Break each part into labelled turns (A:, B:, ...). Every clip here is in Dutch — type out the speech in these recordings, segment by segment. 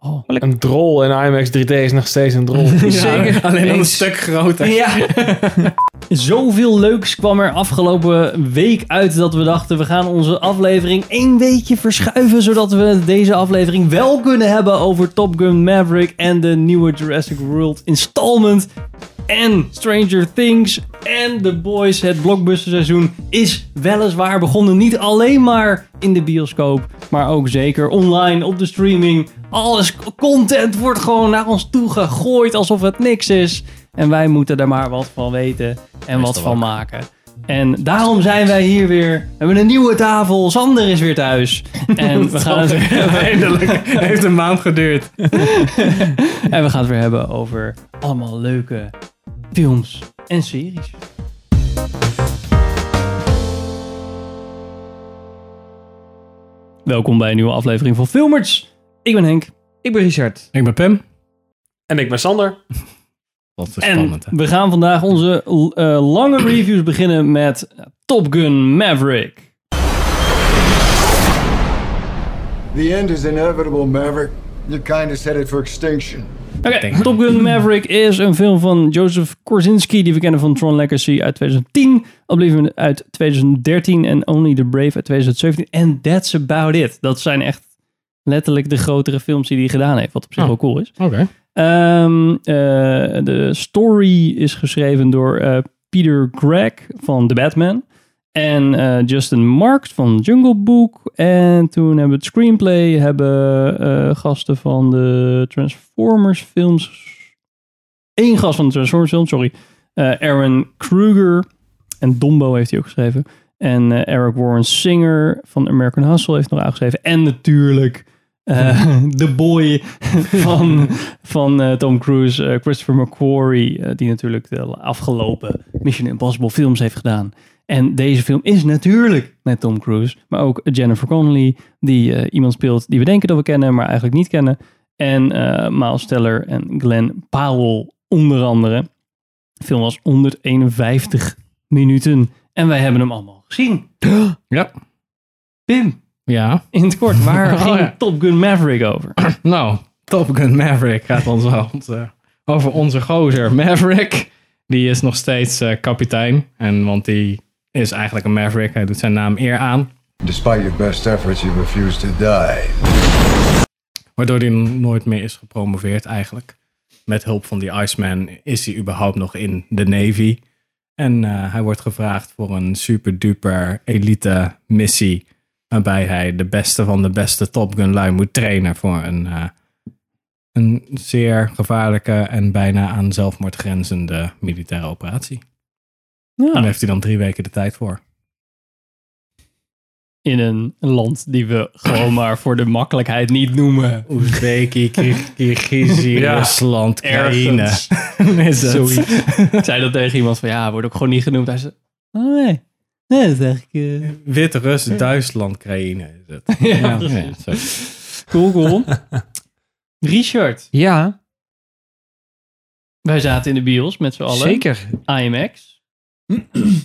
A: wel. Een drol in IMAX 3D is nog steeds een drol.
B: Zeker.
C: alleen dan een
B: Eens.
C: stuk groter.
B: Ja. Zoveel leuks kwam er afgelopen week uit dat we dachten we gaan onze aflevering één weekje verschuiven zodat we deze aflevering wel kunnen hebben over Top Gun Maverick en de nieuwe Jurassic World installment en Stranger Things en The Boys. Het blockbusterseizoen is weliswaar begonnen niet alleen maar in de bioscoop, maar ook zeker online op de streaming. Alles content wordt gewoon naar ons toe gegooid alsof het niks is. En wij moeten daar maar wat van weten en wat van maken. En daarom zijn wij hier weer. We hebben een nieuwe tafel. Sander is weer thuis. En we gaan het weer
C: Eindelijk. Heeft een maand geduurd.
B: en we gaan het weer hebben over allemaal leuke films en series. Welkom bij een nieuwe aflevering van Filmers. Ik ben Henk.
C: Ik ben Richard. Ik ben Pim.
A: en ik ben Sander.
C: Wat is
B: En
C: spannend. hè?
B: we gaan vandaag onze eh, lange reviews beginnen met Top Gun Maverick.
D: The end is inevitable, Maverick. Your kind is headed for extinction.
B: Oké, Top Gun Maverick is een film van Joseph Kosinski, die we kennen van Tron Legacy uit 2010, Oblivion uit 2013 en Only the Brave uit 2017. En that's about it. Dat zijn echt letterlijk de grotere films die hij gedaan heeft, wat op zich wel cool is.
C: Oké.
B: Ehm, eh, de story is geschreven door eh, Peter Gregg van The Batman. En eh, Justin Marks van Jungle Book. En toen hebben we het screenplay. Hebben eh, gasten van de Transformers films. Eén gast van de Transformers films, sorry. Eh, Aaron Kruger. En Dombo heeft hij ook geschreven. En eh, Eric Warren Singer van American Hustle heeft nog aangeschreven. En natuurlijk eh, de boy van, van eh, Tom Cruise, eh, Christopher McQuarrie, eh, die natuurlijk de afgelopen Mission Impossible films heeft gedaan. En deze film is natuurlijk met Tom Cruise, maar ook Jennifer Connelly, die eh, iemand speelt die we denken dat we kennen, maar eigenlijk niet kennen. En eh Miles Teller en Glenn Powell onder andere. De film was 151 minuten en wij hebben hem allemaal gezien.
C: Ja.
B: Pim,
C: Ja.
B: in het kort, waar
C: Oh,
B: ging
C: ja.
B: Top Gun Maverick over?
C: Nou, Top Gun Maverick gaat ons wel onze- over onze gozer Maverick. Die is nog steeds eh, kapitein. En want die is eigenlijk een Maverick. Hij doet zijn naam eer aan.
D: Despite your best efforts, you refuse to die.
C: Waardoor hij nooit meer is gepromoveerd eigenlijk. Met hulp van die Iceman is hij überhaupt nog in de Navy. En eh, hij wordt gevraagd voor een super duper elite missie. Waarbij hij de beste van de beste Top Gun lui moet trainen voor een, eh, een zeer gevaarlijke en bijna aan zelfmoord grenzende militaire operatie. Daar heeft hij dan drie weken de tijd voor.
B: in een land die we gewoon maar voor de makkelijkheid niet noemen.
C: Oezbeki, Kirgizië,
A: Ja,
C: Rusland, Oekraïne.
B: Ergens.
C: Is het.
B: Zoiets. Ik zei dat tegen iemand van ja, wordt ook gewoon niet genoemd. Hij zei, oh nee. Nee, dat is eigenlijk... eh,
C: Wit-Rus, Duitsland, Oekraïne is het.
B: Ja, precies. Cool, cool. Richard,
E: Ja,
B: wij zaten in de bios met z'n allen.
E: zeker.
B: IMAX.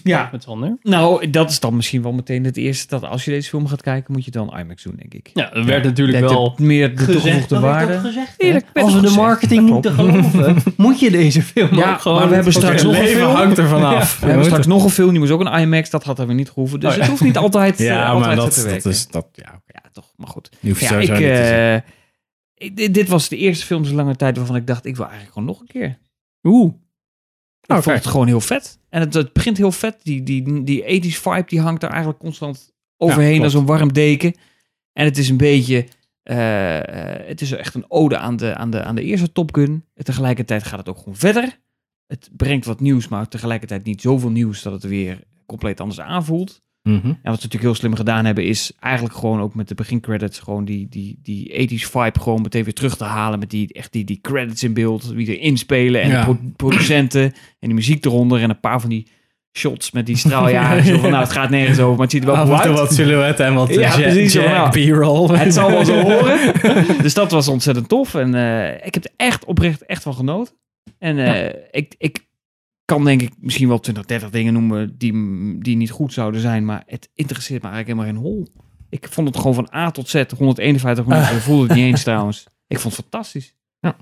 E: Ja.
B: Met Sander.
E: Nou, dat is dan misschien wel meteen het eerste dat als je deze film gaat kijken, moet je dan IMAX doen, denk ik.
B: Ja, dat werd natuurlijk
E: Dat
B: wel
E: het meer de
B: gezegd.
E: toegevoegde
B: Dat werd
E: waarde.
B: ook gezegd, hè?
E: Eerlijk, werd
B: Als we
E: ook
B: de
E: gezegd.
B: marketing
E: Dat
B: moeten geloven, moet je deze film
E: Ja,
B: ook gewoon...
E: maar we hebben straks
B: Oké,
E: nog een film.
C: hangt er vanaf.
E: We hebben straks nog een film, die moest ook een IMAX. Dat had er weer niet gehoeven. Dus het hoeft niet altijd, eh,
C: Oh, Ja,
E: altijd
C: maar
E: zo
C: dat,
E: te
C: dat
E: werken.
C: is... Dat, ja, oké.
E: Ja, toch. Maar goed.
C: Je hoeft
E: Ja, ik,
C: sowieso niet te zien.
E: eh, ik- dit- dit was de eerste film zo lange tijd waarvan ik dacht, ik wil eigenlijk gewoon nog een keer.
B: Oeh.
E: Ik
C: Oké.
E: vond het gewoon heel vet. En het, het begint heel vet. Die, die, die 80s vibe die hangt daar eigenlijk constant overheen
C: klopt.
E: als een warm deken. En het is een beetje... eh, eh, het is echt een ode aan de, aan de, aan de eerste Top Gun. En tegelijkertijd gaat het ook gewoon verder. Het brengt wat nieuws, maar tegelijkertijd niet zoveel nieuws dat het weer compleet anders aanvoelt.
C: Mhm.
E: En wat ze natuurlijk heel slim gedaan hebben, is eigenlijk gewoon ook met de begincredits gewoon die, die, die 80s vibe gewoon meteen weer terug te halen. Met die, echt die, die credits in beeld, wie er inspelen en de
C: Ja.
E: pro- producenten en die muziek eronder. En een paar van die shots met die straaljaren. zo van, nou, het gaat nergens over, maar het ziet er wel
C: Af
E: cool
C: en toe
E: uit.
C: Ah, wat silhouetten en wat
E: Ja,
C: ja,
E: precies, ja.
C: B-roll.
E: Het zal wel zo horen. dus dat was ontzettend tof. En eh, ik heb er echt oprecht echt van genoten. En eh, ik, ik kan denk ik misschien wel 20, 30 dingen noemen die, die niet goed zouden zijn. Maar het interesseert me eigenlijk helemaal geen hol. Ik vond het gewoon van A tot Z, 151 minuten. Ik voelde het niet eens trouwens. Ik vond het fantastisch. Ja.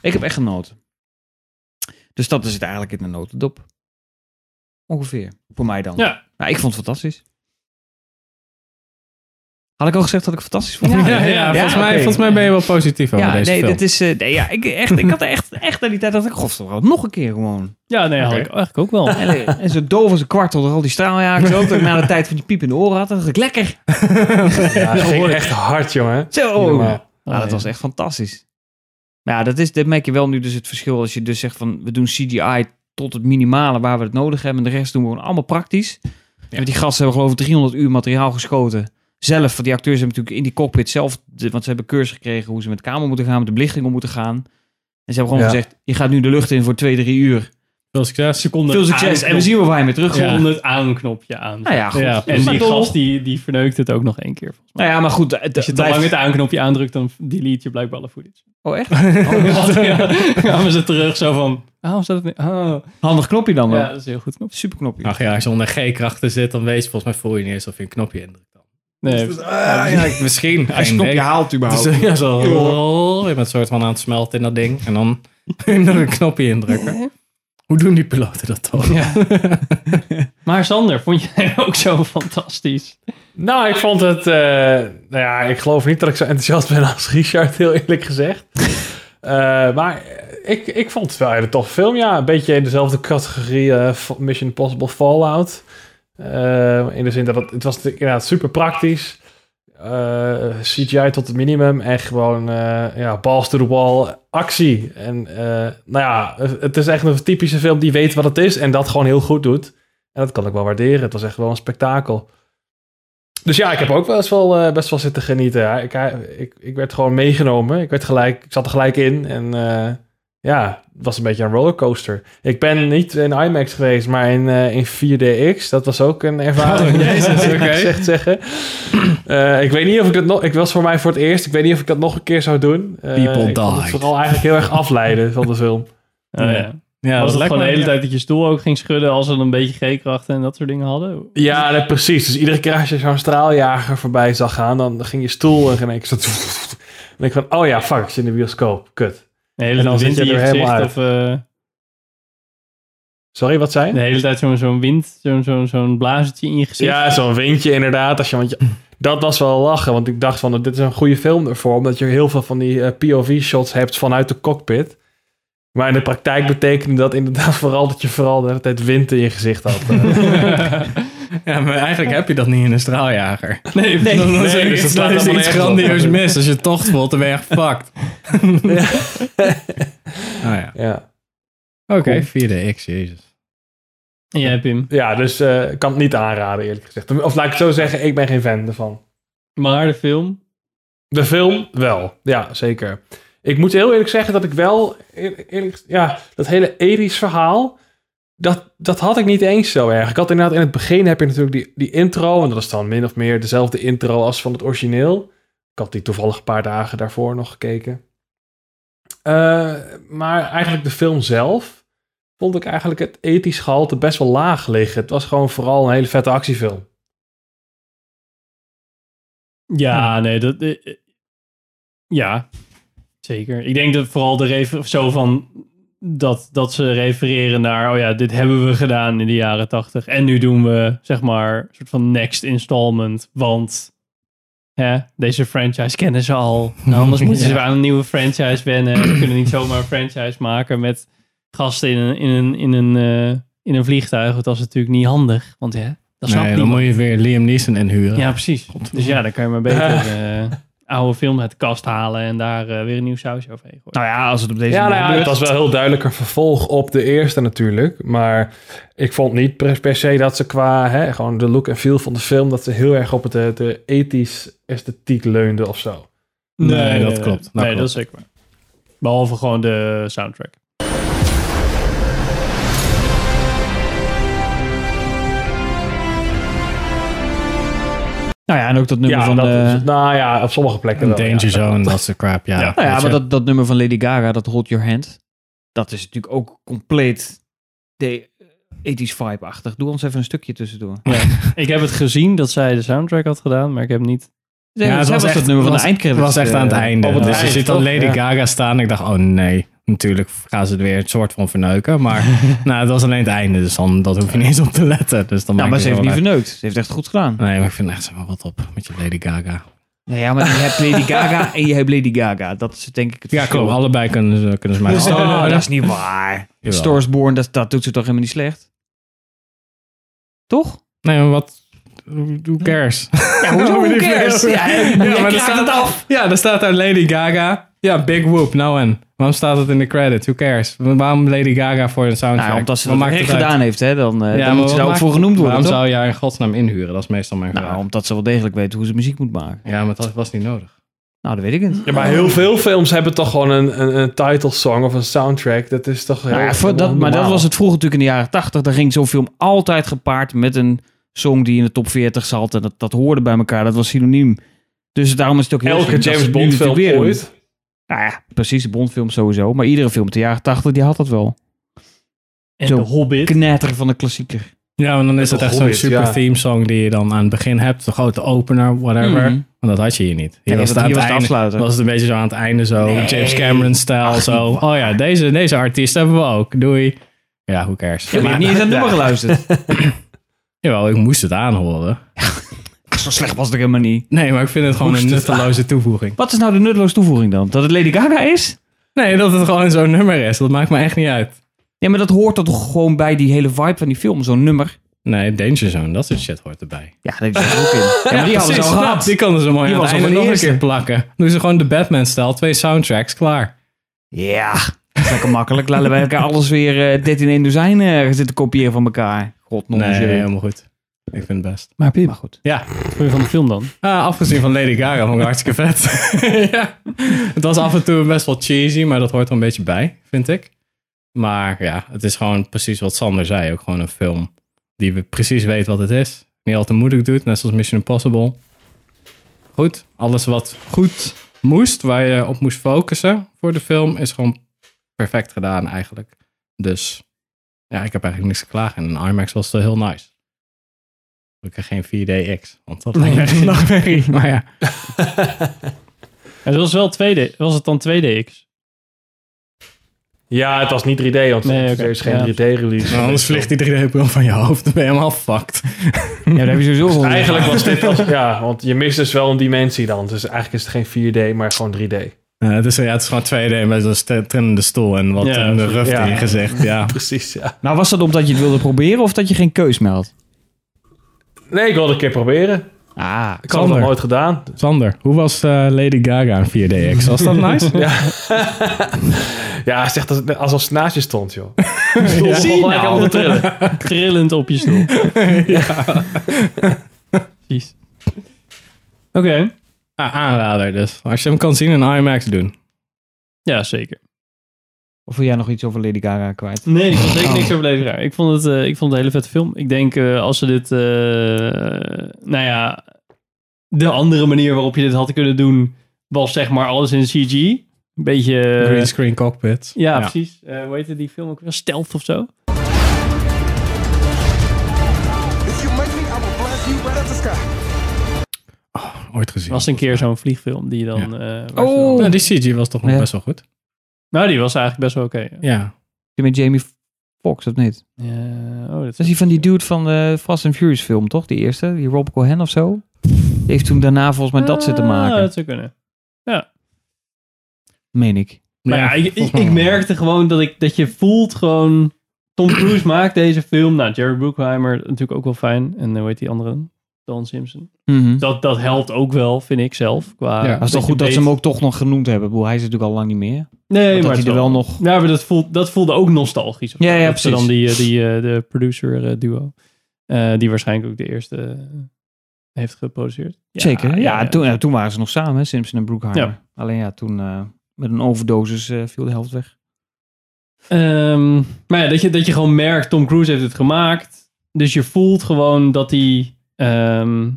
E: Ik heb echt genoten. Dus dat is het eigenlijk in de notendop. Ongeveer. Voor mij dan.
B: Ja.
E: Maar ik vond het fantastisch. Had ik al gezegd dat ik het fantastisch vond?
F: Ja, ja, volgens, mij,
E: oké.
F: volgens mij ben je wel positief over
E: Ja,
F: deze
E: nee,
F: film.
E: dit is, eh, nee, ja, ik, echt, ik had echt, echt aan die tijd dat ik, godverdomme, nog een keer gewoon.
B: Ja, nee, had
G: Oké.
B: ik eigenlijk ook wel.
E: En, eh, en zo doof als een kwart door al die straaljagers ook, dat ik na de tijd van die piep in de oren had, dan dacht ik, lekker.
G: Ja, dat ging echt hard, jongen.
E: Zo.
G: Normaal.
E: Nou, dat was echt fantastisch. Nou, ja, dat, is, dat merk je wel nu dus het verschil. Als je dus zegt van, we doen CGI tot het minimale waar we het nodig hebben. En de rest doen we gewoon allemaal praktisch. Want die gasten hebben geloof ik 300 uur materiaal geschoten. Zelf, want die acteurs hebben natuurlijk in die cockpit zelf... de- want ze hebben cursus gekregen hoe ze met de kamer moeten gaan, met de belichting om moeten gaan. En ze hebben gewoon
G: Ja.
E: gezegd, je gaat nu de lucht in voor twee, drie uur.
F: Veel succes.
B: seconde.
E: Veel succes en we zien wel waar je mee terug
F: Ja.
B: Gewoon het aanknopje aan.
E: Nou ja, goed.
B: Ah, en
E: Maar
B: die
E: toch-
B: gast die, die verneukt het ook nog één keer. Volgens mij.
E: Nou ja, maar goed. Het,
B: Als je te
E: blijft-
B: lang het aanknopje aandrukt, dan delete je blijkbaar alle footage.
E: Oh, echt?
B: Oh, ja. Kwamen ze terug zo van, waarom staat het niet? Oh.
E: Handig knopje dan wel.
B: Ja, dat is heel goed. knop.
E: Super knopje.
F: Ach ja, als je onder G-krachten zit, dan weet je volgens mij voel je niet eens of je een knopje indrukt. dan.
B: Nee,
F: Ah, ja, misschien.
E: Als je een knopje haalt überhaupt.
F: Dus, ja, zo. rol. Je bent soort van aan het smelten in dat ding. En dan nog een knopje indrukken. Hoe doen die piloten dat dan?
B: Maar Sander, vond jij hem ook zo fantastisch?
G: Nou, ik vond het... eh, nou ja, ik geloof niet dat ik zo enthousiast ben als Richard, heel eerlijk gezegd. Eh, maar ik, ik vond het wel een hele toffe film, ja. Een beetje in dezelfde categorie eh, Mission Impossible Fallout. Eh, in de zin dat het, het was natuurlijk inderdaad super praktisch. Eh, CGI tot het minimum en gewoon eh, ja, balls to the wall actie. En eh, nou ja, het is echt een typische film die weet wat het is en dat gewoon heel goed doet. En dat kan ik wel waarderen. Het was echt wel een spektakel. Dus ja, ik heb ook wel eens wel, eh, best wel zitten genieten. Ja, ik, ik, ik werd gewoon meegenomen. Ik, werd gelijk, ik zat er gelijk in. En eh, ja, het was een beetje een rollercoaster. Ik ben niet in IMAX geweest, maar in, eh, in 4DX. Dat was ook een ervaring.
F: Oh, jezus,
G: moet ik
F: oké.
G: echt zeggen. Eh, ik weet niet of ik dat nog... Ik was voor mij voor het eerst. Ik weet niet of ik dat nog een keer zou doen. Eh,
F: People
G: ik vond het
F: died.
G: vooral eigenlijk heel erg afleiden van de film.
B: Oh, ja.
F: Ja,
B: was
F: dat
B: het
F: lijkt
B: gewoon de
F: me-
B: hele tijd dat je stoel ook ging schudden als ze een beetje G-krachten en dat soort dingen hadden?
G: Ja, nee, precies. Dus iedere keer als je zo'n straaljager voorbij zag gaan, dan ging je stoel en ging ik zo. En ik van, oh ja, fuck, ik zit in de bioscoop. Kut.
B: De hele
G: En dan
B: tijd wind
G: zit je
B: in je
G: er
B: gezicht
G: helemaal
B: of... eh,
G: Sorry, wat zei je?
B: de hele tijd zo'n zo'n wind, zo'n zo'n zo'n blazertje in je gezicht.
G: Ja, zo'n windje inderdaad. Als je, want je- dat was wel lachen, want ik dacht van, dit is een goede film ervoor, omdat je heel veel van die eh, POV-shots hebt vanuit de cockpit. Maar in de praktijk betekende dat inderdaad vooral dat je vooral de hele tijd wind in je gezicht had. Eh,
F: Ja, maar eigenlijk heb je dat niet in een straaljager.
B: nee,
F: Dan- dan is er
G: dus
F: iets-
G: dat slaat
F: dan is er
G: helemaal
F: iets
G: nergens op.
F: grandioos mis. Als je het tocht voelt, dan ben je echt fucked. Oh ja.
G: ja.
F: Oké, 4DX, jezus.
B: Ja, Pim.
G: ja, dus eh, ik kan het niet aanraden, eerlijk gezegd. Of laat ik het zo zeggen, ik ben geen fan ervan.
B: Maar de film?
G: De film wel, ja, zeker. Ik moet heel eerlijk zeggen dat ik wel, eer- eerlijk, ja, dat hele Eris verhaal, dat, dat had ik niet eens zo erg. Ik had inderdaad in het begin heb je natuurlijk die, die intro, en dat is dan min of meer dezelfde intro als van het origineel. Ik had die toevallig een paar dagen daarvoor nog gekeken. Eh, maar eigenlijk de film zelf vond ik eigenlijk het ethisch gehalte best wel laag liggen. Het was gewoon vooral een hele vette actiefilm.
B: Ja, nee, dat... eh, eh, ja, zeker. Ik denk dat vooral de refer zo van... Dat, dat ze refereren naar, oh ja, dit hebben we gedaan in de jaren tachtig. En nu doen we, zeg maar, een soort van next installment. Want hè, deze franchise kennen ze al. Nou, anders moeten ze
F: Ja.
B: aan een nieuwe franchise wennen. We kunnen niet zomaar een franchise maken met gasten in een, in een, in een, eh, in een vliegtuig. Want dat is natuurlijk niet handig. Want hè, dat snapt
F: Nee, dan
B: niemand.
F: moet je weer Liam Neeson inhuren.
B: Ja, precies. Dus ja, dan kan je maar beter eh, oude film uit de kast halen en daar eh, weer een nieuw sausje overheen gooien.
E: Nou ja, als het op deze
G: Ja,
E: manier
G: nou ja, het
E: gebeurt.
G: was wel heel duidelijk een vervolg op de eerste natuurlijk. Maar ik vond niet per, per se dat ze qua hè, gewoon de look en feel van de film... dat ze heel erg op het, eh, de ethisch esthetiek leunde of zo.
F: Nee, dat klopt.
B: Nee,
F: Dat
E: Nou,
F: klopt.
B: dat is zeker waar. Behalve gewoon de soundtrack.
E: Nou ja, en ook dat nummer
G: ja,
E: van...
G: dat
E: eh,
G: is het. nou ja, op sommige plekken
F: Een
G: wel, ja.
F: danger zone, dat soort crap, ja.
E: Nou ja,
F: Weet
E: maar
F: je.
E: dat, dat nummer van Lady Gaga, dat Hold Your Hand, dat is natuurlijk ook compleet de 80s vibe-achtig. Doe ons even een stukje tussendoor.
B: Ik heb het gezien dat zij de soundtrack had gedaan, maar ik heb niet
E: Zij, zij was het nummer van de
C: Het
E: eindcredits.
C: was echt aan het
E: eh,
C: einde.
G: op het
C: dus er
G: eind,
C: zit dan
G: toch?
C: Lady
G: Ja.
C: Gaga staan. Ik dacht, oh nee, natuurlijk gaan ze het weer een soort van verneuken. Maar nou, het was alleen het einde, dus dan dat hoef je niet eens op te letten. Dus dan
E: Nou, maar
C: maakt
E: ze
C: het
E: heeft niet
C: wel uit.
E: verneukt. Ze heeft echt goed gedaan.
C: Nee, maar ik vind echt, zeg maar, wat op met je Lady Gaga.
E: Nou ja, maar je hebt Lady Gaga en je hebt Lady Gaga. Dat is denk ik het
C: Ja,
E: verschil.
C: klopt. Dus Allebei kunnen ze, kunnen ze mij wel-
E: Oh, dat is niet waar.
C: Jawel.
E: Stores Born, dat, dat doet ze toch helemaal niet slecht? Toch?
C: Nee, maar wat... Who cares?
E: Ja, hoezo? Who cares? Ja, jij kraakt het af.
C: Ja, daar staat daar Lady Gaga. Ja, Big Whoop, nou en. Waarom staat het in de credit? Who cares? Waarom Lady Gaga voor een soundtrack?
E: Nou, omdat ze
C: Wat
E: dat
C: maakt
E: echt
C: het uit?
E: gedaan heeft, hè, dan, eh,
C: Ja,
E: dan
C: maar
E: moet ze
C: wat
E: daar ook
C: maakt-
E: voor genoemd worden.
C: Waarom
E: toch?
C: zou je haar in godsnaam inhuren? Dat is meestal mijn vraag.
E: Nou, omdat ze wel degelijk weet hoe ze muziek moet maken.
C: Ja, maar dat was niet nodig.
E: Nou, dat weet ik niet.
G: Ja, maar heel veel films hebben toch gewoon een, een, een title song of een soundtrack. Dat is toch heel
E: Nou ja, voor dat, maar dat was het vroeger natuurlijk in de jaren 80. Daar ging zo'n film altijd gepaard met een song die in de top 40 zat. En dat, dat hoorde bij elkaar. Dat was synoniem. Dus daarom is het ook heel
G: Elke
E: slim dat
G: James
E: ze nu
G: Bond film
E: natuurlijk weer doen.
G: ooit.
E: Nou ja, precies. De Bond film sowieso. Maar iedere film uit de jaren 80 die had dat wel.
B: En
E: Zo.
B: de Hobbit.
E: Knetter van de klassieker.
C: Ja, want dan is
G: Met
C: het
G: de
C: echt zo'n
G: Hobbit,
C: super
G: ja.
C: theme song die je dan aan het begin hebt. De grote opener, whatever.
E: Mhm.
C: Want dat had je hier niet. Hier
E: Nee,
C: was
E: dat-
C: het aan
E: hier
C: het
E: was de
C: einde.
E: afsluiter.
C: was het een beetje zo aan het einde zo. James Cameron stijl zo. Oh ja, deze, deze artiest hebben we ook. Doei. Ja, who cares.
E: Ja, maar je hebt niet eens aan het nummer geluisterd.
C: Jawel, ik moest het aanhoren.
E: Zo slecht was het helemaal niet.
C: Nee, maar ik vind het gewoon
G: Moest
C: een
G: het
C: nutteloze toevoeging.
E: Wat is nou de nutteloze toevoeging dan? Dat het Lady Gaga is?
C: Nee, dat het gewoon zo'n nummer is. Dat maakt me echt niet uit.
E: Ja, maar dat hoort er toch gewoon bij die hele vibe van die film. Zo'n nummer.
C: Nee, Danger Zone, dat soort shit hoort erbij.
E: Ja, dat is er ook in. Ja, maar die hadden ze al
C: Precies,
E: gehad.
C: Die konden ze mooi
E: Die
C: aan het
E: was al van
C: einde
E: de
C: nog een
E: eerste.
C: keer plakken. Doen ze gewoon de Batman-stijl, twee soundtracks, klaar.
E: Ja, dat is lekker makkelijk. Laten wij elkaar alles weer eh 13 in dozijn eh, zitten kopiëren van elkaar. God, non
C: Nee,
E: nee,
C: helemaal goed. Ik vind het best.
B: Maar Pim,
E: Maar goed.
C: Ja,
B: wat vond je van de film dan?
C: ah, afgezien van Lady Gaga vond ik hartstikke vet. ja. Het was af en toe best wel cheesy, maar dat hoort er een beetje bij, vind ik. Maar ja, het is gewoon precies wat Sander zei. Ook gewoon een film die we precies weet wat het is. Niet al te moeilijk doet, net zoals Mission Impossible. Goed, alles wat goed moest, waar je op moest focussen voor de film, is gewoon perfect gedaan eigenlijk. Dus ja, ik heb eigenlijk niks te klagen. En een IMAX was wel heel nice. Gelukkig geen 4DX, want dat lijkt me echt een nachtmerrie. Maar ja,
B: Het was wel 2D. Was het dan 2DX?
G: Ja, het was niet 3D, want
B: Nee, oké.
G: er is geen
B: Ja.
G: 3D-release.
C: Nou, anders vliegt die 3D-bril van je hoofd. Dan ben je helemaal fucked.
E: Ja, daar heb je
B: Oh,
E: sowieso van.
G: Eigenlijk was dit als, ja, want je mist dus wel een dimensie dan. Dus eigenlijk is het geen 4D, maar gewoon 3D.
C: Eh, het, is, ja, het is gewoon 2D met een st- trillende stoel en wat
B: Ja,
C: in de ruf
G: ja.
C: in je gezicht. Ja.
G: Precies, ja.
E: Nou, was dat omdat je het wilde proberen of dat je geen keus meldt?
G: Nee, ik wilde een keer proberen.
E: Ah,
G: Ik had het nog
C: Sander.
G: nooit gedaan.
C: Sander, hoe was eh, Lady Gaga in 4DX? Was
B: nou-
C: dat nice?
G: Ja, zegt als als als het naast je stond, joh. Stond ja.
B: Zie
G: gewoon gelijk
B: nou.
G: allemaal te trillen.
B: Trillend op je stoel. ja. Precies. Oké.
C: Ah, aanrader dus. Als je hem kan zien in IMAX doen.
B: Ja, zeker.
E: of wil jij nog iets over Lady Gaga kwijt?
B: Nee, ik was niks over Lady Gaga. Ik vond het, eh, ik vond het een hele vette film. Ik denk eh, als ze dit, eh, nou ja, de andere manier waarop je dit had kunnen doen, was zeg maar alles in CG. Een beetje... eh,
C: Green screen cockpit.
B: ja, precies. Eh hoe heette die film ook weer? Stealth of zo?
D: If you make me, I will blast you right out the sky.
C: Ooit gezien.
B: was een keer zo'n vliegfilm die dan... eh, waar ze
E: Oh.
B: dan-
C: Nou, die CG was toch nog
E: Ja.
C: best wel goed.
B: Nou, die was eigenlijk best wel oké.
C: Ja.
E: Je met Jamie Foxx, of niet?
B: Ja, oh, dat
E: Dat is die van die dude van de Fast and Furious film, toch? Die eerste, die Rob Cohen of zo? Die heeft toen daarna volgens mij dat zitten
B: Ah,
E: maken,
B: dat zou kunnen.
E: meen ik.
B: Maar ja, ik, ik, ik merkte gewoon dat, ik, dat je voelt gewoon... Tom Cruise maakt deze film. Nou, Jerry Bruckheimer natuurlijk ook wel fijn. En eh, hoe heet die andere? Dan Simpson.
E: Mhm.
B: Dat, dat helpt ook wel, vind ik zelf. Qua
C: Ja.
E: Maar het is toch
B: je
E: goed dat ze
B: weet-
E: hem ook toch nog genoemd hebben. Ik bedoel, hij is natuurlijk al lang niet meer.
B: Nee,
E: Maar
B: maar
E: dat
B: het
E: hij
B: is
E: er wel nog...
B: Ja, maar dat, voelt, dat voelde ook nostalgisch. of zo.
E: Ja, ja,
B: Dat ze
E: precies.
B: Dan die, eh, die eh, de producer-duo. die waarschijnlijk ook de eerste eh, heeft geproduceerd. Ja,
E: Zeker. Ja,
B: ja.
E: Toen, ja, toen waren ze nog samen, hè, Simpson en Brookheimer.
B: Ja.
E: Alleen ja, toen eh, met een overdosis eh, viel de helft weg.
B: Ehm, maar ja, dat je, dat je gewoon merkt, Tom Cruise heeft het gemaakt. Dus je voelt gewoon dat hij... ehm,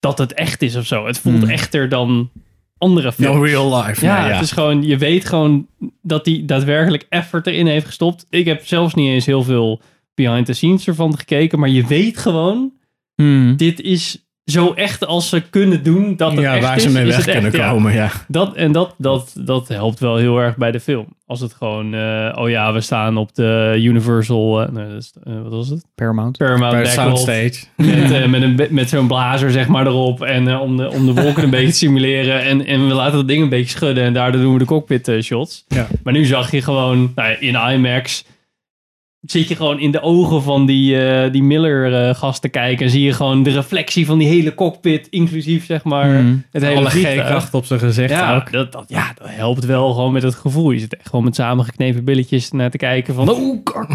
B: dat het echt is of zo. Het voelt
E: Hmm.
B: echter dan andere films.
C: No real life.
B: Ja,
C: Nee,
B: het is gewoon, je weet gewoon dat hij daadwerkelijk effort erin heeft gestopt. Ik heb zelfs niet eens
E: Hmm.
B: heel veel behind the scenes ervan gekeken, maar je weet gewoon, dit is zo echt als ze kunnen doen dat het
C: ja,
B: echt
C: waar
B: is,
C: ze mee
B: is
C: weg
B: het echt,
C: kunnen
B: ja.
C: komen, ja.
B: Dat, en dat, dat, dat helpt wel heel erg bij de film. Als het gewoon, eh, oh ja, we staan op de Universal, eh, nee, dat is- eh, wat was het?
E: Paramount.
B: Paramount
C: Bij de
B: Backlot.
C: soundstage.
B: Met, eh, met, een, be- met zo'n blazer zeg maar erop. En eh, om, de, om de wolken een beetje te simuleren. En, en we laten dat ding een beetje schudden. En daardoor doen we de cockpit eh, shots.
C: Ja.
B: Maar nu zag je gewoon nou, ja, in IMAX. Zit je gewoon in de ogen van die, eh, die Miller-gast te kijken. En zie je gewoon de reflectie van die hele cockpit. Inclusief zeg maar
E: Mm.
B: het hele
C: Alle
B: vliegtuig.
C: G-kracht op zijn gezicht
B: Ja,
C: ook.
B: dat, dat, ja, dat helpt wel gewoon met het gevoel. Je zit echt gewoon met samengeknepen billetjes naar te kijken. Van, oh, kak.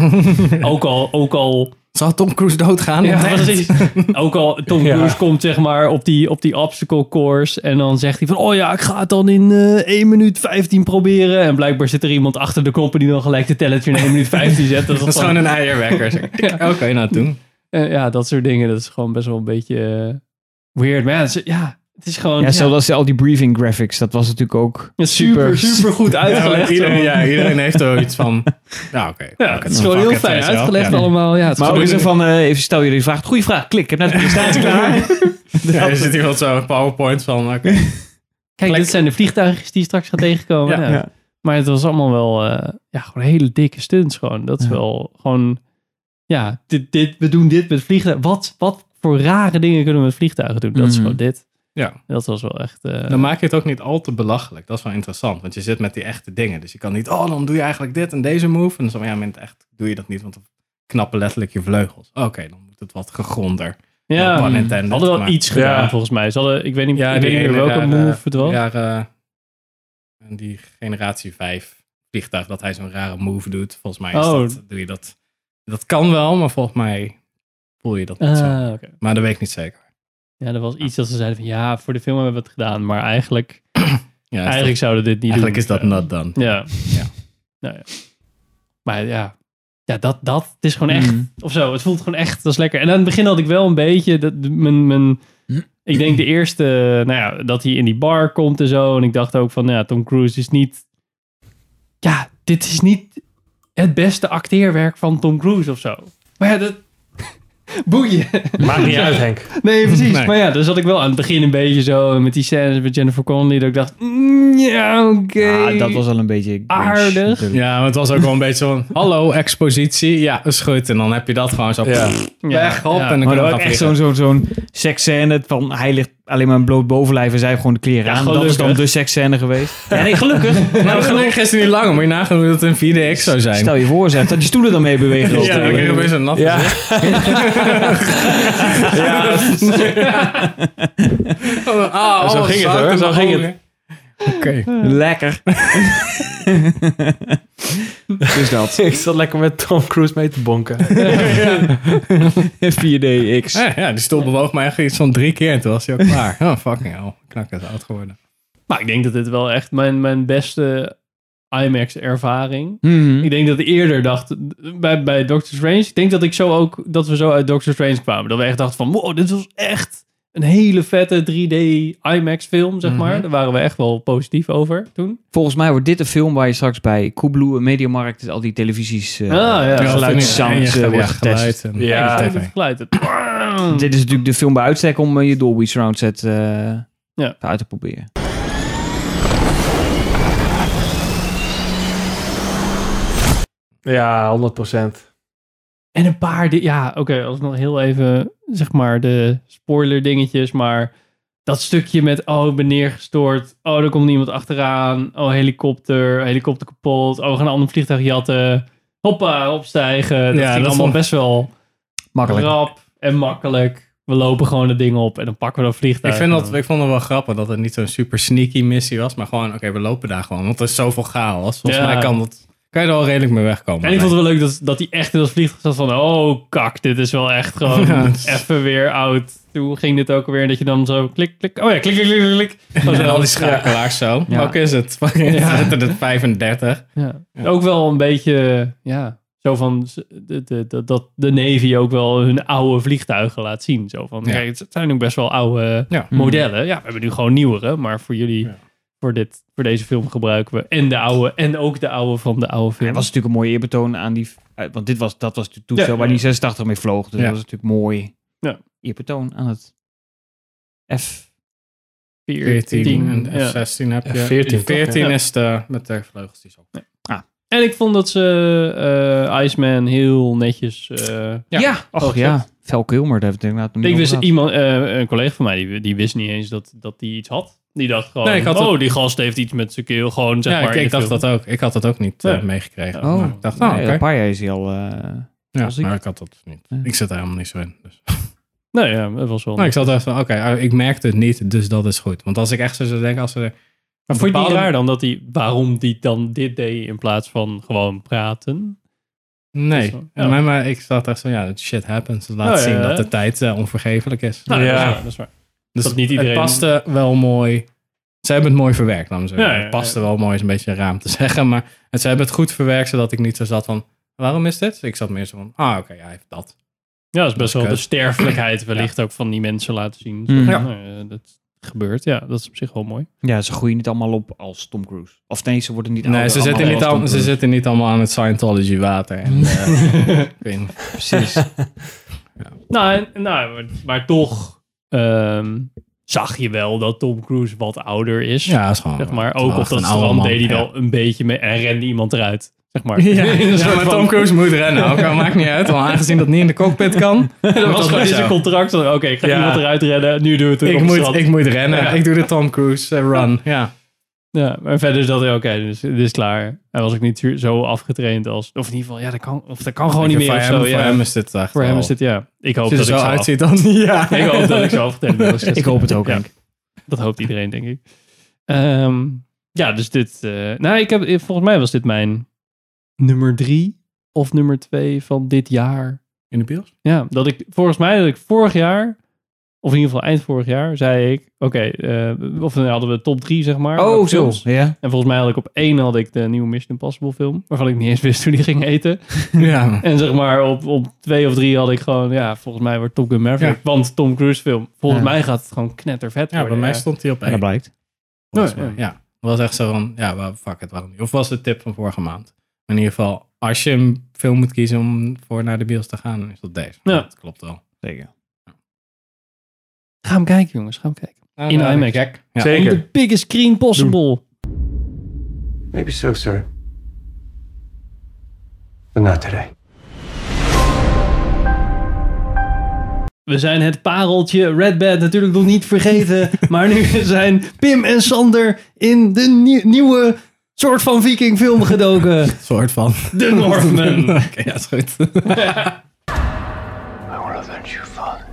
B: ook al, ook al
C: Zal Tom Cruise doodgaan?
B: ja,
C: Op echt?
B: precies. Ook al Tom
G: Ja.
B: Cruise komt zeg maar op die, op die obstacle course en dan zegt hij van, oh ja, ik ga het dan in eh 1 minuut 15 proberen. En blijkbaar zit er iemand achter de knoppen die dan gelijk de tellertje in 1 minuut 15 zet. Dat is
C: Dat is
B: gewoon-
C: gewoon een eierwekker. zeg. Oké, nou doen.
B: eh, ja, dat soort dingen. Dat is gewoon best wel een beetje eh, weird. Maar ja, het is- ja, het is gewoon
E: Ja,
B: ja,
E: zelfs als al die briefing graphics, dat was natuurlijk ook...
B: super,
E: super-
B: super goed
C: Ja,
B: uitgelegd.
C: iedereen,
B: zo.
C: ja, iedereen heeft er wel iets van. Nou, oké.
B: Ja,
C: Oké,
B: het is
C: dan
B: gewoon
C: fuck
B: heel
C: it,
B: fijn
C: weet je wel.
B: uitgelegd
C: Ja.
B: allemaal. Ja, het is
E: Maar ook
B: gewoon-
E: zo van, eh, even stel jullie vraag. Goeie vraag, klik. Ik heb net een presentatie klaar.
C: Ja, er zit iemand zo een PowerPoint van. oké.
B: Kijk, dit zijn de vliegtuigjes die je straks gaat tegenkomen.
C: Ja,
B: Ja. Maar het was allemaal wel, eh, ja, gewoon hele dikke stunts gewoon. Dat is wel gewoon, ja, dit, dit, we doen dit met vliegtuigen. Wat, wat voor rare dingen kunnen we met vliegtuigen doen? Dat is
E: Mhm.
B: gewoon dit.
C: Ja.
B: Dat was wel echt, eh,
C: Dan maak je het ook niet al te belachelijk. Dat is wel interessant, want je zit met die echte dingen. Dus je kan niet, oh, dan doe je eigenlijk dit en deze move. En dan zo, ja, maar in het echt doe je dat niet, want dan knappen letterlijk je vleugels. Oké, dan moet het wat gegronder.
B: ja,
C: pun
B: hadden
C: intended,
B: wel
C: maar-
B: iets gedaan
G: Ja.
B: volgens mij. Ze hadden, ik weet niet, ik weet niet meer
C: ene
B: welke
C: rare-
B: move het was.
C: rare- en die generatie 5 vliegtuig, dat hij zo'n rare move doet. Volgens mij is
B: Oh.
C: dat, doe je dat. Dat kan wel, maar volgens mij voel je dat niet zo.
B: Ah, oké.
C: Maar dat weet ik niet zeker.
B: Ja, er was iets dat ze zeiden van, ja, voor de film hebben we het gedaan. Maar eigenlijk,
C: Ja, is
B: eigenlijk zouden we dit niet
C: dat, eigenlijk is
B: doen.
C: dat not done.
B: Ja.
C: Ja.
B: Nou ja. Maar ja. Ja, dat, dat. Het is
C: Mhm.
B: gewoon echt.
E: Mm.
B: Of zo. Het voelt gewoon echt. Dat is lekker. En aan het begin had ik wel een beetje. Dat, de- mijn, mijn, ik denk de eerste. Nou ja, dat hij in die bar komt en zo. En ik dacht ook van. nou Ja, Tom Cruise is niet. Ja, dit is niet het beste acteerwerk van Tom Cruise of zo. Maar ja, dat. Boeien.
G: Maakt niet uit, Henk.
B: Nee, precies.
C: Nee.
B: Maar ja, daar zat ik wel aan het begin een beetje zo. Met die scènes met Jennifer Connelly. Dat ik dacht. mm, ja, oké.
E: Ah, dat was al een beetje... cringe,
B: Aardig.
E: natuurlijk.
C: Ja, maar het was ook wel een beetje zo'n hallo expositie. Ja, is goed. En dan heb je dat gewoon zo
G: Ja.
C: pff,
B: Ja,
C: weg op.
B: ja.
E: Maar
C: En dan kunnen
E: dat
C: we
E: was
C: gaan
E: echt
C: vliegen.
E: zo'n zo'n zo'n seksscène van hij ligt alleen maar een bloot bovenlijf en zij heeft gewoon de kleren
B: Ja,
E: aan. Dat is dan
B: gelukkig.
E: de seksscène geweest. Ja, nee, gelukkig.
C: Maar dat ging gisteren niet langer. Moet je nagaan hoe dat in 4DX zou zijn.
E: Stel je voor, zeg, dat je stoelen dan mee bewegen.
C: ja, dan krijg je opeens een nat
G: Ja.
C: gezicht.
G: Ja, dat is-
C: Ah,
G: Zo
C: alles
G: ging het,
C: zout
G: hoor.
C: in
G: Zo
C: mijn
G: ging het.
C: ogen. Oké.
E: Lekker. dus dat.
G: ik zat lekker met Tom Cruise mee te bonken.
E: 4DX.
C: Ja, ja, die stoel bewoog mij echt iets van drie keer en toen was hij ook klaar. Oh, fucking hell. Knak is oud geworden.
B: Maar ik denk dat dit wel echt mijn, mijn beste IMAX-ervaring.
E: Mhm.
B: Ik denk dat ik eerder dacht, bij, bij Doctor Strange, ik denk dat ik zo ook, dat we zo uit Doctor Strange kwamen. Dat we echt dachten van, wow, dit was echt een hele vette 3D IMAX-film, zeg maar. Daar waren we echt wel positief over toen.
E: Volgens mij wordt dit een film waar je straks bij Koebloe, een Mediamarkt, dus al die televisies... eh,
B: Ah, ja.
E: de
B: Ja,
E: geluid,
C: en je-
E: sound,
C: en je
E: eh,
C: geluid
E: wordt getest.
C: en-
G: Ja.
C: en
B: Kijk,
C: de
B: het
C: tv.
B: geluid. Het-
E: Dit is natuurlijk de film bij uitstek om eh, je Dolby Surround set eh, uit te proberen.
G: Ja, 100 procent.
B: En een paar, di- ja, oké, als nog heel even, zeg maar, de spoiler dingetjes, maar dat stukje met, oh, ik ben neergestort, oh, er komt iemand achteraan, oh, helikopter, helikopter kapot, oh, we gaan een ander vliegtuig jatten, hoppa, opstijgen. Dat ging
C: Ja, dat
B: allemaal
C: vond-
B: best wel
E: Makkelijk.
B: rap en makkelijk. We lopen gewoon het ding op en dan pakken we dat
C: Ik,
B: vliegtuig.
C: vind dat, ik vond het wel grappig dat het niet zo'n super sneaky missie was, maar gewoon, oké, we lopen daar gewoon. Want er is zoveel chaos. Volgens
B: Ja.
C: mij kan, dat, kan je er al redelijk mee wegkomen.
B: En ik vond het wel leuk dat, dat hij echt in dat vliegtuig zat van... Oh, kak, dit is wel echt gewoon
C: Ja, het is-
B: even weer oud. Toen ging dit ook alweer en dat je dan zo klik, klik. Oh ja, klik, klik, klik, klik.
C: En
B: Gewoon zo.
C: al die schakelaars zo.
E: Ja.
C: Ook is het. Fucking zitten er 35.
B: Ja. Ook wel een beetje, ja, zo van z- de, de, de- dat de Navy ook wel hun oude vliegtuigen laat zien. Zo van,
C: Ja.
B: kijk, het zijn ook best wel oude
C: Ja.
E: Hmm.
B: modellen. Ja, we hebben nu gewoon nieuwere, maar voor jullie,
C: Ja.
B: voor, dit, voor deze film gebruiken we en de oude en ook de oude van de oude film.
E: Het was natuurlijk een mooi eerbetoon aan die... eh, Want dit was, dat was het toestel
B: Ja.
E: waar die 86 mee vloog. Dus
C: Ja.
E: dat was natuurlijk mooi
B: Ja.
E: eerbetoon aan het F.
C: 14 en
B: ja.
C: F16 heb je.
G: Ja, 14 toch?
C: 14
B: Ja.
C: is de, met de vleugels die zo.
B: En ik vond dat ze eh, Iceman heel netjes... eh,
E: Ja. Ach
B: Oh,
E: ja. Vel Kilmer, daar hebben we het inderdaad nog
B: ik
E: niet
B: wist
E: over
B: iemand, eh, een collega van mij, die, die wist niet eens dat, dat die iets had. Die dacht gewoon,
C: Nee, ik had
B: oh,
C: het-
B: die gast heeft iets met zijn keel. Gewoon, zeg
C: ja,
B: maar,
C: ik,
B: in
C: ik
B: de
C: dacht
B: film.
C: dat ook. Ik had dat ook niet eh,
B: Ja.
C: meegekregen.
E: Oh.
C: Maar ik dacht,
E: gehad.
C: oh,
E: Nee,
C: oké.
E: Een paar jaar is hij al... eh,
C: Ja,
E: was ik.
C: maar ik had dat dus niet.
E: Ja.
C: Ik zat er helemaal niet zo in. Dus.
B: Nee, ja, dat was wel...
C: Nou, ik zat echt van, oké, ah, ik merkte het niet, dus dat is goed. Want als ik echt zo zou denken, als ze...
B: maar vond je het niet
C: bepaalde-
B: raar dan dat hij, waarom die dan dit deed in plaats van gewoon praten?
C: Nee,
B: Dat is wel-
C: Ja,
B: ja.
C: maar, maar ik zat echt zo, ja, shit happens. Dat laat
B: Nou,
C: zien
B: ja.
C: dat de tijd eh, onvergeeflijk is.
B: Nou,
G: Ja.
B: ja, dat is waar.
C: dus
B: dat niet iedereen-
C: het paste wel mooi. Ze hebben het mooi verwerkt, laat me zeggen.
B: Ja, ja,
C: het paste wel mooi, is een beetje raam te zeggen. Maar het, ze hebben het goed verwerkt, zodat ik niet zo zat van, waarom is dit? Ik zat meer zo van, ah, oké, hij heeft dat.
B: Ja, dat is best wel
C: Kut.
B: de sterfelijkheid wellicht ook van die mensen laten zien. Nou
E: Mm.
B: Ja. dat gebeurt, ja, dat is op zich wel mooi.
E: Ja, ze groeien niet allemaal op als Tom Cruise. Of nee, ze worden niet
C: Nee,
E: ouder
C: ze zitten,
E: allemaal
C: niet
E: als
C: al,
E: Tom
C: ze zitten niet allemaal aan het Scientology water. En, eh, ik weet niet.
E: Cruise. Precies.
B: Nou, en- nou maar, maar toch ehm, zag je wel dat Tom Cruise wat ouder is.
C: ja, is gewoon...
B: Zeg maar,
C: wel
B: ook op
C: echt
B: dat
C: een oude
B: strand
C: man,
B: deed hij
C: ja.
B: wel een beetje mee en rende iemand eruit. Zeg maar.
C: Ja, maar Tom Cruise moet rennen. Ook al maakt niet uit. Al aangezien dat niet in de cockpit kan.
B: Dat was gewoon in
C: zo.
B: zijn contract. van, Oké, ik ga
G: Ja.
B: iemand eruit redden. Nu doen we het weer
C: Ik
B: op
C: moet,
B: straat.
C: ik moet rennen.
B: Ja.
C: Ik doe de Tom Cruise eh, run. Ja.
B: Ja, maar verder is dat oké. dus dit is klaar. Hij was ook niet zo- zo afgetraind als... Of in ieder geval, ja, dat kan, of dat kan gewoon niet
C: Ik-
B: meer.
C: Voor
B: of
C: hem,
B: zo,
C: voor
B: ja.
C: hem is dit echt
B: Voor hem
C: wel-
B: is dit, ja. Ik hoop
C: Als je er
B: dat ik
C: zo
B: zo af-
C: uitziet dan... Ja.
B: Ik hoop dat ik zo afgetraind ben. als
E: ik hoop het ook,
B: Ja.
E: Henk.
B: Dat hoopt iedereen, denk ik. Ehm, ja, dus dit... eh, nou, ik heb, volgens mij was dit mijn nummer drie of nummer twee van dit jaar.
C: In de bios?
B: Ja, dat ik volgens mij dat ik vorig jaar, of in ieder geval eind vorig jaar, zei ik, oké, eh, of dan hadden we top drie, zeg maar.
E: Oh,
B: welke
E: zo.
B: films.
E: Ja.
B: En volgens mij had ik op één had ik de nieuwe Mission Impossible film, waarvan ik niet eens wist hoe die ging eten.
C: Ja.
B: En zeg maar op, op twee of drie had ik gewoon, ja, volgens mij wordt Top Gun Maverick, want Tom Cruise film. Volgens
C: Ja.
B: mij gaat het gewoon knettervet
C: Oh, Ja, bij
B: worden.
C: mij stond hij op
E: En dat
C: één.
E: blijkt.
C: volgens
B: Ja,
C: mij.
B: ja.
C: Oh, Ja. Het was echt zo van... Ja, wel, fuck het, waarom niet? Of was de tip van vorige maand? Maar in ieder geval, als je een film moet kiezen om voor naar de bios te gaan, dan is dat deze.
B: Ja.
C: Dat klopt wel.
E: Zeker.
B: Ga hem kijken, jongens, ga hem kijken.
C: Nou,
B: In
C: nou,
B: IMAX.
C: Gek. Ja.
B: On
G: Zeker.
B: the biggest screen possible.
H: Maybe so, sir. But not today.
B: We zijn het pareltje Red Bad natuurlijk nog niet vergeten. maar nu zijn Pim en Sander in de nie- nieuwe soort van vikingfilm gedoken.
C: Soort van.
B: The Northman.
C: Oké, ja, is goed.
I: I will avenge you, father.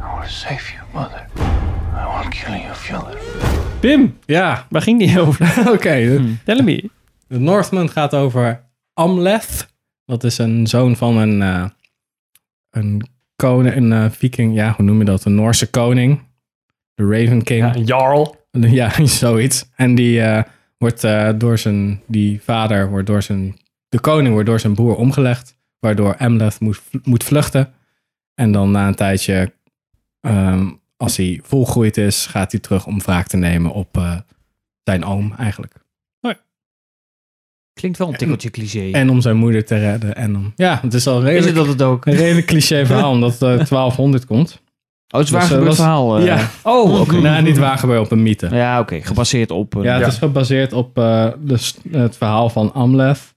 I: I will save you, mother. I will kill your father.
B: Pim,
C: Ja,
B: waar ging die over?
C: oké. Hmm.
B: Tell me.
C: De Northman gaat over Amleth. Dat is een zoon van een, eh, een koning, een eh, viking. Ja, hoe noem je dat? Een Noorse koning. De Raven King.
G: Ja, een jarl.
C: Ja, zoiets. En die eh, wordt eh, door zijn, die vader wordt door zijn, de koning wordt door zijn broer omgelegd, waardoor Amleth moet, moet vluchten. En dan na een tijdje, ehm, als hij volgroeid is, gaat hij terug om wraak te nemen op eh, zijn oom eigenlijk.
E: Klinkt wel een tikkeltje cliché.
C: En om zijn moeder te redden. En om, ja, het is al
E: is
C: een
E: het
C: redelijk,
E: dat het ook?
C: een redelijk cliché verhaal, omdat eh 1200 komt.
E: Oh, het is waar
C: Dus, eh,
E: gebeurd
C: was-
E: verhaal. eh.
C: ja.
E: Oh, oké.
C: Nou, niet waar gebeurd op een mythe.
E: Ja, oké. Gebaseerd op... eh,
C: Ja, het
G: Ja.
C: is gebaseerd op eh, de, s- het verhaal van Amleth.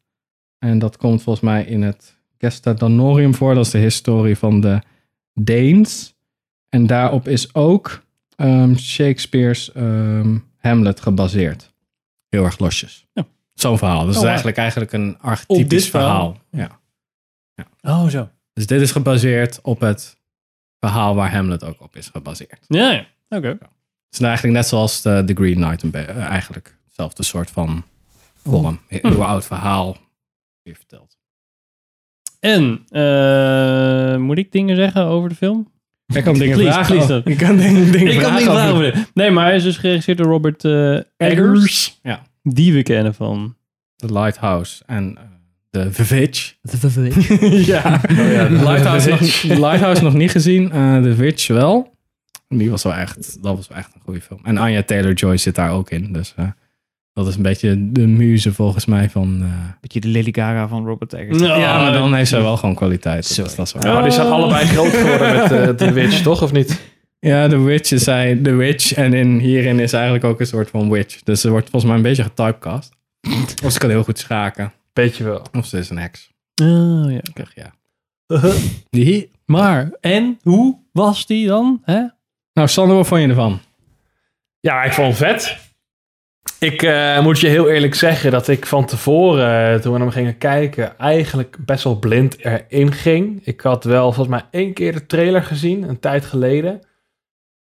C: En dat komt volgens mij in het Gestadanorium voor. Dat is de historie van de Deens. En daarop is ook ehm, Shakespeare's ehm, Hamlet gebaseerd. Heel erg losjes.
B: Ja. Oh,
C: Zo'n verhaal. Dus het
B: wauw.
C: is eigenlijk, eigenlijk een archetypisch
B: dit verhaal?
C: verhaal. Ja.
B: Oh, zo.
C: Dus dit is gebaseerd op het verhaal waar Hamlet ook op is gebaseerd.
B: Ja, ja. oké.
C: Het is nou eigenlijk net zoals de, The Green Knight. een be- eh, Eigenlijk hetzelfde soort van vorm. Een heel oud verhaal weer verteld.
B: En, eh, moet ik dingen zeggen over de film?
C: Ik kan dingen
B: Please,
C: vragen.
B: please
C: Oh,
B: dan.
C: ik kan dingen, dingen
B: ik kan
C: vragen.
B: niet vragen
C: over-
B: over dit. Nee, maar hij is dus geregisseerd door Robert eh, Eggers.
C: Eggers. Ja.
B: Die we kennen van...
C: The Lighthouse en eh, The Village.
B: ja.
G: Oh, ja,
C: The Lighthouse, nog,
G: Witch.
C: The Lighthouse nog niet gezien. eh The Witch wel. Die was wel echt, dat was wel echt een goede film. En Anya Taylor-Joy zit daar ook in. Dus eh, dat is een beetje de muze volgens mij van... eh,
E: Beetje de Lily Gaga van Robert Eggers.
C: Ja, maar dan heeft zij wel gewoon kwaliteit.
E: Sorry.
C: Dus dat is wel-
G: Ja, maar die zijn allebei groot geworden met eh, The Witch, toch? Of niet?
C: Ja, The Witch is hij, The Witch. En in, hierin is eigenlijk ook een soort van witch. Dus ze wordt volgens mij een beetje getypecast. of ze kan heel goed schaken.
G: Beetje wel.
C: Of ze is een heks.
B: Ah, ja.
C: Zeg, ja. Die.
B: Maar, en hoe was die dan? Hè?
C: Nou, Sander, wat vond je ervan?
G: Ja, ik vond het vet. Ik eh, moet je heel eerlijk zeggen dat ik van tevoren, eh, toen we naar hem gingen kijken, eigenlijk best wel blind erin ging. Ik had wel volgens mij één keer de trailer gezien, een tijd geleden.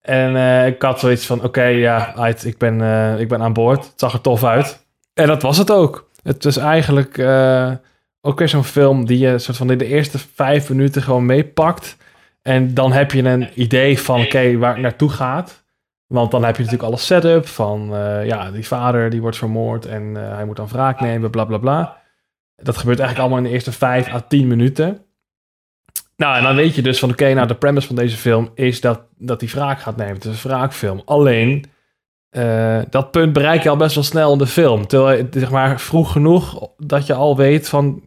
G: En eh, ik had zoiets van, oké, ja, uit, ik, ben, eh, ik ben aan boord. Het zag er tof uit. En dat was het ook. Het was eigenlijk eh, ook weer zo'n film die je soort van in de eerste vijf minuten gewoon meepakt. En dan heb je een idee van, oké, waar het naartoe gaat. Want dan heb je natuurlijk alle setup van, eh, ja, die vader die wordt vermoord en eh, hij moet dan wraak nemen, bla bla bla. Dat gebeurt eigenlijk allemaal in de eerste 5 à 10 minuten. Nou, en dan weet je dus van, oké, nou, de premise van deze film is dat, dat die wraak gaat nemen. Het is een wraakfilm. Alleen, eh, dat punt bereik je al best wel snel in de film. Terwijl, het, zeg maar, vroeg genoeg dat je al weet van,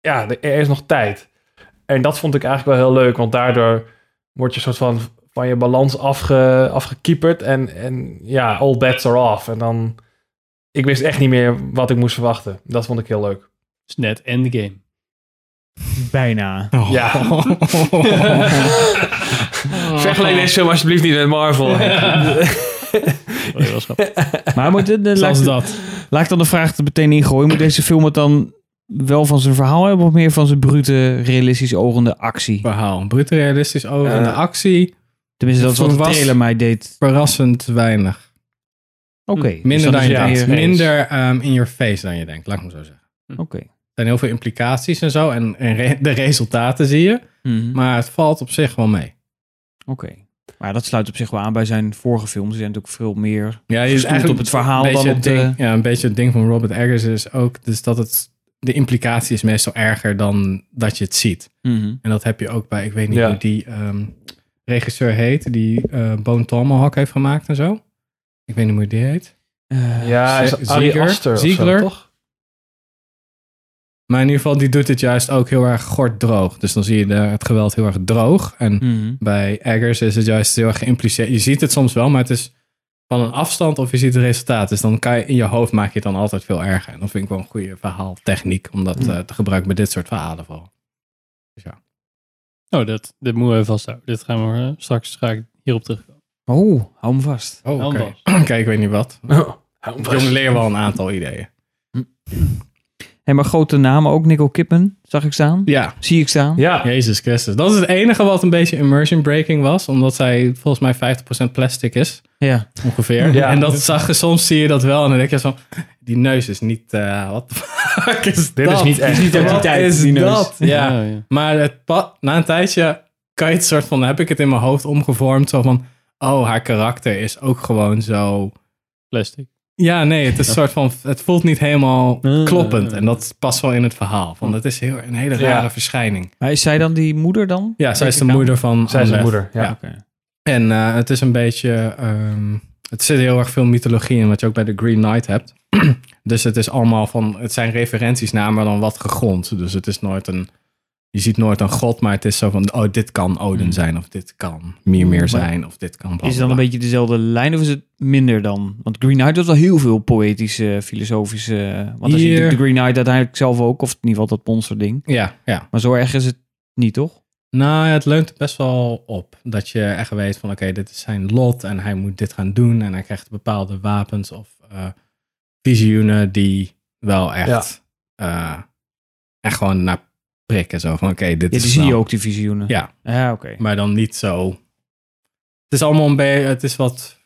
G: ja, er er is nog tijd. En dat vond ik eigenlijk wel heel leuk, want daardoor word je een soort van van je balans afge, afgekieperd. En, en ja, all bets are off. En dan. Ik wist echt niet meer wat ik moest verwachten. Dat vond ik heel leuk.
B: is net endgame.
E: Bijna.
G: Ja. Vergelijk deze film alsjeblieft niet met Marvel.
E: Maar moet, eh, de, de, laat,
C: Zelfs
E: ik-
C: dat.
E: laat ik dan de vraag er meteen in gooien. Moet deze film het dan wel van zijn verhaal hebben of meer van zijn brute, realistisch ogende actie?
C: Verhaal. Brute realistisch over en de actie.
E: Tenminste, dat is wat de
C: Voor was-
E: trailer mij deed.
C: Verrassend weinig.
E: Oké. dus
C: Minder
E: dan
C: dan je
E: is het
C: denkt.
E: meer-
C: Minder ehm, in your face dan je denkt, laat ik maar zo zeggen.
E: Oké.
C: Er zijn heel veel implicaties en zo. En, en re- de resultaten zie je.
E: Mhm.
C: Maar het valt op zich wel mee.
E: Oké. Maar dat sluit op zich wel aan bij zijn vorige films. Er zijn natuurlijk veel meer.
C: Ja,
E: je is eigenlijk op het verhaal
C: Dus een beetje
E: dan op
C: het
E: de-
C: ding- Ja, een beetje het ding van Robert Eggers is ook... Dus dat het... De implicatie is meestal erger dan dat je het ziet.
E: Mhm.
C: En dat heb je ook bij... Ik weet niet
G: Ja.
C: hoe die ehm, regisseur heet. Die eh Bone Tomahawk heeft gemaakt en zo. Ik weet niet hoe die heet.
E: Eh,
G: ja, is
C: Ziegler?
G: Ari Aster of zo,
C: Ziegler?
G: toch?
C: Maar in ieder geval, die doet het juist ook heel erg gort droog. Dus dan zie je de, het geweld heel erg droog. En
E: mhm.
C: bij Eggers is het juist heel erg geïmpliceerd. Je ziet het soms wel, maar het is van een afstand of je ziet het resultaat. Dus dan kan je in je hoofd maak je het dan altijd veel erger. En dat vind ik wel een goede verhaaltechniek om dat eh, te gebruiken bij dit soort verhalen vooral.
B: Oh, dat, dit moeten we even vasthouden. Dit gaan we eh, straks ga ik hierop terug.
E: Oh, hou hem vast.
C: Oh,
B: oké.
C: Kijk, ik weet niet wat.
G: Oh,
C: Jongen leer wel een aantal ideeën.
E: En maar grote namen ook. Nicole Kidman zag ik staan.
C: Ja,
E: Zie ik staan.
G: Ja,
C: Jezus Christus. Dat is het enige wat een beetje immersion breaking was. Omdat zij volgens mij 50% plastic is,
E: Ja.
C: ongeveer.
G: Ja.
C: En dat zag je, soms zie je dat wel. En dan denk je zo, die neus is niet... eh wat de fuck is
G: dit is
C: dat?
G: niet echt.
E: niet
G: ja.
E: echt.
C: Wat
E: Tijd,
C: is
E: die neus.
C: dat? Ja.
B: ja.
C: Maar het pa- na een tijdje kan je het soort van, heb ik het in mijn hoofd omgevormd. Zo van, oh, haar karakter is ook gewoon zo.
B: Plastic.
C: Ja, nee, het is een soort van, het voelt niet helemaal
B: Eh.
C: kloppend. En dat past wel in het verhaal. Van, dat is heel, een hele
G: Ja.
C: rare verschijning.
E: Maar is zij dan die moeder dan?
C: Ja, zij is de
E: ik aan.
C: moeder van
G: Zij is zijn
C: Annabeth.
G: moeder. Ja.
C: Ja.
E: Oké.
C: En eh, het is een beetje, ehm, het zit heel erg veel mythologie in, wat je ook bij de Green Knight hebt. dus het is allemaal van, het zijn referenties naar, maar dan wat gegrond. Dus het is nooit een, je ziet nooit een god, maar het is zo van, oh, dit kan Odin zijn, of dit kan Mimir zijn, of dit kan bla,
E: Hmm. Is het dan een
C: bla,
E: beetje dezelfde lijn of is het minder dan? Want Green Knight was wel heel veel poëtische, filosofische... Want als je
C: Hier-
E: natuurlijk de Green Knight uiteindelijk zelf ook, of in ieder geval dat monster ding.
C: bla. Ja, ja.
E: Maar zo erg is het niet, toch?
C: Nou, het leunt best wel op. Dat je echt weet van, oké, dit is zijn lot en hij moet dit gaan doen. En hij krijgt bepaalde wapens of eh, visioenen die wel echt, eh, echt gewoon naar prikken. Zo van, oké, dit
E: Ja,
C: is
E: die zie
C: nou-
E: je ook, die visioenen.
C: Ja.
E: Ja, oké.
C: Maar dan niet zo... Het is allemaal een beetje, het is wat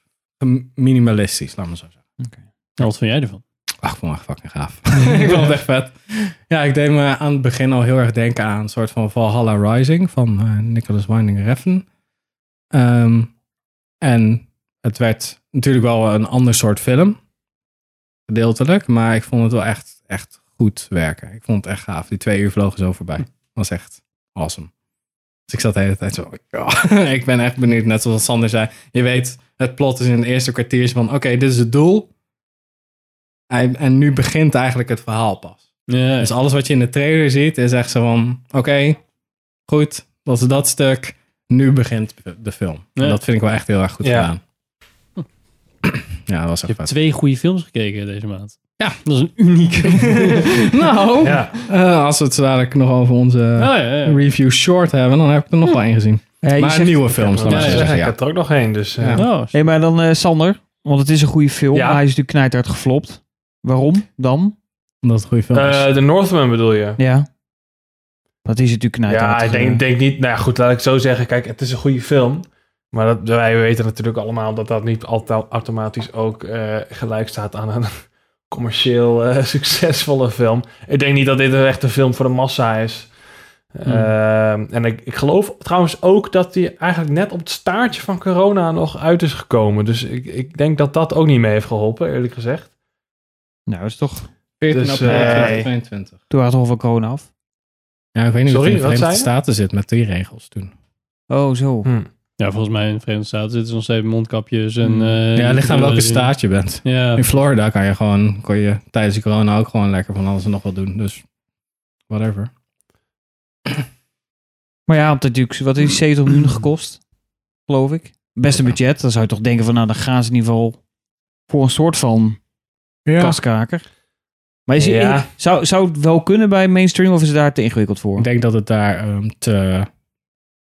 C: minimalistisch, laat maar zo zeggen.
B: Nou, wat vond jij ervan?
C: Ach, ik vond het echt fucking gaaf. ik vond het echt vet. Ja, ik deed me aan het begin al heel erg denken aan een soort van Valhalla Rising van eh, Nicholas Winding Refn. Ehm, en het werd natuurlijk wel een ander soort film. Gedeeltelijk. Maar ik vond het wel echt, echt goed werken. Ik vond het echt gaaf. Die twee uur vlogen zo voorbij. was echt awesome. Dus ik zat de hele tijd zo. ja, ik ben echt benieuwd. Net zoals Sander zei. Je weet, het plot is in het eerste kwartiertje van... Oké, dit is het doel. Hij- En nu begint eigenlijk het verhaal pas.
B: Ja,
C: Dus alles wat je in de trailer ziet is echt zo van... Oké, goed, dat is dat stuk. nu begint de film. En
B: Ja.
C: dat vind ik wel echt heel erg goed
G: Ja.
C: gedaan. Ja, dat was
B: Je
C: echt
B: hebt
C: vet.
B: twee goede films gekeken deze maand.
C: Ja.
B: Dat is een unieke... Oh,
C: nou,
G: Ja.
C: eh, als we het dadelijk nog over onze
B: ja, ja, ja.
C: review short hebben, dan heb ik er
G: Hm.
C: nog wel één gezien.
E: Hey,
C: maar nieuwe films, laat
G: Ja,
C: maar zo
G: ja,
C: zeggen.
G: Ik
C: Ja.
G: heb er ook nog één, dus... eh,
C: Ja.
B: Oh,
E: Nee, maar dan eh, Sander. Want het is een goede film.
G: Ja.
E: Maar hij is natuurlijk knijterhard geflopt. Waarom dan?
C: Omdat het een goede film is.
G: eh, de Northman bedoel je?
E: Ja. Dat is natuurlijk knijterhard.
G: Ja, ik denk, denk niet... Nou ja, goed, laat ik het zo zeggen. Kijk, het is een goede film. Maar dat, wij weten natuurlijk allemaal dat dat niet altijd automatisch ook eh, gelijk staat aan een commercieel eh, succesvolle film. Ik denk niet dat dit echt een film voor de massa is.
E: Hmm.
G: Ehm, en ik, ik geloof trouwens ook dat die eigenlijk net op het staartje van corona nog uit is gekomen. Dus ik, ik denk dat dat ook niet mee heeft geholpen, eerlijk gezegd.
E: Nou, dat is toch...
C: 14
G: dus,
C: april
G: eh,
C: 2022.
E: Toen waren toch wel corona af.
C: Ja, ik weet niet
G: Sorry,
C: of het in
G: wat
C: de
G: zei je?
C: Verenigde Staten zit met die regels toen.
E: Oh, zo.
G: Hm.
B: Ja, volgens mij in de Verenigde Staten zitten ze nog steeds met mondkapjes en...
E: Mm.
B: eh,
C: ja, het ligt aan welke
B: brillen.
C: staat je bent.
B: Ja,
C: In Florida kan je gewoon, kon je tijdens de corona ook gewoon lekker van alles en nog wat doen. Dus, whatever.
E: Maar ja, omdat het natuurlijk... Wat heeft die 70 miljoen gekost? Geloof ik. Best een budget. Dan zou je toch denken van... Nou, dan gaan ze in ieder geval voor een soort van
C: Ja.
E: kaskaker. Maar is
G: Ja.
E: zou, zou het wel kunnen bij mainstream of is het daar te ingewikkeld voor?
C: Ik denk dat het daar ehm, te...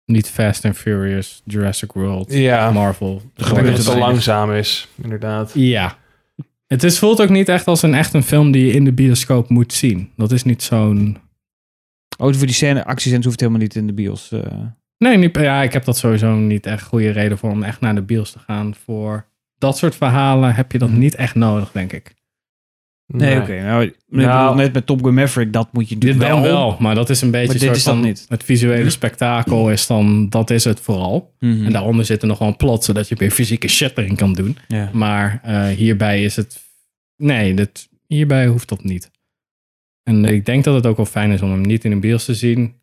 C: Niet Fast and Furious, Jurassic World,
G: Ja,
C: Marvel.
G: gewoon dat
C: Gewoon
G: het
C: te
G: zo
C: weinig.
G: langzaam is, inderdaad.
C: Ja. Het is, voelt ook niet echt als een echt een film die je in de bioscoop moet zien. Dat is niet zo'n...
E: Oh, voor die scène, actiescènes hoeft helemaal niet in de bios. eh.
C: Nee, niet, ja, ik heb dat sowieso niet echt goede reden voor om echt naar de bios te gaan. Voor dat soort verhalen heb je dat
G: Mhm.
C: niet echt nodig, denk ik.
E: Nee, oké. Nou, ik bedoel,
G: Nou.
E: net met Top Gun Maverick, dat moet je
C: Dit
E: natuurlijk
C: dan wel, maar dat is een beetje
E: Maar dit
C: soort
E: is dat
C: van
E: niet.
C: het visuele spektakel is dan, dat is het vooral.
E: Mhm.
C: En daaronder zit er nog wel een plot, zodat je weer fysieke shit erin kan doen.
E: Ja.
C: Maar eh, hierbij is het, nee, dit, hierbij hoeft dat niet. En ik denk dat het ook wel fijn is om hem niet in de bios te zien,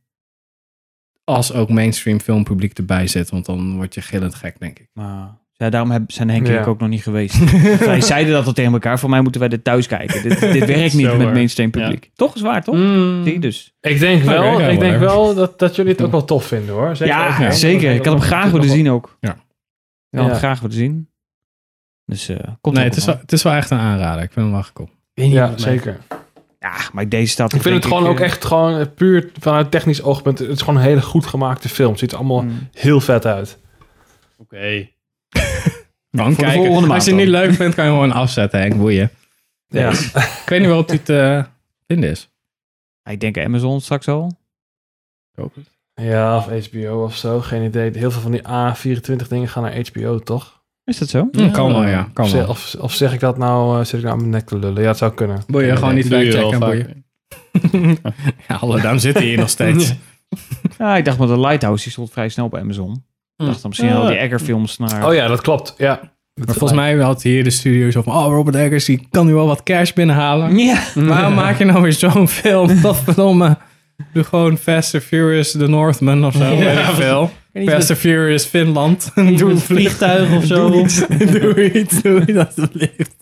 C: als ook mainstream filmpubliek erbij zit, want dan word je gillend gek, denk ik.
E: Maar, Nou, ja, daarom heb, zijn Henk en
G: Ja.
E: ik ook nog niet geweest. wij zeiden dat al tegen elkaar. Voor mij moeten wij dit thuis kijken. Dit, dit werkt niet
B: Zo
E: met
B: waar.
E: mainstream publiek. Toch is waar, toch?
B: Mm.
E: Zie je dus.
G: Ik denk
C: Oké,
G: wel,
C: ja,
G: ik denk
C: whatever.
G: wel dat, dat jullie het ook wel tof vinden hoor. Zeker
E: ja,
G: ook, hè?
E: zeker. Ik had hem graag willen zien ook.
C: Ja.
E: Ik had hem
G: Ja.
E: graag willen zien. Dus eh, komt
C: Nee,
E: er
C: het is,
E: wel
C: wel, het is wel echt een aanrader. Ik vind hem wel echt cool.
G: Ja, zeker.
E: Ja, maar deze staat...
G: Ik vind het
E: denk
G: gewoon ook
E: eh,
G: echt gewoon eh, puur vanuit technisch oogpunt. Het is gewoon een hele goed gemaakte film. Het ziet er allemaal
E: mm.
G: heel vet uit.
B: Oké.
C: Gewoon
E: voor de
C: kijken.
E: volgende
C: Als
E: maand
C: je het niet
E: dan.
C: leuk vindt, kan je gewoon afzetten, Henk. Boeien.
G: Ja.
C: Ik weet niet waarop dit eh, te vinden is.
E: Ah, Ik denk Amazon straks al.
G: ja, of HBO of zo. Geen idee. Heel veel van die A24 dingen gaan naar HBO, toch?
E: Is dat zo?
C: Hm, Kan wel, ja.
G: Of,
C: Kan
G: zeg-
C: wel.
G: of, of zeg ik dat nou, eh, zit ik nou aan mijn nek te lullen? Ja, het zou kunnen.
C: Boeien, gewoon niet
B: Doe je wel
C: factchecken, boeien.
B: vaker.
C: Ja, hallo, daarom zit hij hier nog steeds.
E: Ja, ik dacht met de Lighthouse, die stond vrij snel op Amazon. Ik dacht dan misschien
B: Ja.
E: al die Egger films naar...
G: Oh ja, dat klopt. Ja.
C: Maar volgens mij had hier de studio zo van... Oh, Robert Eggers, die kan nu wel wat cash binnenhalen.
E: Ja.
C: Waarom maak je nou weer zo'n film? Wat verdomme. Doe gewoon Fast and Furious, The Northman of zo. weet ik veel. Fast and Furious, Finland. Doe een vliegtuig of zo. Doe iets, doe iets, doe iets alsjeblieft.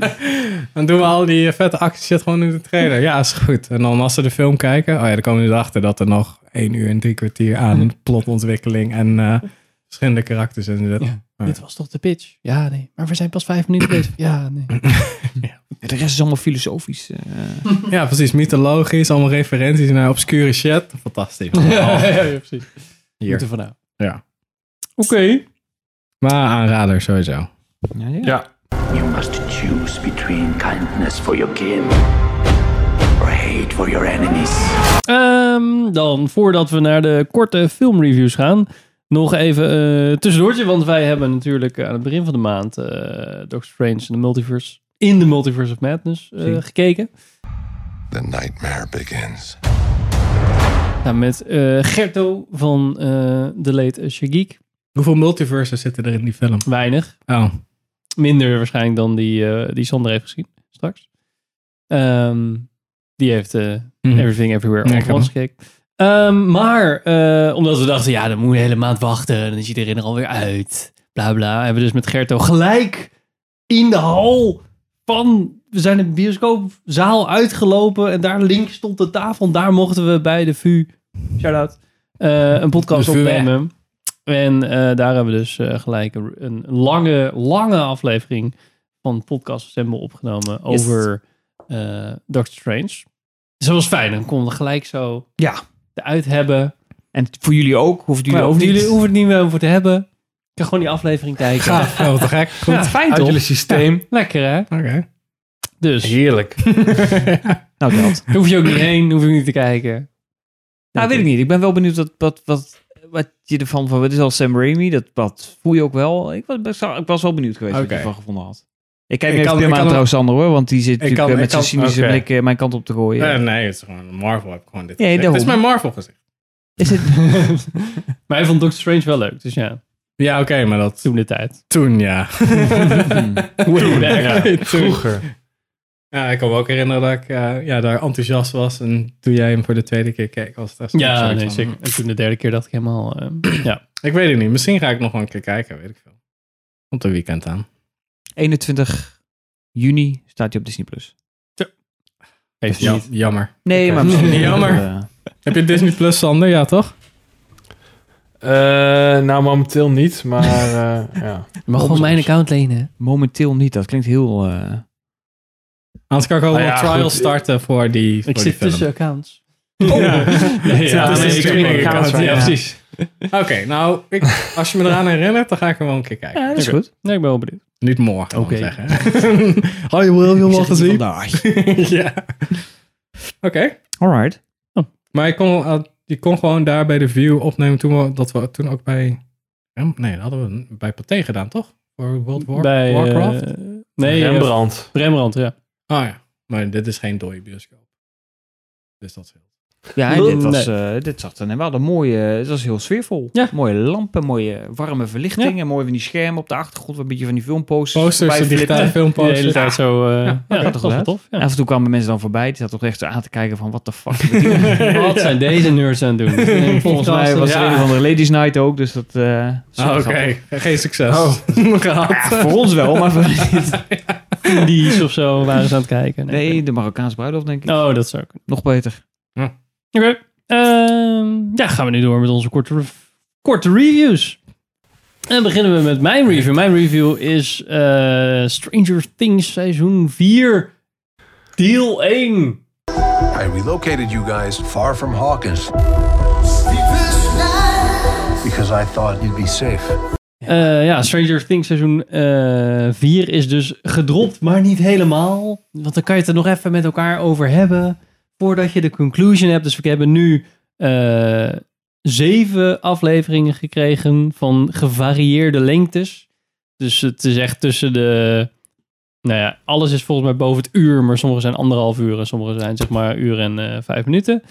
C: dan doen we al die eh, vette actieshit gewoon in de trailer. Ja, is goed. En dan als ze de film kijken... Oh ja, dan komen ze erachter dat er nog één uur en drie kwartier aan plotontwikkeling... en eh, verschillende karakters in zitten.
B: Dit was toch de pitch? Ja, nee. Maar we zijn pas vijf minuten bezig. Ja, nee.
E: De rest is allemaal filosofisch. eh.
C: Ja, precies. Mythologisch, allemaal referenties naar obscure shit. Fantastisch.
B: ja, ja, ja, precies. Moeten vanaf.
C: Ja.
B: Oké.
C: Maar aanrader sowieso.
E: ja, ja.
G: Ja.
I: You must choose between kindness for your kin or hate for your enemies.
B: Ehm, dan, voordat we naar de korte filmreviews gaan, nog even eh tussendoortje. Want wij hebben natuurlijk aan het begin van de maand eh Doctor Strange in de Multiverse, in de Multiverse of Madness eh, gekeken.
J: The nightmare begins.
B: Nou, met eh, Gerto van eh The Late Shagik.
C: Hoeveel multiverses zitten er in die film?
B: Weinig.
C: Oh,
B: Minder waarschijnlijk dan die, eh, die Sander heeft gezien straks. Ehm, die heeft eh,
C: Mhm.
B: Everything Everywhere
C: Ja,
B: All
C: ik
B: at
C: heb
B: Once gekeken. Ehm, maar eh, omdat we dachten, ja, dan moet je een hele maand wachten. Dan is iedereen er alweer uit. Bla bla. Hebben we dus met Gerto gelijk in de hal van. We zijn de bioscoopzaal uitgelopen en daar links stond de tafel. En daar mochten we bij de VU, shout out, eh, een podcast
C: De VU, hè?
B: opnemen. En eh, daar hebben we dus eh, gelijk een, een lange, lange aflevering van Podcast Assemble opgenomen over eh Doctor Strange. Dus dat was fijn. Dan konden we gelijk zo
E: Ja.
B: eruit hebben.
E: En voor jullie ook. Hoeft jullie ook niet.
B: jullie hoeven het niet meer over te hebben. Ik kan gewoon die aflevering kijken.
C: Gaaf. Ja, wat Ah, te gek. Goed.
B: Ja, fijn
G: Uit
B: toch?
G: jullie systeem.
B: Lekker hè?
C: Oké.
B: Dus
G: Heerlijk.
E: Nou, dat.
B: daar hoef je ook niet heen, hoef je ook niet te kijken.
E: Nou, weet ik niet. Ik ben wel benieuwd wat, wat, wat, wat je ervan van. Het is al Sam Raimi, dat, dat voel je ook wel. Ik was, best wel- ik was wel benieuwd geweest wat
C: Oké.
E: je ervan gevonden had. Ik kijk
C: Ik
E: nu even
C: kan-
E: Pim
C: ik
E: aan
C: kan-
E: trouwens, Sander, hoor. Want die zit natuurlijk
C: kan-
E: eh,
C: ik
E: met zijn
C: kan-
E: cynische
G: oké.
E: blik eh, mijn kant op te gooien.
C: Eh, nee, het is gewoon Marvel. Heb ik gewoon dit.
E: Ja,
C: gezegd.
E: daarom.
C: Dit is mijn Marvel gezicht.
E: Is het...
B: Maar hij vond Doctor Strange wel leuk, dus ja,
C: Ja, oké, maar dat
B: toen de tijd.
C: toen, ja.
B: Way back.
G: Ja,
C: Toen.
G: vroeger.
C: ja. Ik kan me ook herinneren dat ik eh, ja, daar enthousiast was. En toen jij hem voor de tweede keer keek, was het echt zo'n
B: Ja,
C: soort
B: nee,
C: van-
B: zeker. En toen de derde keer dacht ik helemaal... eh, ja.
C: Ik weet het niet. Misschien ga ik nog wel een keer kijken, weet ik veel. Komt een weekend aan.
E: 21 juni staat hij op Disney+. Plus.
B: Heeft
C: Ja,
B: niet.
C: jammer.
E: Nee, maar... misschien-
C: Jammer.
E: Eh,
C: Heb je Disney Plus, Sander? Ja, toch?
G: Eh, nou, momenteel niet, maar eh, ja.
B: Je mag gewoon mijn account lenen.
E: momenteel niet. Dat klinkt heel... eh,
C: Anders kan ik ook
G: Nou
C: wel
G: ja,
C: trial
G: goed.
C: starten voor die voor
B: Ik
C: die
B: zit
C: film.
B: tussen accounts.
C: Ja, nee,
G: Ja,
C: tussen
G: nee,
C: de
G: ik
C: streaming
G: weet niet.
C: accounts.
G: Ja,
C: Ja,
G: ja.
C: precies. Oké, nou, ik, als je me eraan herinnert, dan ga ik hem wel een keer kijken.
E: Ja, dat is
B: Oké.
E: goed.
B: Nee, ik ben wel benieuwd.
C: Niet morgen,
B: Oké.
C: okay. zeggen. Had je wel heel
E: Zeg niet vandaag.
C: ja. Oké.
E: Alright.
C: Maar je kon, eh, je kon gewoon daar bij de view opnemen toen we, dat we toen ook bij... Rem- Nee, dat hadden we bij Pathé gedaan, toch? Voor World War,
B: Bij, eh,
C: Warcraft?
B: nee, eh,
G: Rembrandt.
B: Rembrandt, ja.
C: Ah ja, maar dit is geen dode bioscoop. Dus dat scheelt.
E: Ja, en
B: Nee.
E: dit, was, eh, dit zat er. En we hadden mooie... Het was heel sfeervol.
B: Ja.
E: Mooie lampen, mooie warme verlichting. En mooi van die schermen op de achtergrond. Een beetje van die filmposters.
C: Posters,
E: voorbij
C: de
E: flitten.
C: digitale
B: De hele
C: filmposters.
B: tijd zo... eh, ja,
E: gaat
B: dat
E: toch
B: was wel
E: uit?
B: tof.
E: En
B: Ja.
E: af en toe kwamen mensen dan voorbij. Die zaten toch echt zo aan te kijken van... What the fuck? nou
B: Wat zijn deze nerds aan het doen?
E: Volgens mij was er
B: ja.
E: een of andere Ladies Night ook. Dus dat... eh, is wel
C: Ah, Oké,
E: grappig.
C: geen succes.
E: Ja, voor ons wel, maar voor-
B: Indies of zo waren ze aan het kijken.
E: Nee, de Marokkaanse bruiloft denk ik.
B: Oh, dat zou kunnen.
E: Nog beter.
B: Oké. Ehm, ja, gaan we nu door met onze korte, rev- korte reviews. En beginnen we met mijn review. Mijn review is eh, Stranger Things seizoen 4, deel 1.
D: I relocated you guys far from Hawkins because I thought you'd be safe.
B: Eh, ja, Stranger Things seizoen 4 is dus gedropt, maar niet helemaal. Want dan kan je het er nog even met elkaar over hebben. Voordat je de conclusion hebt. Dus we hebben nu eh, zeven afleveringen gekregen van gevarieerde lengtes. Dus het is echt tussen de... Nou ja, alles is volgens mij boven het uur. Maar sommige zijn anderhalf uur en sommige zijn zeg maar uur en eh, vijf minuten.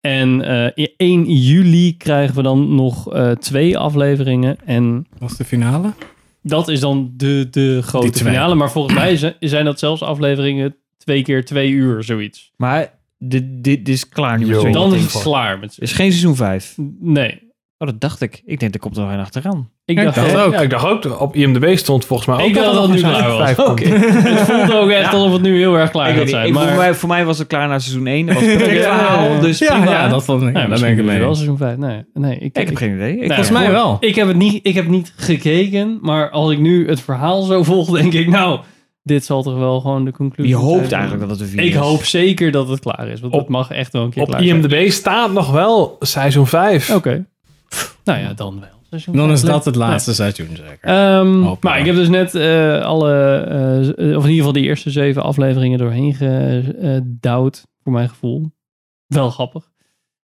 B: En eh, in 1 juli krijgen we dan nog eh, twee afleveringen. En
C: Was de finale?
B: dat is dan de, de
C: Die
B: grote
C: twee.
B: finale. Maar volgens mij zi- zijn dat zelfs afleveringen twee keer twee uur, zoiets.
E: Maar dit, dit is klaar nu.
G: Yo.
E: met
B: Dan
E: Stranger
B: is
E: Things.
B: het klaar. Met
E: is geen seizoen 5.
B: nee.
E: Oh, dat dacht ik. Ik denk, er komt er nog een achteraan.
B: Ik dacht,
C: dacht ook.
G: Ja, ik dacht ook, op IMDb stond volgens mij ook
B: ik dacht dat het nu klaar was.
E: vijf komt.
B: Het voelt ook echt alsof het nu heel erg klaar
E: Ik
B: gaat
E: weet niet,
B: zijn.
E: ik-
B: maar
E: voor, mij, voor mij was het klaar na seizoen 1. Dat was het perfect
B: Ja.
E: verhaal, dus
C: Ah, ja,
E: prima.
C: ja, dat was, ja,
B: Nee,
C: daar ben
B: misschien
C: ik het
B: is het
C: mee.
B: wel seizoen 5. Nee, nee ik,
E: Ik heb
B: ik-
E: geen idee. Ik
B: Nee,
E: was
C: Volgens mij wel.
B: ik, heb het niet, ik heb niet gekeken, maar als ik nu het verhaal zo volg, denk ik, nou, dit zal toch wel gewoon de conclusie
E: je hoopt
B: zijn.
E: eigenlijk dat het een 4 is.
B: Ik hoop zeker dat het klaar is, want
G: Op-
B: het mag echt wel een keer
G: Op
B: klaar zijn.
G: IMDb staat nog wel seizoen 5.
B: Oké. Nou ja, dan wel. Seizoen
C: Dan
B: vijf
C: is dat
B: leuk.
C: het laatste seizoen zeker.
B: Ehm,
C: Hoop
B: maar
C: maar.
B: ik heb dus net eh, alle, eh, z- of in ieder geval de eerste zeven afleveringen doorheen gedouwd, voor mijn gevoel. Wel grappig.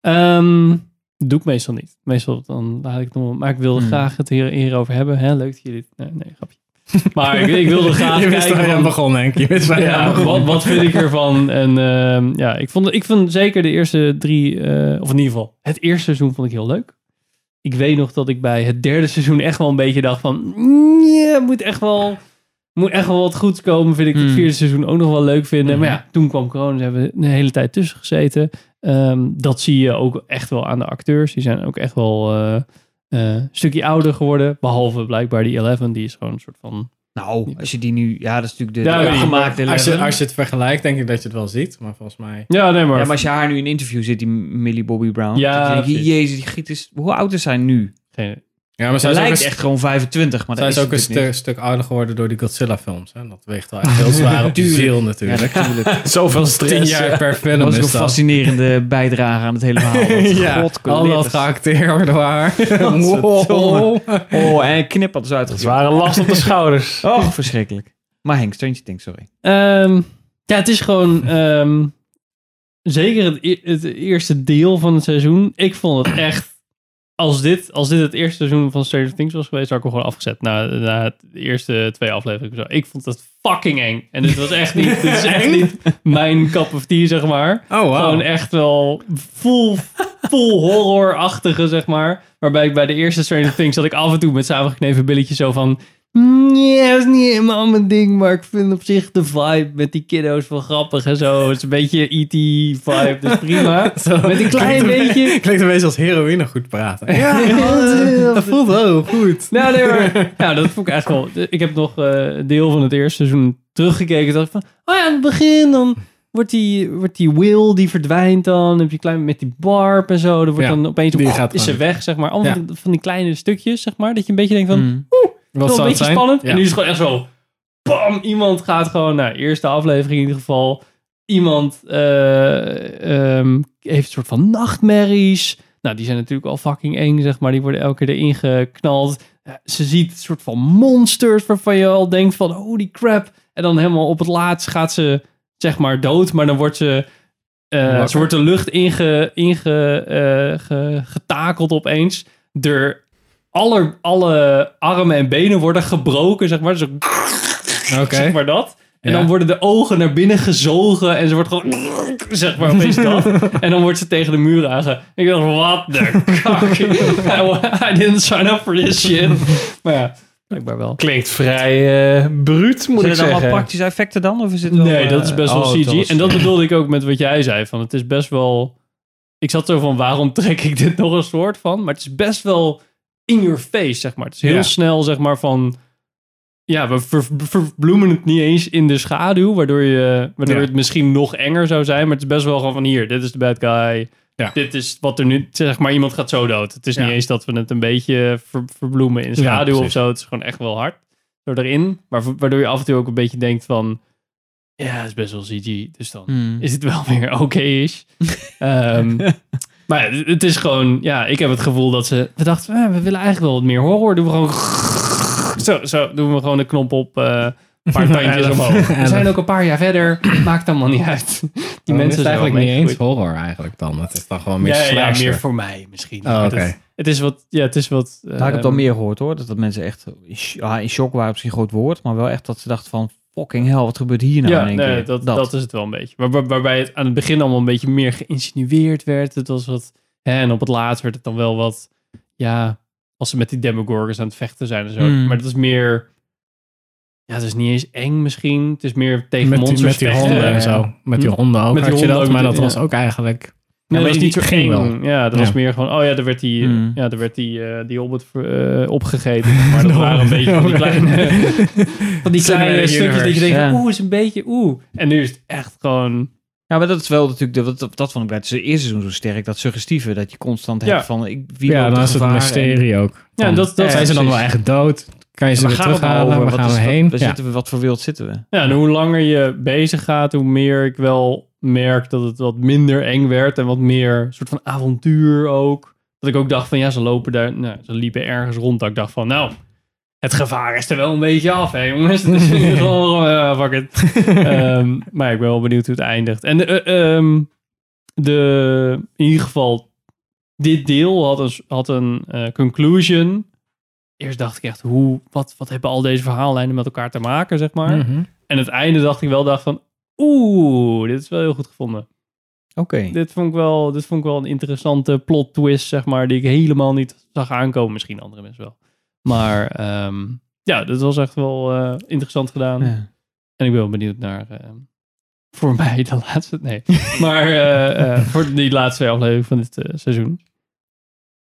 B: Ehm, doe ik meestal niet. Meestal dan laat ik het nog, maar ik wil
E: Hmm.
B: graag het hier, hierover hebben. Hè? Leuk dat jullie dit, nee, nee, grapje. Maar ik, ik wilde graag
C: Je wist
B: kijken
C: waar je
B: van-
C: aan begon, Henk. Je wist waar je aan
B: ja,
C: begon.
B: wat, wat vind ik ervan? En ehm, ja, ik vond, ik vond zeker de eerste drie, eh, of in ieder geval het eerste seizoen vond ik heel leuk. Ik weet nog dat ik bij het derde seizoen echt wel een beetje dacht van, "Mm, ja, moet echt wel, moet echt wel wat goeds komen. Vind ik het
E: Mm.
B: vierde seizoen ook nog wel leuk vinden. Maar
E: Mhm.
B: ja, toen kwam corona, dus hebben we een hele tijd tussen gezeten. Ehm, dat zie je ook echt wel aan de acteurs. Die zijn ook echt wel eh, eh, een stukje ouder geworden. Behalve blijkbaar die Eleven, die is gewoon een soort van...
E: Nou, als je die nu... Ja, dat is natuurlijk de,
B: Ja,
E: de
B: ja.
E: opgemaakte
C: Als je,
E: Eleven.
C: als je het vergelijkt, denk ik dat je het wel ziet. Maar volgens mij...
B: Ja, nee, maar...
E: Ja, maar als je haar nu in een interview zit, die Millie Bobby Brown.
B: Ja,
E: dan denk je,
B: precies.
E: jezus, die giet is... Hoe oud is zij nu?
B: Geen-
F: Ja, maar
E: Ze
F: zij is ook een,
E: lijkt
F: st-
E: echt gewoon 25, maar
F: zij
E: dat is
F: is ook een
E: natuurlijk
F: stu- stuk ouder geworden door die Godzilla-films. hè. Dat weegt wel echt heel zwaar op de
E: Tuurlijk.
F: ziel
E: niet.
F: natuurlijk.
E: Ja, natuurlijk. Dat
G: Zoveel
F: Tien
G: stress.
F: jaar per film
E: was ook een
F: is dat.
E: fascinerende bijdrage aan het hele verhaal. Want
F: Ja, al dat
E: godkeletters.
F: geacteerd waar.
E: Godverdomme.
F: Wow.
E: Oh, en knippert is uitgezocht.
G: Zware last op de schouders.
E: Oh, verschrikkelijk. Maar Henk, Stranger Things, sorry.
B: Ehm, ja, het is gewoon ehm, zeker het, e- het eerste deel van het seizoen. Ik vond het echt. Als dit, als dit het eerste seizoen van Stranger Things was geweest, had ik hem gewoon afgezet na, na het- de eerste twee afleveringen. of Zo. Ik vond dat fucking eng. En dit was echt niet, dit is echt niet mijn cup of tea, zeg maar.
F: Oh, wow.
B: Gewoon echt wel full, full horror-achtige, zeg maar. Waarbij ik bij de eerste Stranger Things zat ik af en toe met samengekneven billetjes zo van... Nee, dat is niet helemaal mijn ding, maar ik vind op zich de vibe met die kiddo's wel grappig en zo. Het is een beetje E.T.-vibe, dus prima. met een klein beetje...
F: Klinkt een beetje als heroïne goed praten. Ja,
B: Ja,
F: dat voelt wel goed.
B: nou, nee, maar, ja, dat vond ik echt wel. Ik heb nog eh, een deel van het eerste seizoen teruggekeken. Dacht ik van, oh ja, aan het begin dan wordt die, wordt die Will, die verdwijnt dan. Dan heb je klein met die Barb en zo. Dan wordt
F: Ja,
B: dan opeens,
F: die
B: oh,
F: gaat
B: is ze
F: gewoon-
B: weg, zeg maar. Allemaal
F: Ja. Mhm.
B: van- van die kleine stukjes, zeg maar. Dat je een beetje denkt van,
E: Hm.
F: Wat
B: wel een beetje spannend.
F: Ja.
B: En nu is het gewoon echt zo. Bam! Iemand gaat gewoon naar eerste aflevering in ieder geval. Iemand eh, ehm, heeft een soort van nachtmerries. Nou, die zijn natuurlijk al fucking eng, zeg maar. Die worden elke keer erin geknald. Eh, ze ziet een soort van monsters waarvan je al denkt van holy crap. En dan helemaal op het laatst gaat ze zeg maar dood. Maar dan wordt ze, eh,
F: Wakker.
B: ze wordt de lucht inge, inge, eh, ge- getakeld opeens. Door alle, alle armen en benen worden gebroken, zeg maar. Zo,
F: Oké.
B: zeg maar dat. En
F: Ja.
B: dan worden de ogen naar binnen gezogen en ze wordt gewoon, zeg maar, opeens dat. En dan wordt ze tegen de muur aange. Ik dacht, what the fuck? I, I didn't sign up for this shit. Maar ja, blijkbaar wel.
G: Klinkt vrij eh bruut,
E: Zijn
G: moet ik
E: er allemaal
G: zeggen.
E: praktische effecten dan? Of is het wel,
B: Nee,
E: eh,
B: dat is best
E: oh,
B: wel CG.
E: dat was-
B: En dat bedoelde ik ook met wat jij zei. Van het is best wel. Ik zat zo van waarom trek ik dit nog een soort van? Maar het is best wel in your face, zeg maar. Het is heel
F: Ja.
B: snel, zeg maar, van. Ja, we ver- ver- verbloemen het niet eens in de schaduw, waardoor, je, waardoor
F: Ja.
B: het misschien nog enger zou zijn. Maar het is best wel gewoon van hier, dit is de bad guy.
F: Ja.
B: Dit is wat er nu, zeg maar, iemand gaat zo dood. Het is niet
F: Ja.
B: eens dat we het een beetje ver- verbloemen in de
F: Ja,
B: schaduw of
F: precies.
B: zo. Het is gewoon echt wel hard door erin. Maar wa- waardoor je af en toe ook een beetje denkt van... Ja, het is best wel CG. Dus dan
E: Hmm.
B: is het wel weer oké-ish. Ehm, maar ja, het- het is gewoon... Ja, ik heb het gevoel dat ze... We dachten, "Ah, we willen eigenlijk wel wat meer horror. Doen we gewoon... Zo, zo doen we gewoon de knop op... eh, een paar tandjes
F: Elf.
B: omhoog. We
F: Elf.
B: zijn ook een paar jaar verder. Maakt allemaal niet uit. Die
F: Die
B: mensen
F: mensen
B: zijn
F: eigenlijk niet
B: wel
F: eens
B: meegegroeid.
F: horror eigenlijk dan. Het is dan gewoon meer
B: Ja, ja,
F: slasher.
B: meer voor mij misschien.
F: Oh,
B: Maar
F: oké.
B: dat- Het is wat... Ja, het is wat...
E: Daar heb Nou, ik het
B: ehm,
E: al meer gehoord hoor. Dat, dat mensen echt in, sh- ah, in shock waren, misschien een groot woord. Maar wel echt dat ze dachten van fucking hell, wat gebeurt hier nou
B: ja,
E: in één
B: nee,
E: keer?
B: dat, dat. is het wel een beetje. Waar, waar- waarbij het aan het begin allemaal een beetje meer geïnsinueerd werd. Het was wat, hè, en op het laatst werd het dan wel wat... Ja, als ze met die Demogorgons aan het vechten zijn en zo.
E: Mm.
B: Maar dat is meer... Ja, het is niet eens eng misschien. Het is meer tegen
F: Met die,
B: monsters
F: met die
B: vechten.
F: honden en
B: Ja,
F: zo. Met die honden ook
B: Met die
F: had je
B: honden
F: dat,
B: ook
F: maar dat
B: meteen,
F: was
B: ja.
F: ook eigenlijk...
B: Nee,
F: maar
B: dat was
F: die
B: niet zo
F: ging
B: eng.
F: wel.
B: Ja, dat
F: Ja.
B: was meer gewoon... Oh ja, daar werd die,
E: Mm.
B: ja, daar werd die, eh, die hobbit eh, opgegeten. Maar dat waren een beetje van die kleine... van die kleine
F: Cinematic
B: stukjes dat je
F: universe,
B: denkt...
E: ja.
B: Oeh, is een beetje... Oeh. En nu is het echt gewoon...
E: Ja, maar dat is wel natuurlijk, de, wat- dat, dat vond ik bij het eerste seizoen zo sterk. Dat suggestieve, dat je constant
B: Ja.
E: hebt van ik, wie
F: Ja,
E: loopt
F: dan
E: er
F: is het een
E: gevaar en-
F: mysterie ook.
B: Ja,
F: Van, eh,
B: dat, dat
E: Ja,
F: Zijn ze dan wel
C: dus.
E: precies.
F: echt dood? Kan je ze
E: Maar
F: weer
E: gaan we
F: terughalen?
E: nou,
F: Waar
E: wat
F: gaan
E: is
F: we
E: dat-
F: heen?
E: Waar
F: Ja.
E: zitten we, wat voor wereld zitten we?
B: Ja, en hoe langer je bezig gaat, hoe meer ik wel merk dat het wat minder eng werd en wat meer soort van avontuur ook. Dat ik ook dacht van ja, ze lopen daar, nou, ze liepen ergens rond. Dat ik dacht van nou, het gevaar is er wel een beetje af, hè jongens. Het is hier gewoon, eh, fuck it. Ehm, maar ik ben wel benieuwd hoe het eindigt. En eh, ehm, de, in ieder geval, dit deel had een, s- had een eh, conclusion. Eerst dacht ik echt, hoe, wat, wat hebben al deze verhaallijnen met elkaar te maken, zeg maar.
F: Mhm.
B: En het einde dacht ik wel dacht van... Oeh, dit is wel heel goed gevonden.
E: Oké.
B: Dit vond, ik wel, dit vond ik wel een interessante plot twist, zeg maar... die ik helemaal niet zag aankomen. Misschien andere mensen wel. Maar ehm, ja, dat was echt wel eh, interessant gedaan.
E: Ja.
B: En ik ben wel benieuwd naar... eh, voor mij de laatste... Nee. maar eh, eh, voor die laatste twee afleveringen van dit eh, seizoen.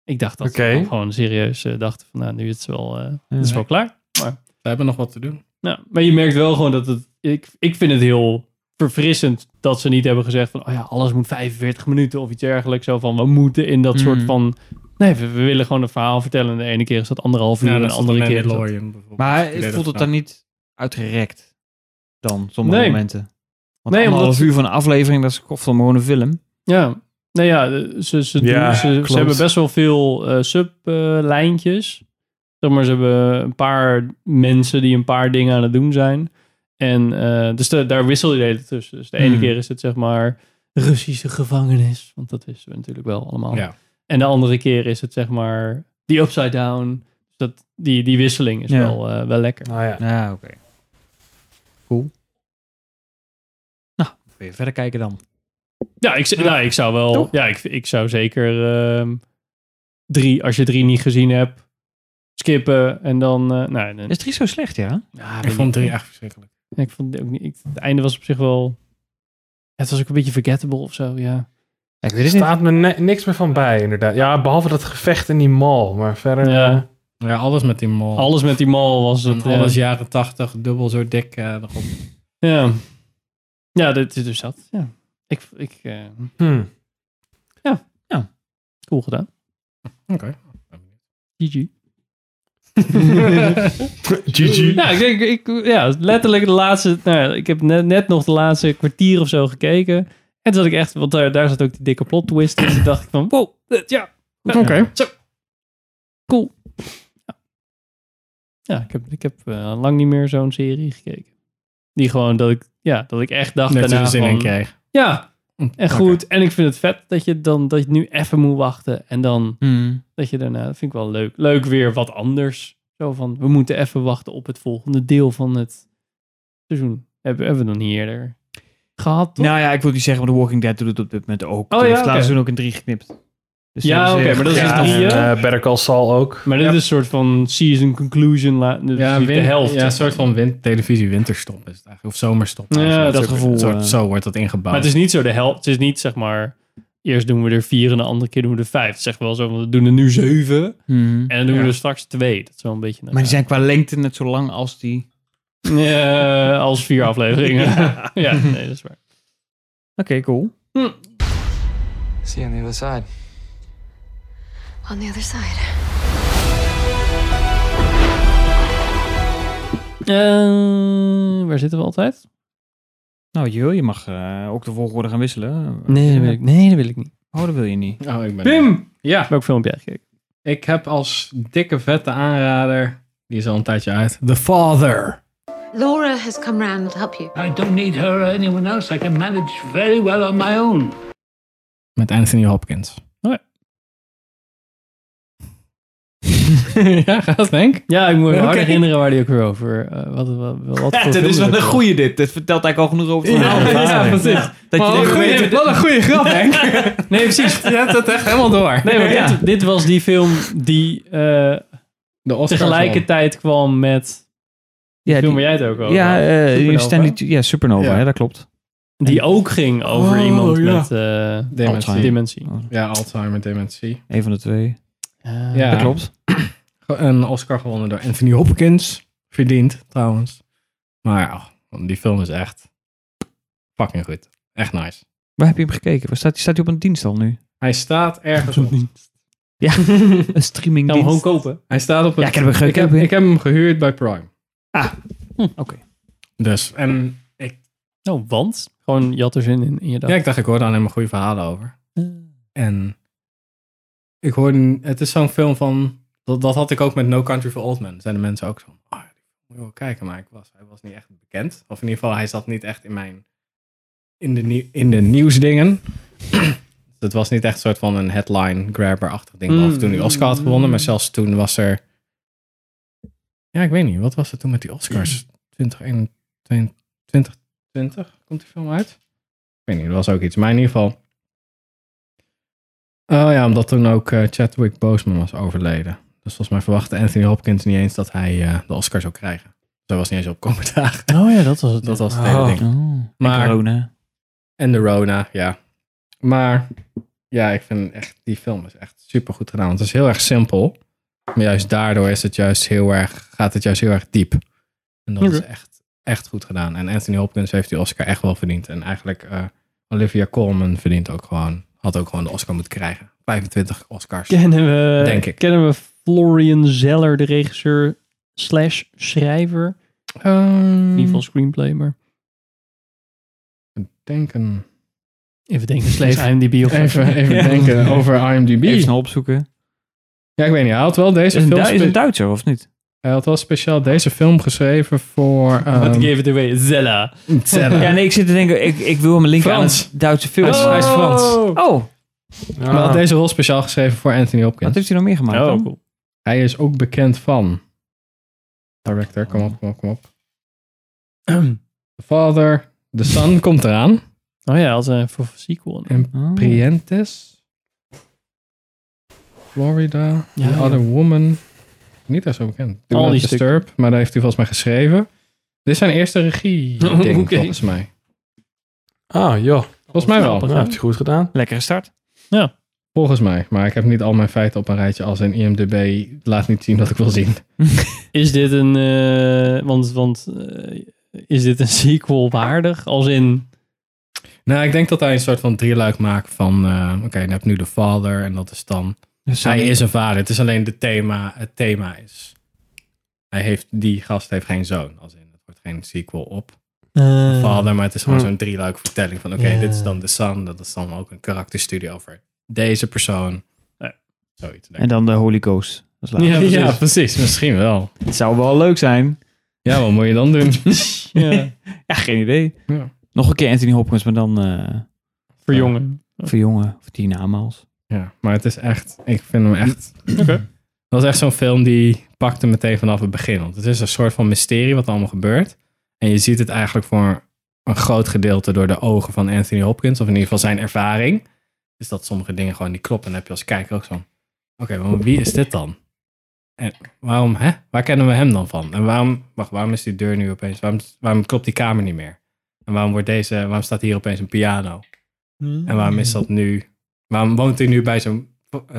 B: Ik dacht dat
G: Oké.
B: ze wel gewoon serieus eh, dachten van... nou, nu is het wel, eh, het is wel klaar.
F: We hebben nog wat te doen.
B: Nou, maar je merkt wel gewoon dat het... Ik, ik vind het heel verfrissend dat ze niet hebben gezegd van... Oh ja, alles moet 45 minuten of iets dergelijks. Zo van, we moeten in dat
E: Mm.
B: soort van... Nee, we, we willen gewoon een verhaal vertellen. En de ene keer is dat anderhalf uur
C: Ja,
B: en
C: dat
B: de
C: is andere
B: andere keer... is dat-
C: Mandalorian bijvoorbeeld.
E: Maar
C: Ik deed
E: voelt het
C: dat
E: dan niet uitgerekt dan, sommige
B: Nee.
E: momenten? Want
B: Nee,
E: nee, anderhalf
B: omdat-
E: uur van een aflevering, dat is kost van gewoon een film.
B: Ja, nou ja, de- ze, ze, doen-
G: Ja,
B: ze, ze
G: klopt.
B: hebben best wel veel eh, sublijntjes. zeg maar, ze hebben een paar mensen die een paar dingen aan het doen zijn. En eh, dus de- daar wissel je de hele tussen. Dus de ene
C: Hmm.
B: keer is het zeg maar Russische gevangenis, want dat wisten we natuurlijk wel allemaal.
C: Ja.
B: En de andere keer is het zeg maar die upside down. Dus Dat, die, die wisseling is
E: Ja.
B: wel, eh, wel lekker.
G: Nou ja.
E: Ja, Ah, oké. Cool. Nou, kun je verder kijken dan.
B: Ja, ik, z- nou, ik zou wel.
E: Toch?
B: Ja, ik, ik zou zeker ehm, drie, als je drie niet gezien hebt, skippen en dan. eh nou, dan
E: Is drie zo slecht, ja?
B: Ja,
C: Ik
B: weet
C: vond
B: niet.
C: drie echt verschrikkelijk.
B: Ja, ik vond het ook niet. ik- het einde was op zich wel. Het was ook een beetje forgettable of zo, ja.
E: Ik weet
G: Er staat me ni- niks meer van bij, inderdaad. Ja, behalve dat gevecht in die mall. Maar verder...
B: Ja.
G: eh,
C: Ja, alles met die mol.
B: Alles met die mal was
C: En
B: het. eh,
C: alles jaren tachtig, dubbel zo dik eh, erop.
B: ja. Ja, dit is dus dat. Ja. Ik, ik eh,
G: hm.
B: cool gedaan.
C: Oké.
B: GG.
G: GG.
B: Ja, Nou, ik denk, ik, ja, letterlijk de laatste. Nou, ja, ik heb net, net nog de laatste kwartier of zo gekeken. En toen zat ik echt, want daar, daar zat ook die dikke plot twist. Dus toen dacht ik van, wow, dit, ja, Nou,
C: Oké.
B: zo. Cool. Ja. Ja, ik heb, ik heb eh, lang niet meer zo'n serie gekeken. Die gewoon dat ik, ja, dat ik echt dacht
C: Net
B: daarna
C: zoveel zin in
B: van,
C: kreeg.
B: ja, en
C: Oké.
B: goed. En ik vind het vet dat je dan, dat je nu even moet wachten. En dan
E: Hmm.
B: dat je daarna, dat vind ik wel leuk. Leuk weer wat anders. Zo van, we moeten even wachten op het volgende deel van het seizoen. Hebben, hebben we dan niet eerder gehad, toch?
E: Nou ja, ik wil niet zeggen, maar The Walking Dead doet het op dit moment ook. Die
B: Oh ja,
E: heeft het
B: oké.
E: laatste seizoen ook in drie geknipt. Dus
B: Ja,
E: hebben ze-
B: oké, maar dat is
E: Ja,
B: dus
G: en,
B: drie, hè?
G: eh, Better Call Saul ook.
B: maar dit is een soort van season conclusion. La, dus de
C: win-
B: helft.
C: Ja, een soort van win- televisie winterstop is het eigenlijk. Of zomerstop.
B: Ja,
C: eigenlijk.
B: dat
C: Een soort-
E: gevoel,
C: soort-
E: eh.
C: zo wordt dat ingebouwd.
B: Maar het is niet zo de helft. Het is niet zeg maar, eerst doen we er vier en de andere keer doen we er vijf. Het is echt wel zo, van, we doen er nu zeven
E: Mhm.
B: en dan doen we
C: Ja.
B: er straks twee. Dat is wel een beetje...
E: Maar die zijn qua lengte net zo lang als die...
B: Eh, als vier afleveringen. ja. nee, dat is waar.
E: Oké, cool.
K: See you on the other side.
L: On the other side.
B: Eh, waar zitten we altijd?
E: Nou, Jo, je mag eh, ook de volgorde gaan wisselen.
B: nee, dat wil ik niet.
E: Oh, dat wil je niet.
C: Oh, ik ben
B: Pim!
C: Ja,
B: Welk film heb jij gekeken?
C: ik heb als dikke vette aanrader, die is al een tijdje uit, The Father.
L: Laura has come round to help you.
M: I don't need her or anyone else. I can manage very well on my own.
C: Met Anthony Hopkins.
B: Oh
C: ja, gaat Henk?
B: Ja, ik moet me
C: Oké.
B: hard herinneren waar die ook weer over... eh, wat, wat, wat, wat voor
E: Ja, dat
B: film
E: is
B: ook
E: wel een
B: was.
E: goeie dit. Dit vertelt eigenlijk al genoeg over het verhaal.
B: ja, precies.
E: Dat je denkt, weet je-
C: een goede grap, Henk.
B: Nee, precies.
C: Je hebt dat echt helemaal door.
B: Nee, maar
E: Ja.
B: dit, dit was die film die eh,
C: de Oscar
B: tegelijkertijd kwam met...
E: Ja,
B: Film
E: die-
B: waar jij het ook over
E: Ja,
B: had.
E: eh, die
B: Supernova.
E: Stanley, ja, Supernova,
C: Ja.
E: Hè, dat klopt.
B: Die ook ging over
C: Oh,
B: iemand
C: ja.
B: met eh,
C: Dementie.
B: Alzheimer. dementie.
C: Ja, Alzheimer, dementie.
E: Een van de twee.
B: Eh,
C: Ja.
E: Dat klopt.
C: Een Oscar gewonnen door Anthony Hopkins. Verdiend, trouwens. Maar ja, die film is echt fucking goed. Echt nice.
E: Waar heb je hem gekeken? Waar staat, staat hij op een dienst al nu?
C: Hij staat ergens op.
E: Ja, een streaming
B: Kan hem gewoon kopen.
C: Hij staat op een...
E: Ja, ik heb hem
C: ik, heb,
E: gekeken.
C: ik heb hem gehuurd bij Prime.
E: Oké.
C: Dus, en ik,
B: Nou, want? Gewoon, je had er zin in, in je dag.
C: ja, ik dacht, ik hoorde aan hem goede verhalen over. En ik hoorde, het is zo'n film van, dat, dat had ik ook met No Country for Old Men. Zijn de mensen ook zo, oh, ja, die moet je wel kijken, maar ik was, hij was niet echt bekend. Of in ieder geval, hij zat niet echt in mijn, in de, nieuw- in de nieuwsdingen. Het was niet echt een soort van een headline grabber-achtig ding. Behalve toen die Oscar had gewonnen, maar zelfs toen was er, ja, ik weet niet, wat was er toen met die Oscars? 2021, 2020 komt die film uit? Ik weet niet, er was ook iets. Maar in ieder geval, Oh ja, omdat toen ook eh, Chadwick Boseman was overleden. Dus volgens mij verwachtte Anthony Hopkins niet eens dat hij eh, de Oscar zou krijgen. Dus hij was niet eens op komende dagen.
B: Oh ja, dat was het.
C: Dat was het hele
G: Oh.
C: ding.
E: Maar,
C: Maar, en de Rona, ja. Maar ja, ik vind echt, die film is echt super goed gedaan. Want het is heel erg simpel. Maar juist daardoor is het juist heel erg, gaat het juist heel erg diep. En dat is
B: Oké.
C: echt, echt goed gedaan. En Anthony Hopkins heeft die Oscar echt wel verdiend. En eigenlijk eh, Olivia Colman verdient ook gewoon
F: Had ook gewoon de Oscar moeten krijgen. 25 Oscars.
B: Kennen we,
F: Denk ik.
B: Kennen we Florian Zeller, de regisseur slash schrijver?
C: Ehm,
B: In ieder
C: Mm.
B: geval screenplay, maar
C: denken.
B: even denken. Slash IMDb of
C: Even, even denken over IMDb.
E: Even snel opzoeken.
C: Ja, ik weet niet. Hij had wel deze
E: Is een,
C: film...
E: Du- is
C: spe-
E: een Duitser of niet?
C: Hij had wel speciaal deze film geschreven voor...
B: But
C: ehm,
B: gave it away, Zella.
C: Zeller.
E: Ja, nee, ik zit te denken, ik, ik wil hem linken
C: Frans.
E: aan een Duitse film.
C: Hij is- hij is Frans.
G: Ah.
E: Oh,
C: Maar hij had deze rol speciaal geschreven voor Anthony
E: wat
C: Hopkins.
E: heeft hij nog meer gemaakt
B: Oh,
E: dan?
B: cool.
C: Hij is ook bekend van... Director, kom op, kom op, kom op. The Father, The Son komt eraan.
B: Oh ja, als een voor voor sequel.
C: En
E: Oh.
C: Prientes. Florida.
B: Ja,
C: The
B: ja.
C: Other Woman. Niet echt zo bekend. Do
B: Al
C: Not
B: die
C: Disturb, maar daar heeft hij volgens mij geschreven. Dit is zijn eerste regie ding,
B: Oké.
C: volgens mij.
G: Ah, joh.
C: Volgens mij wel.
B: Grappig,
G: Nou,
B: hè?
G: heb je goed gedaan.
E: Lekkere start.
C: Volgens mij. Maar ik heb niet al mijn feiten op een rijtje als in IMDB laat niet zien wat ik wil zien.
B: Is dit een... eh, want want eh, is dit een sequel waardig? Als in...
C: Nou, ik denk dat hij een soort van drieluik maakt van... eh, Oké, dan heb je nu de vader en dat is dan...
E: Dus
C: Hij is een vader. Het is alleen de thema, het thema is... Hij heeft, die gast heeft geen zoon. Als in, het wordt geen sequel op.
B: eh,
C: vader, maar het is gewoon
G: Hmm.
C: zo'n drieluik vertelling van oké,
B: Ja.
C: dit is dan de son, dat is dan ook een karakterstudie over deze persoon.
B: Ja.
C: Zoiets. denk
E: En
C: ik.
E: dan de Holy Ghost. Dat is later.
C: ja, precies. Misschien wel.
E: Het zou wel leuk zijn.
C: Ja, wat moet je dan doen?
B: ja,
E: Ja, geen idee.
C: Ja.
E: Nog een keer Anthony Hopkins, maar dan eh
B: voor jongen.
E: voor jongen. Of die namaals.
C: ja, maar het is echt, ik vind hem echt. Dat is echt zo'n film die pakte meteen vanaf het begin. Want het is een soort van mysterie wat er allemaal gebeurt. En je ziet het eigenlijk voor een groot gedeelte door de ogen van Anthony Hopkins, of in ieder geval zijn ervaring. Is dat sommige dingen gewoon niet kloppen. En dan heb je als kijker ook zo'n. Oké, maar wie is dit dan? En waarom, hè? Waar kennen we hem dan van? En waarom, wacht, waarom is die deur nu opeens? Waarom, waarom klopt die kamer niet meer? En waarom, wordt deze, waarom staat hier opeens een piano? En waarom is dat nu? Waarom woont hij nu bij zijn,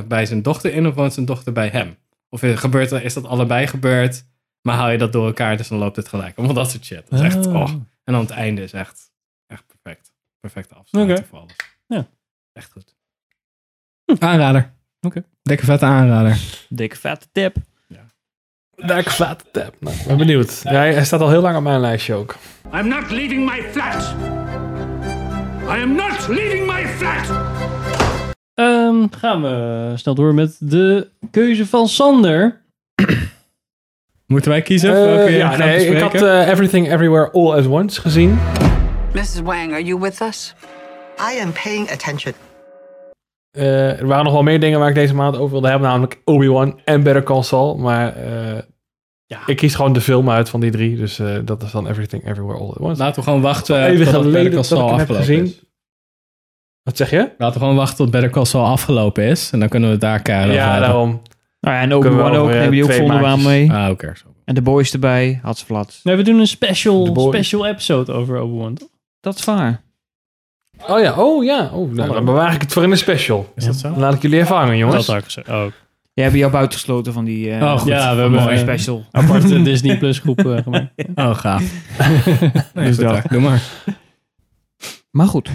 C: bij zijn dochter in of woont zijn dochter bij hem? Of is, gebeurt, er- is dat allebei gebeurd? Maar haal je dat door elkaar, dus dan loopt het gelijk. Allemaal dat soort shit. Dat is echt,
B: Ah.
C: oh. En dan het einde is echt, echt perfect. Perfecte afsluiting
B: Oké.
C: voor alles.
B: Ja.
C: Echt goed. Aanrader.
B: Oké.
C: Dikke vette aanrader.
E: Dikke vette tip.
G: Daar slaat de tap. Nou, ik ben benieuwd. Ja, hij hij staat al heel lang op mijn lijstje ook.
N: I'm not leaving my flat. I am not leaving my flat.
B: Ehm, gaan we snel door met de keuze van Sander.
C: Moeten wij kiezen?
G: Eh,
C: welke jij
G: ja,
C: gaat
G: nee, ik had
C: bespreken?
G: eh, Everything Everywhere All at Once gezien.
M: Mrs. Wang, are you with us? I am paying attention.
G: Eh, er waren nog wel meer dingen waar ik deze maand over wilde hebben, namelijk Obi-Wan en Better Call Saul. Maar eh, ik kies gewoon de film uit van die drie, dus eh, dat is dan Everything Everywhere All at Once.
C: Laten we gewoon wachten
G: Even
C: tot
G: geleden
C: Better Call
G: dat
C: Saul
G: ik hem heb
C: afgelopen
G: gezien.
C: is.
G: Wat zeg je?
C: Laten we gewoon wachten tot Better Call Saul afgelopen is. En dan kunnen we het daar keihard over
G: ja,
C: hebben.
G: daarom.
E: Nou ja, en Obi-Wan
G: Kunnen we
E: ook.
G: over, eh,
E: Neem die ook
G: twee
E: Vondelbaan
G: maandjes.
E: mee.
C: Ah, oké. zo.
E: En de boys erbij. Had ze flat.
B: Nee, Nou, we doen een
G: The
B: special,
G: Boys.
B: special episode over Obi-Wan. toch?
E: Dat is waar.
G: Oh ja, oh ja. Oh, nou, dan bewaar ik het voor in een special.
C: Is dat zo?
G: Dan laat ik jullie ervaren, jongens.
B: Dat had ik gezegd. Oh,
E: Jij hebt jou buitengesloten van die eh
C: Oh, goed.
B: Ja, we hebben
E: mooie
B: een
E: special.
B: aparte Disney Plus groep eh, gemaakt.
C: Oh, gaaf. nee,
E: Dus
C: goed,
E: dat.
C: hè. Doe maar.
E: Maar goed.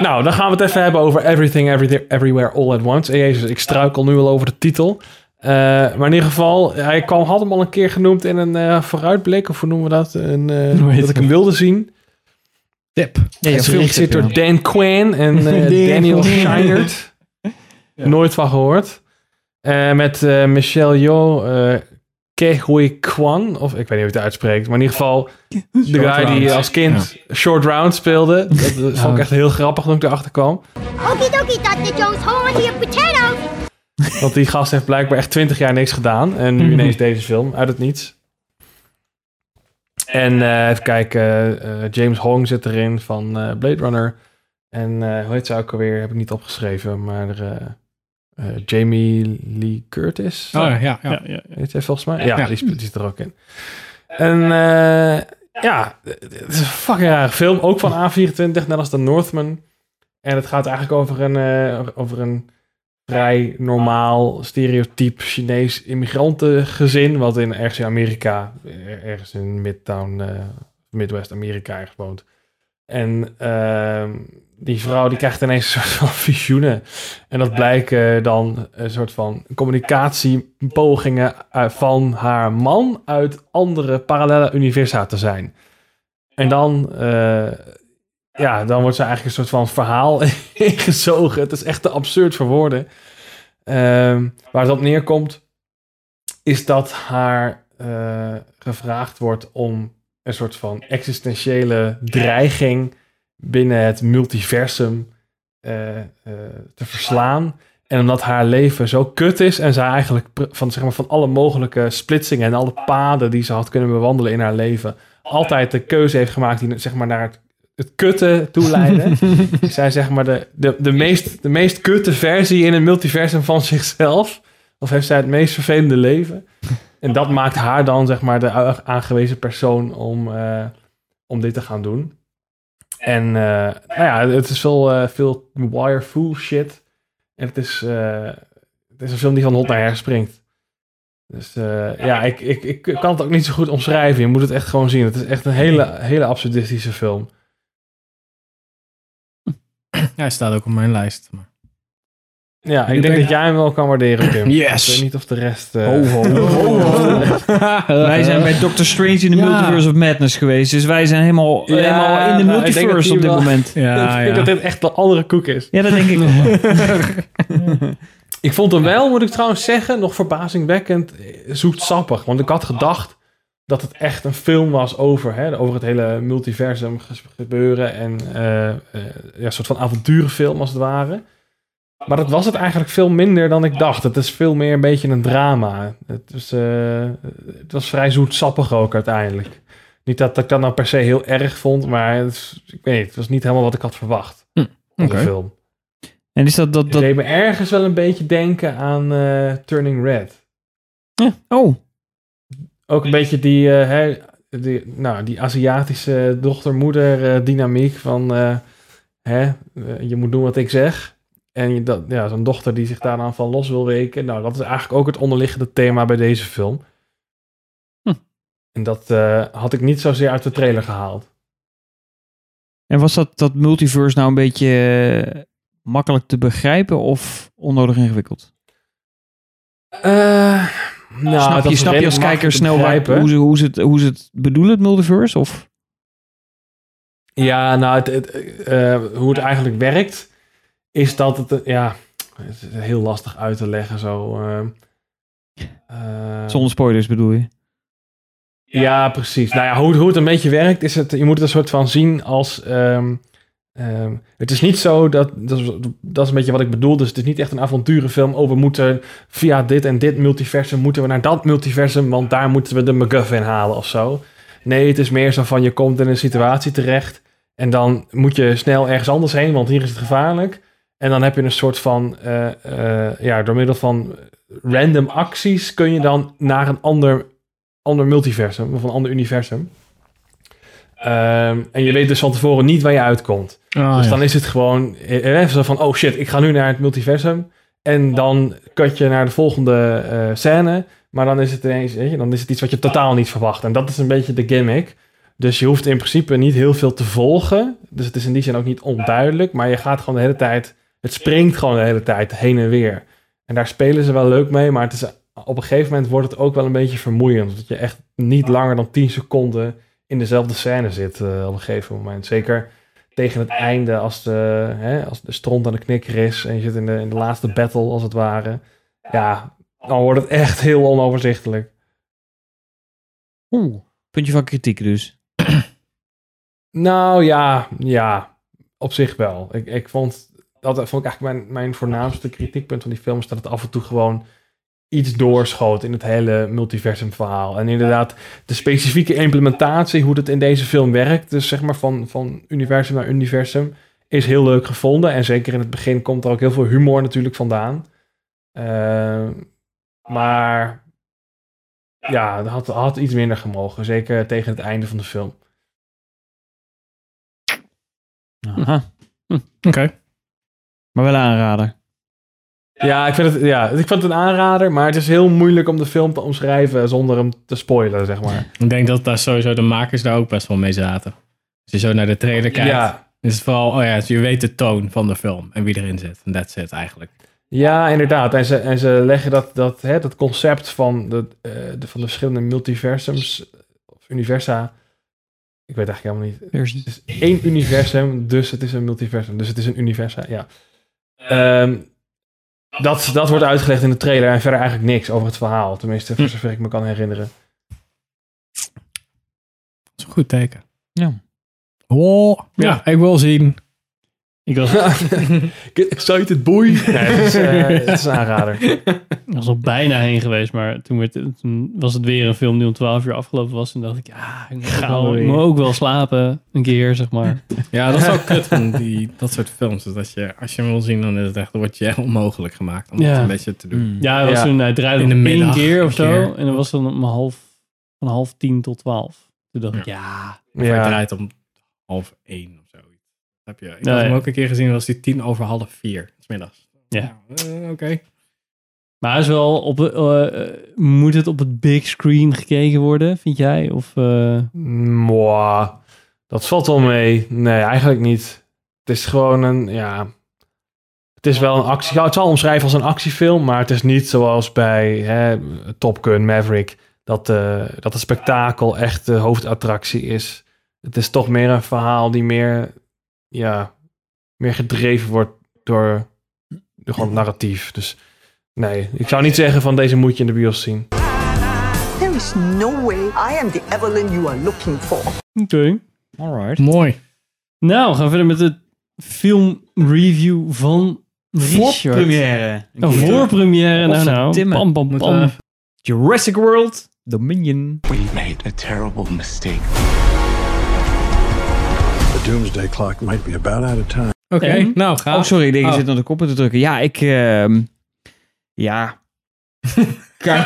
G: Nou, dan gaan we het even hebben over Everything, Everything Everywhere All at Once. En jezus, ik struikel nu al over de titel. Eh, maar in ieder geval, hij kwam, had hem al een keer genoemd in een eh, vooruitblik, of hoe noemen we dat? Een, eh,
B: Hoe heet
G: dat ik hem wilde zien.
C: Tip.
E: Ja,
G: Het
E: je
G: is geregisseerd
E: hebt
G: door Dan Quinn en eh,
B: Dan
G: Daniel
B: Quinn.
G: Scheinert. Nooit van gehoord. Eh, met eh, Michelle Yeoh, eh Kehui Kwan, of ik weet niet hoe je het uitspreekt, maar in ieder geval de
C: Short
G: guy die
C: Round.
G: als kind Short Round speelde. Dat eh, vond ik echt heel grappig toen ik erachter kwam.
L: Okie dokie, Dr. Jones, home with your potatoes.
G: Want die gast heeft blijkbaar echt twintig jaar niks gedaan. En nu ineens deze film, uit het niets. En eh, even kijken, eh, eh, James Hong zit erin van eh, Blade Runner. En eh, hoe heet ze ook alweer, heb ik niet opgeschreven, maar eh, eh, Jamie Lee Curtis.
C: Oh, ja, ja.
B: Ja, ja, ja.
G: Heet zij Eh, volgens mij? Ja,
C: Ja.
G: Die, sp- die zit er ook in. En eh, ja, het is een fucking rare film. Ook van A24, net als The Northman. En het gaat eigenlijk over een, eh, over een vrij normaal, stereotyp Chinees immigrantengezin. Wat in, ergens in Amerika, er- ergens in Midtown, eh, Midwest Amerika ergens woont. En ehm, die vrouw die krijgt ineens een soort van visioenen. En dat blijken dan een soort van communicatiepogingen eh, van haar man uit andere parallele universa te zijn. En dan, eh, ja, dan wordt ze eigenlijk een soort van verhaal ingezogen. Het is echt te absurd voor woorden. Ehm, waar het op neerkomt, is dat haar eh, gevraagd wordt om een soort van existentiële dreiging binnen het multiversum eh, eh, te verslaan. En omdat haar leven zo kut is en zij eigenlijk pr- van, zeg maar, van alle mogelijke splitsingen en alle paden die ze had kunnen bewandelen in haar leven, altijd de keuze heeft gemaakt die zeg maar, naar het, het kutte toe leiden. zij zeg maar de, de, de, meest, de meest kutte versie in een multiversum van zichzelf. Of heeft zij het meest vervelende leven? En dat maakt haar dan zeg maar de a- aangewezen persoon om, eh, om dit te gaan doen. En eh, nou ja, het is veel, eh veel wirefool shit. En het is, eh, het is een film die van hot naar her springt. Dus eh, ja, ik, ik, ik kan het ook niet zo goed omschrijven. Je moet het echt gewoon zien. Het is echt een hele, hele absurdistische film.
C: Hij staat ook op mijn lijst. Maar...
G: Ja,
C: Ik
G: ik denk
C: denk-
G: dat jij hem wel kan waarderen, Tim.
C: Yes.
G: Ik weet niet of de rest... eh,
E: Ho, ho, ho, ho. Wij zijn bij Doctor Strange in de
G: Ja.
E: Multiverse of Madness geweest. Dus wij zijn helemaal, helemaal in de
G: nou, ik denk dat
E: multiverse
G: die
E: op dit
G: wel-
E: moment.
G: ik denk dat dit echt de andere koek is.
E: Ja, dat denk ik ook.
G: ik vond hem wel, moet ik trouwens zeggen, nog verbazingwekkend eh, zoetsappig. Want ik had gedacht dat het echt een film was over, hè, over het hele multiversum ges- gebeuren. En eh, eh, ja, een soort van avonturenfilm als het ware. Maar dat was het eigenlijk veel minder dan ik dacht. Het is veel meer een beetje een drama. Het, is, eh, het was vrij zoetsappig ook uiteindelijk. Niet dat ik dat nou per se heel erg vond, maar het, is- ik weet niet, het was niet helemaal wat ik had verwacht. van
E: oké.
G: de film.
E: En is dat... dat,
G: Dat
E: dat...
G: deed me ergens wel een beetje denken aan eh, Turning Red.
E: Oh.
G: Ook een beetje die, eh, hè, die, nou, die Aziatische dochter-moeder eh, dynamiek van... eh, hè, eh, je moet doen wat ik zeg. En je, dat, ja, zo'n dochter die zich daaraan van los wil weken. Nou, dat is eigenlijk ook het onderliggende thema bij deze film.
E: Hm.
G: En dat eh, had ik niet zozeer uit de trailer gehaald.
E: En was dat, dat multiverse nou een beetje eh, makkelijk te begrijpen of onnodig ingewikkeld?
G: Eh, nou,
E: snap
G: dat
E: je,
G: is
E: snap je als kijker
G: redelijk makkelijk te
E: snel waar,
G: begrijpen.
E: hoe, ze, hoe, ze het, hoe ze het bedoelen, het multiverse? Of?
G: Ja, nou, het, het, eh, eh, hoe het eigenlijk werkt, is dat het, eh, ja, het is heel lastig uit te leggen zo. eh. Eh,
E: Zonder spoilers bedoel je?
G: ja, precies. Nou ja, hoe, hoe het een beetje werkt, is het, je moet het een soort van zien als. ehm, ehm, het is niet zo dat, dat is, dat is een beetje wat ik bedoel. Dus het is niet echt een avonturenfilm. Oh, we moeten via dit en dit multiversum moeten we naar dat multiversum, want daar moeten we de MacGuffin halen of zo. Nee, het is meer zo van je komt in een situatie terecht en dan moet je snel ergens anders heen, want hier is het gevaarlijk. En dan heb je een soort van, eh, eh, ja, door middel van random acties kun je dan naar een ander, ander multiversum of een ander universum. Ehm, en je weet dus van tevoren niet waar je uitkomt.
C: Ah,
G: dus
C: ja.
G: dan is het gewoon eh, eh, zo van, oh shit, ik ga nu naar het multiversum. En dan kut je naar de volgende eh, scène. Maar dan is het ineens, weet je, dan is het iets wat je totaal niet verwacht. En dat is een beetje de gimmick. Dus je hoeft in principe niet heel veel te volgen. Dus het is in die zin ook niet onduidelijk. Maar je gaat gewoon de hele tijd, het springt gewoon de hele tijd heen en weer. En daar spelen ze wel leuk mee, maar het is, op een gegeven moment wordt het ook wel een beetje vermoeiend. Dat je echt niet langer dan 10 seconden in dezelfde scène zit eh, op een gegeven moment. Zeker tegen het einde, als de, hè, als de stront aan de knikker is en je zit in de, in de laatste battle, als het ware. Ja, dan wordt het echt heel onoverzichtelijk.
E: Oeh. Puntje van kritiek dus.
G: Nou ja, ja, op zich wel. Ik, ik vond, dat vond ik eigenlijk mijn, mijn voornaamste kritiekpunt van die film, is dat het af en toe gewoon iets doorschoot in het hele multiversum verhaal. En inderdaad, de specifieke implementatie, hoe dat in deze film werkt, dus zeg maar van, van universum naar universum, is heel leuk gevonden. En zeker in het begin komt er ook heel veel humor natuurlijk vandaan. Ehm, maar ja, dat had, had iets minder gemogen, zeker tegen het einde van de film.
E: Aha. Hm.
C: Oké.
E: Maar wel aanrader.
G: Ja, ik vind het, ja, ik vind het een aanrader, maar het is heel moeilijk om de film te omschrijven zonder hem te spoilen, zeg maar.
C: Ik denk dat daar sowieso de makers daar ook best wel mee zaten. Als je zo naar de trailer kijkt,
G: Ja.
C: is het vooral, oh ja, je weet de toon van de film en wie erin zit. En that's it eigenlijk.
G: Ja, inderdaad. En ze, en ze leggen dat, dat, hè, dat concept van de, eh, de, van de verschillende multiversums of universa. Ik weet eigenlijk helemaal niet.
B: Versie.
G: Het is één universum, dus het is een multiversum. Dus het is een universa, ja. Ehm, dat, dat wordt uitgelegd in de trailer en verder eigenlijk niks over het verhaal. Tenminste, voor zover ik me kan herinneren.
C: Dat is een goed teken.
E: Ja.
C: Oh, ja, ik wil zien.
B: Ik was,
G: Get excited, boy! Nee, het is, eh, het is een aanrader.
B: ik was al bijna heen geweest, maar toen, werd, het- toen was het weer een film die om 12 uur afgelopen was. En dacht ik, ja, ik moet, ook wel, ik moet ook wel slapen een keer, zeg maar.
C: Ja, dat is ook kut van die, dat soort films. Dus dat je, als je hem wil zien, dan is het echt, dan word je onmogelijk gemaakt om
B: Ja.
C: het een beetje te doen.
B: Ja, hij was toen, hij draaide
C: In de
B: om één
C: middag
B: keer of
C: een keer.
B: zo. En dan was dan om half, van half tien tot twaalf. Toen dacht ik, ja.
C: Of Hij draait om half één of zo. Heb je, ik
B: Nee.
C: had hem ook een keer gezien, was die tien over half vier, 's middags.
B: Ja.
C: Eh, Oké.
B: Maar hij is wel op, eh, eh, moet het op het big screen gekeken worden, vind jij? Of, eh,
G: Mwah. Dat valt wel mee. Nee, eigenlijk niet. Het is gewoon een, ja... Het is wel een actie... Ik zou het zal omschrijven als een actiefilm, maar het is niet zoals bij hè, Top Gun, Maverick, dat, eh dat het spektakel echt de hoofdattractie is. Het is toch meer een verhaal die meer, ja, meer gedreven wordt door, door gewoon narratief. Dus nee, ik zou niet zeggen van deze moet je in de bios zien.
M: There is no way I am the Evelyn you are looking for.
B: Oké.
E: Alright.
C: Mooi.
B: Nou, we gaan verder met de filmreview van Richard.
E: Voorpremière.
B: Een voorpremière, nou nou.
E: Godverdomme.
B: Pam, pam,
E: Moeten we-
B: pam.
E: Jurassic World Dominion.
I: We made a terrible mistake.
D: The doomsday clock might be about out of time.
C: Oké,
E: En?
C: nou ga.
E: Oh, sorry, ik denk, je
C: Oh.
E: zit aan de koppen te drukken. Ja, ik... ehm, ja. Kan-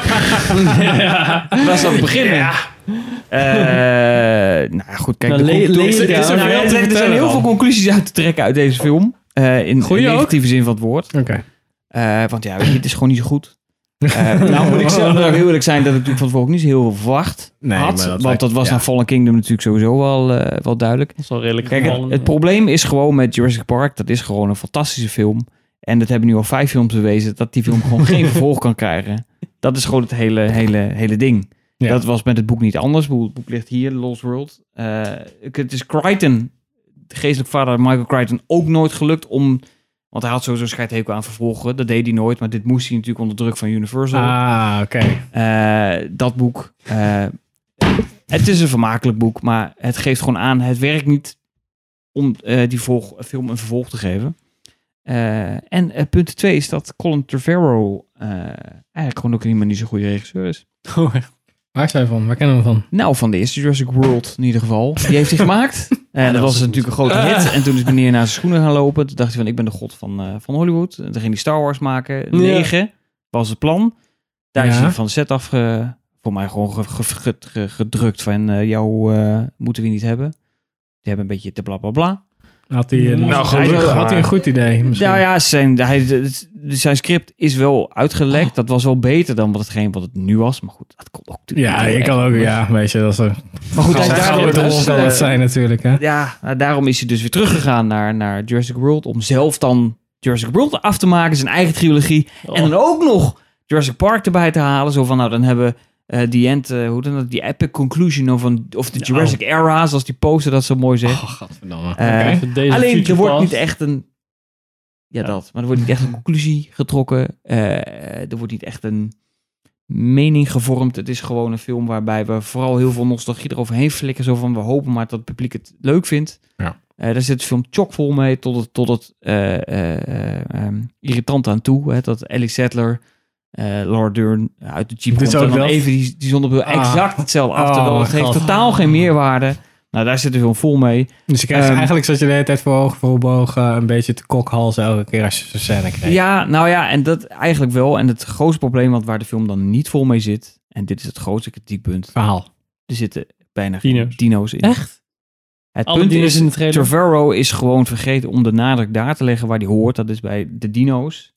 B: Ja.
E: Waar zou ik beginnen? Eh, nou ja, goed, kijk.
B: Nou,
E: de
B: le-
E: con-
B: le-
E: er-
B: le-
E: er- er-
B: nou, te
E: er zijn
B: vertellen
E: heel
B: dan.
E: veel conclusies uit te trekken uit deze film. Eh, in de
C: Goeie ook?
E: negatieve zin van het woord.
C: Oké.
E: Eh, want ja, weet je, het is gewoon niet zo goed. Eh, nou moet ik zelf ook heel eerlijk zijn dat ik natuurlijk van tevoren ook niet zo heel veel verwacht
C: Nee,
E: had.
C: maar dat
E: want
C: lijkt-
E: dat was
C: ja.
E: naar Fallen Kingdom natuurlijk sowieso wel, eh, wel duidelijk.
B: Dat is wel redelijk
E: Kijk, het,
B: gevallen,
E: het
C: eh,
B: ja.
E: probleem is gewoon met Jurassic Park, dat is gewoon een fantastische film. En dat hebben nu al vijf films bewezen, dat die film gewoon geen vervolg kan krijgen. Dat is gewoon het hele, hele, hele ding.
C: Ja.
E: Dat was met het boek niet anders. Het boek- het boek ligt hier, Lost World. Eh, het is Crichton, de geestelijk vader Michael Crichton, ook nooit gelukt om... Want hij had sowieso scheidhekel aan vervolgen. Dat deed hij nooit, maar dit moest hij natuurlijk onder druk van Universal.
C: Ah, oké.
E: Eh, dat boek. eh, het is een vermakelijk boek, maar het geeft gewoon aan, het werkt niet om eh, die volg- film een vervolg te geven. Eh, en eh, punt twee is dat Colin Trevorrow eh, eigenlijk gewoon ook helemaal niet zo'n goede regisseur is.
C: Waar zijn we van? Waar kennen we hem van?
E: Nou, van de eerste Jurassic World in ieder geval. Die heeft hij gemaakt. En dat was natuurlijk een grote hit. En toen is meneer naar zijn schoenen gaan lopen. Toen dacht hij van, ik ben de god van, eh, van Hollywood. En toen ging hij Star Wars maken. Negen was het plan. Daar is
C: Ja.
E: hij van de set af, ge- voor mij gewoon ge- ge- ge- ge- gedrukt van, eh, jou eh, moeten we niet hebben. Die hebben een beetje te bla bla bla.
C: Had hij een,
G: Nou,
C: hij-
G: gelukkig
C: had hij een
G: maar.
C: goed idee misschien?
E: Nou ja, zijn, hij, het- zijn script is wel uitgelekt. Dat was wel beter dan wat hetgeen wat het nu was. Maar goed, dat kon ook natuurlijk
C: Ja,
E: niet
C: je
E: echt
C: kan ook,
E: anders.
C: ja, weet je, dat is een
E: Maar goed, dus, hij eh, is
G: Gaan we
E: daar
G: gaan
E: wel
G: we
E: weer
G: door.
E: terug.
C: zal het zijn natuurlijk, hè?
E: Ja, nou, daarom is hij dus weer teruggegaan naar, naar Jurassic World. Om zelf dan Jurassic World af te maken, zijn eigen trilogie. En dan ook nog Jurassic Park erbij te halen. Zo van, nou, dan hebben we eh, die end, eh, hoe dan dat, die epic conclusion of, een, of de Jurassic era, zoals die poster dat zo mooi zegt.
C: Oh, godverdamme.
E: Eh,
B: Even deze
E: Alleen, er
B: feature
E: wordt niet
B: past.
E: echt een... Ja, dat. Maar er wordt niet echt een conclusie getrokken. Eh, er wordt niet echt een mening gevormd. Het is gewoon een film waarbij we vooral heel veel nostalgie eroverheen flikken. Zo van, we hopen maar dat het publiek het leuk vindt.
C: Ja.
E: Eh, daar zit de film chockvol mee tot het, tot het eh, eh, eh, ehm, irritant aan toe. Hè, dat Ellie Sattler, eh Laura Dern uit de Jeep
C: Dit
E: komt
C: is ook
E: en dan
C: dat?
E: even die, die zonnebril
C: Ah.
E: exact hetzelfde af.
C: Oh,
E: terwijl het heeft
C: God.
E: totaal geen meerwaarde. Nou, daar zit de film vol mee.
C: Dus je krijgt
E: Ehm,
C: eigenlijk zat je de hele tijd voor ogen voor bogen een beetje te kokhalzen elke keer als je zo'n scène kreeg.
E: Ja, nou ja, en dat eigenlijk wel. En het grootste probleem, want waar de film dan niet vol mee zit, en dit is het grootste kritiekpunt,
C: Verhaal.
E: er zitten bijna geen
B: Dino's.
E: dino's in.
B: Echt?
E: Het
B: Alle
E: punt
B: dino's
E: is,
B: in de trailer?
E: Trevorrow is gewoon vergeten om de nadruk daar te leggen waar die hoort. Dat is bij de dino's.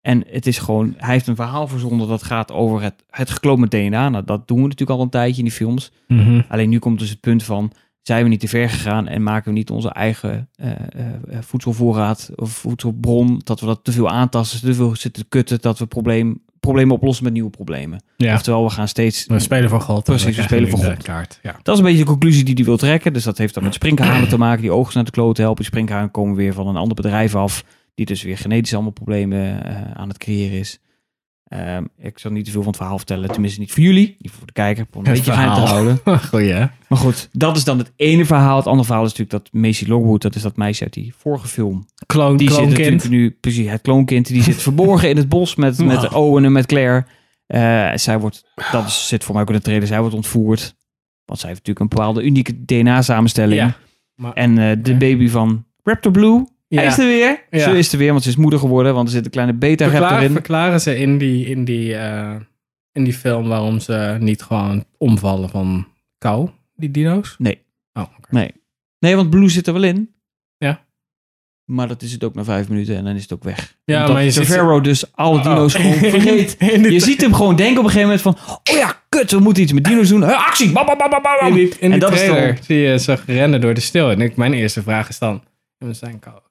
E: En het is gewoon, hij heeft een verhaal verzonden dat gaat over het, het gekloon met DNA. Nou, dat doen we natuurlijk al een tijdje in die films.
C: Mhm.
E: Alleen nu komt dus het punt van, zijn we niet te ver gegaan en maken we niet onze eigen eh, eh, voedselvoorraad of voedselbron, dat we dat te veel aantasten, te veel zitten te kutten, dat we probleem, problemen oplossen met nieuwe problemen.
C: Ja.
E: Oftewel, we gaan steeds...
C: We spelen voor geld.
E: Precies, we spelen voor
C: geld.
E: God.
C: Kaart, ja.
E: Dat is een beetje de conclusie die hij wil trekken. Dus dat heeft dan met sprinkhanen te maken, die oogst naar de kloot helpen. Die sprinkhanen komen weer van een ander bedrijf af, die dus weer genetisch allemaal problemen eh, aan het creëren is. Ehm, ik zal niet te veel van het verhaal vertellen, tenminste niet voor jullie, niet voor de kijker, om een beetje geheim te houden.
C: Goeie, hè?
E: Maar goed, dat is dan het ene verhaal. Het andere verhaal is natuurlijk dat Macy Lockwood, dat is dat meisje uit die vorige film.
C: Kloon-
E: die
C: kloonkind.
E: zit natuurlijk nu, precies, het kloonkind, die zit verborgen in het bos met, met
C: Ah.
E: Owen en met Claire. Eh, zij wordt, dat is- zit voor mij ook in de trailer, zij wordt ontvoerd. Want zij heeft natuurlijk een bepaalde unieke DNA-samenstelling.
C: Ja, maar-
E: en eh, de baby van Raptor Blue, hij is er weer.
C: Ja.
E: Ze is er weer, want ze is moeder geworden, want er zit een kleine beta-raptor
C: Verklaar-
E: in.
C: Verklaren ze in die, in, die, eh, in die film waarom ze niet gewoon omvallen van kou, die dino's?
E: Nee.
C: Oh, oké.
E: Nee. Nee, want Blue zit er wel in.
C: Ja.
E: Maar dat is het ook na vijf minuten en dan is het ook weg.
C: Ja,
E: Omdat
C: maar je
E: de
C: ziet ze-
E: Pharaoh dus alle
C: Oh.
E: dino's gewoon vergeet. Je ziet hem gewoon denken op een gegeven moment van... Oh ja, kut, we moeten iets met dino's doen. Huh, actie! Bam, bam, bam, bam, bam.
C: In die, in
E: en
C: die
E: dat
C: trailer
E: is
C: zie je ze rennen door de stil. En ik, mijn eerste vraag is dan, we zijn kou.
E: dan...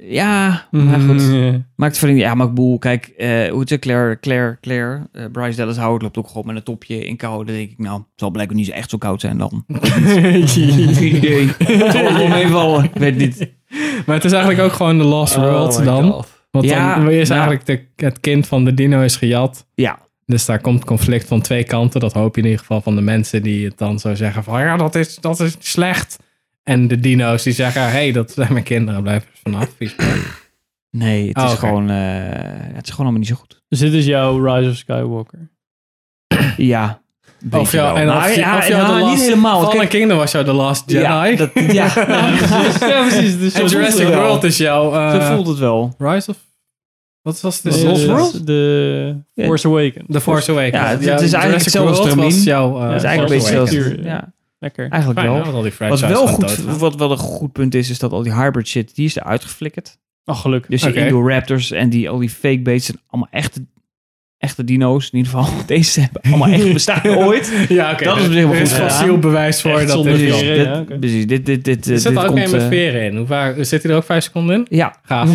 E: Ja,
C: Mhm.
E: maar goed.
C: Ja.
E: Maakt voor Ja, maar ik boel. Kijk, eh, hoe het is, Claire, Claire, Claire. eh, Bryce Dallas Howard loopt ook gewoon met een topje in kou. Dan denk ik, nou, het zal blijkbaar niet zo echt zo koud zijn dan. Geen idee. Het zal wel meevallen. Weet niet.
C: Maar het is eigenlijk ook gewoon de Lost World
E: Oh my
C: dan. Want
E: Ja,
C: dan is
E: ja.
C: eigenlijk de, het kind van de dino is gejat.
E: Ja.
C: Dus daar komt conflict van twee kanten. Dat hoop je in ieder geval van de mensen die het dan zo zeggen van... Ja, dat is, dat is slecht. En de dino's die zeggen... Hé, hey, dat zijn mijn kinderen. Blijf er vanaf. Vies maar.
E: Nee, het,
C: Oh,
E: is
C: oké.
E: gewoon, eh, het is gewoon allemaal niet zo goed.
B: Dus dit is jouw Rise of Skywalker.
E: Ja.
C: Of jou, en of,
E: Nou,
C: je-
E: ja,
C: of jou
E: nou,
C: de
E: niet
C: last,
E: helemaal, want
C: Fallen
E: kijk-
C: Kingdom was jou de Last Jedi.
E: Ja, dat- ja. Ja, precies. Ja, precies. Dus zo
C: en
E: voelt
C: Jurassic
E: het wel.
C: World is jouw... eh,
E: Zo voelt het wel.
C: Rise of... Wat was de
B: De-
C: Lost World?
B: De
E: Ja.
B: Force Awakens.
C: The Force Awakens.
E: Ja, het, het is eigenlijk
C: Jurassic
E: hetzelfde als
C: World
E: Termin.
C: was jouw, eh,
E: het is eigenlijk een beetje
C: Force
E: hetzelfde.
C: Awakens.
E: Ja.
B: Lekker.
E: Eigenlijk
C: Fijn, hè,
E: wel.
C: want al die
E: Wat
C: franchises
E: wel
C: gaan
E: goed,
C: doodgaan.
E: wat wel een goed punt is, is dat al die hybrid shit, die is eruit geflikkerd.
B: Oh, gelukkig.
E: Dus die
B: Oké.
E: Indoraptors en die, al die fake baits zijn allemaal echte, echte dino's. In ieder geval, deze hebben allemaal echt bestaan ooit.
C: Ja, oké.
E: Dat is op zich wel
C: Er
E: goed
C: is
E: gedaan.
C: fossiel bewijs voor
E: Echt
C: dat
E: zonder
C: dit
E: veren,
C: kan.
E: dit-
C: Ja, oké.
E: Precies, dit, dit, dit,
C: Er
E: dit,
C: zit er ook
E: komt,
C: een met
E: eh,
C: veren in. Hoe vaak, zit hij er ook vijf seconden in?
E: Ja.
C: Gaaf.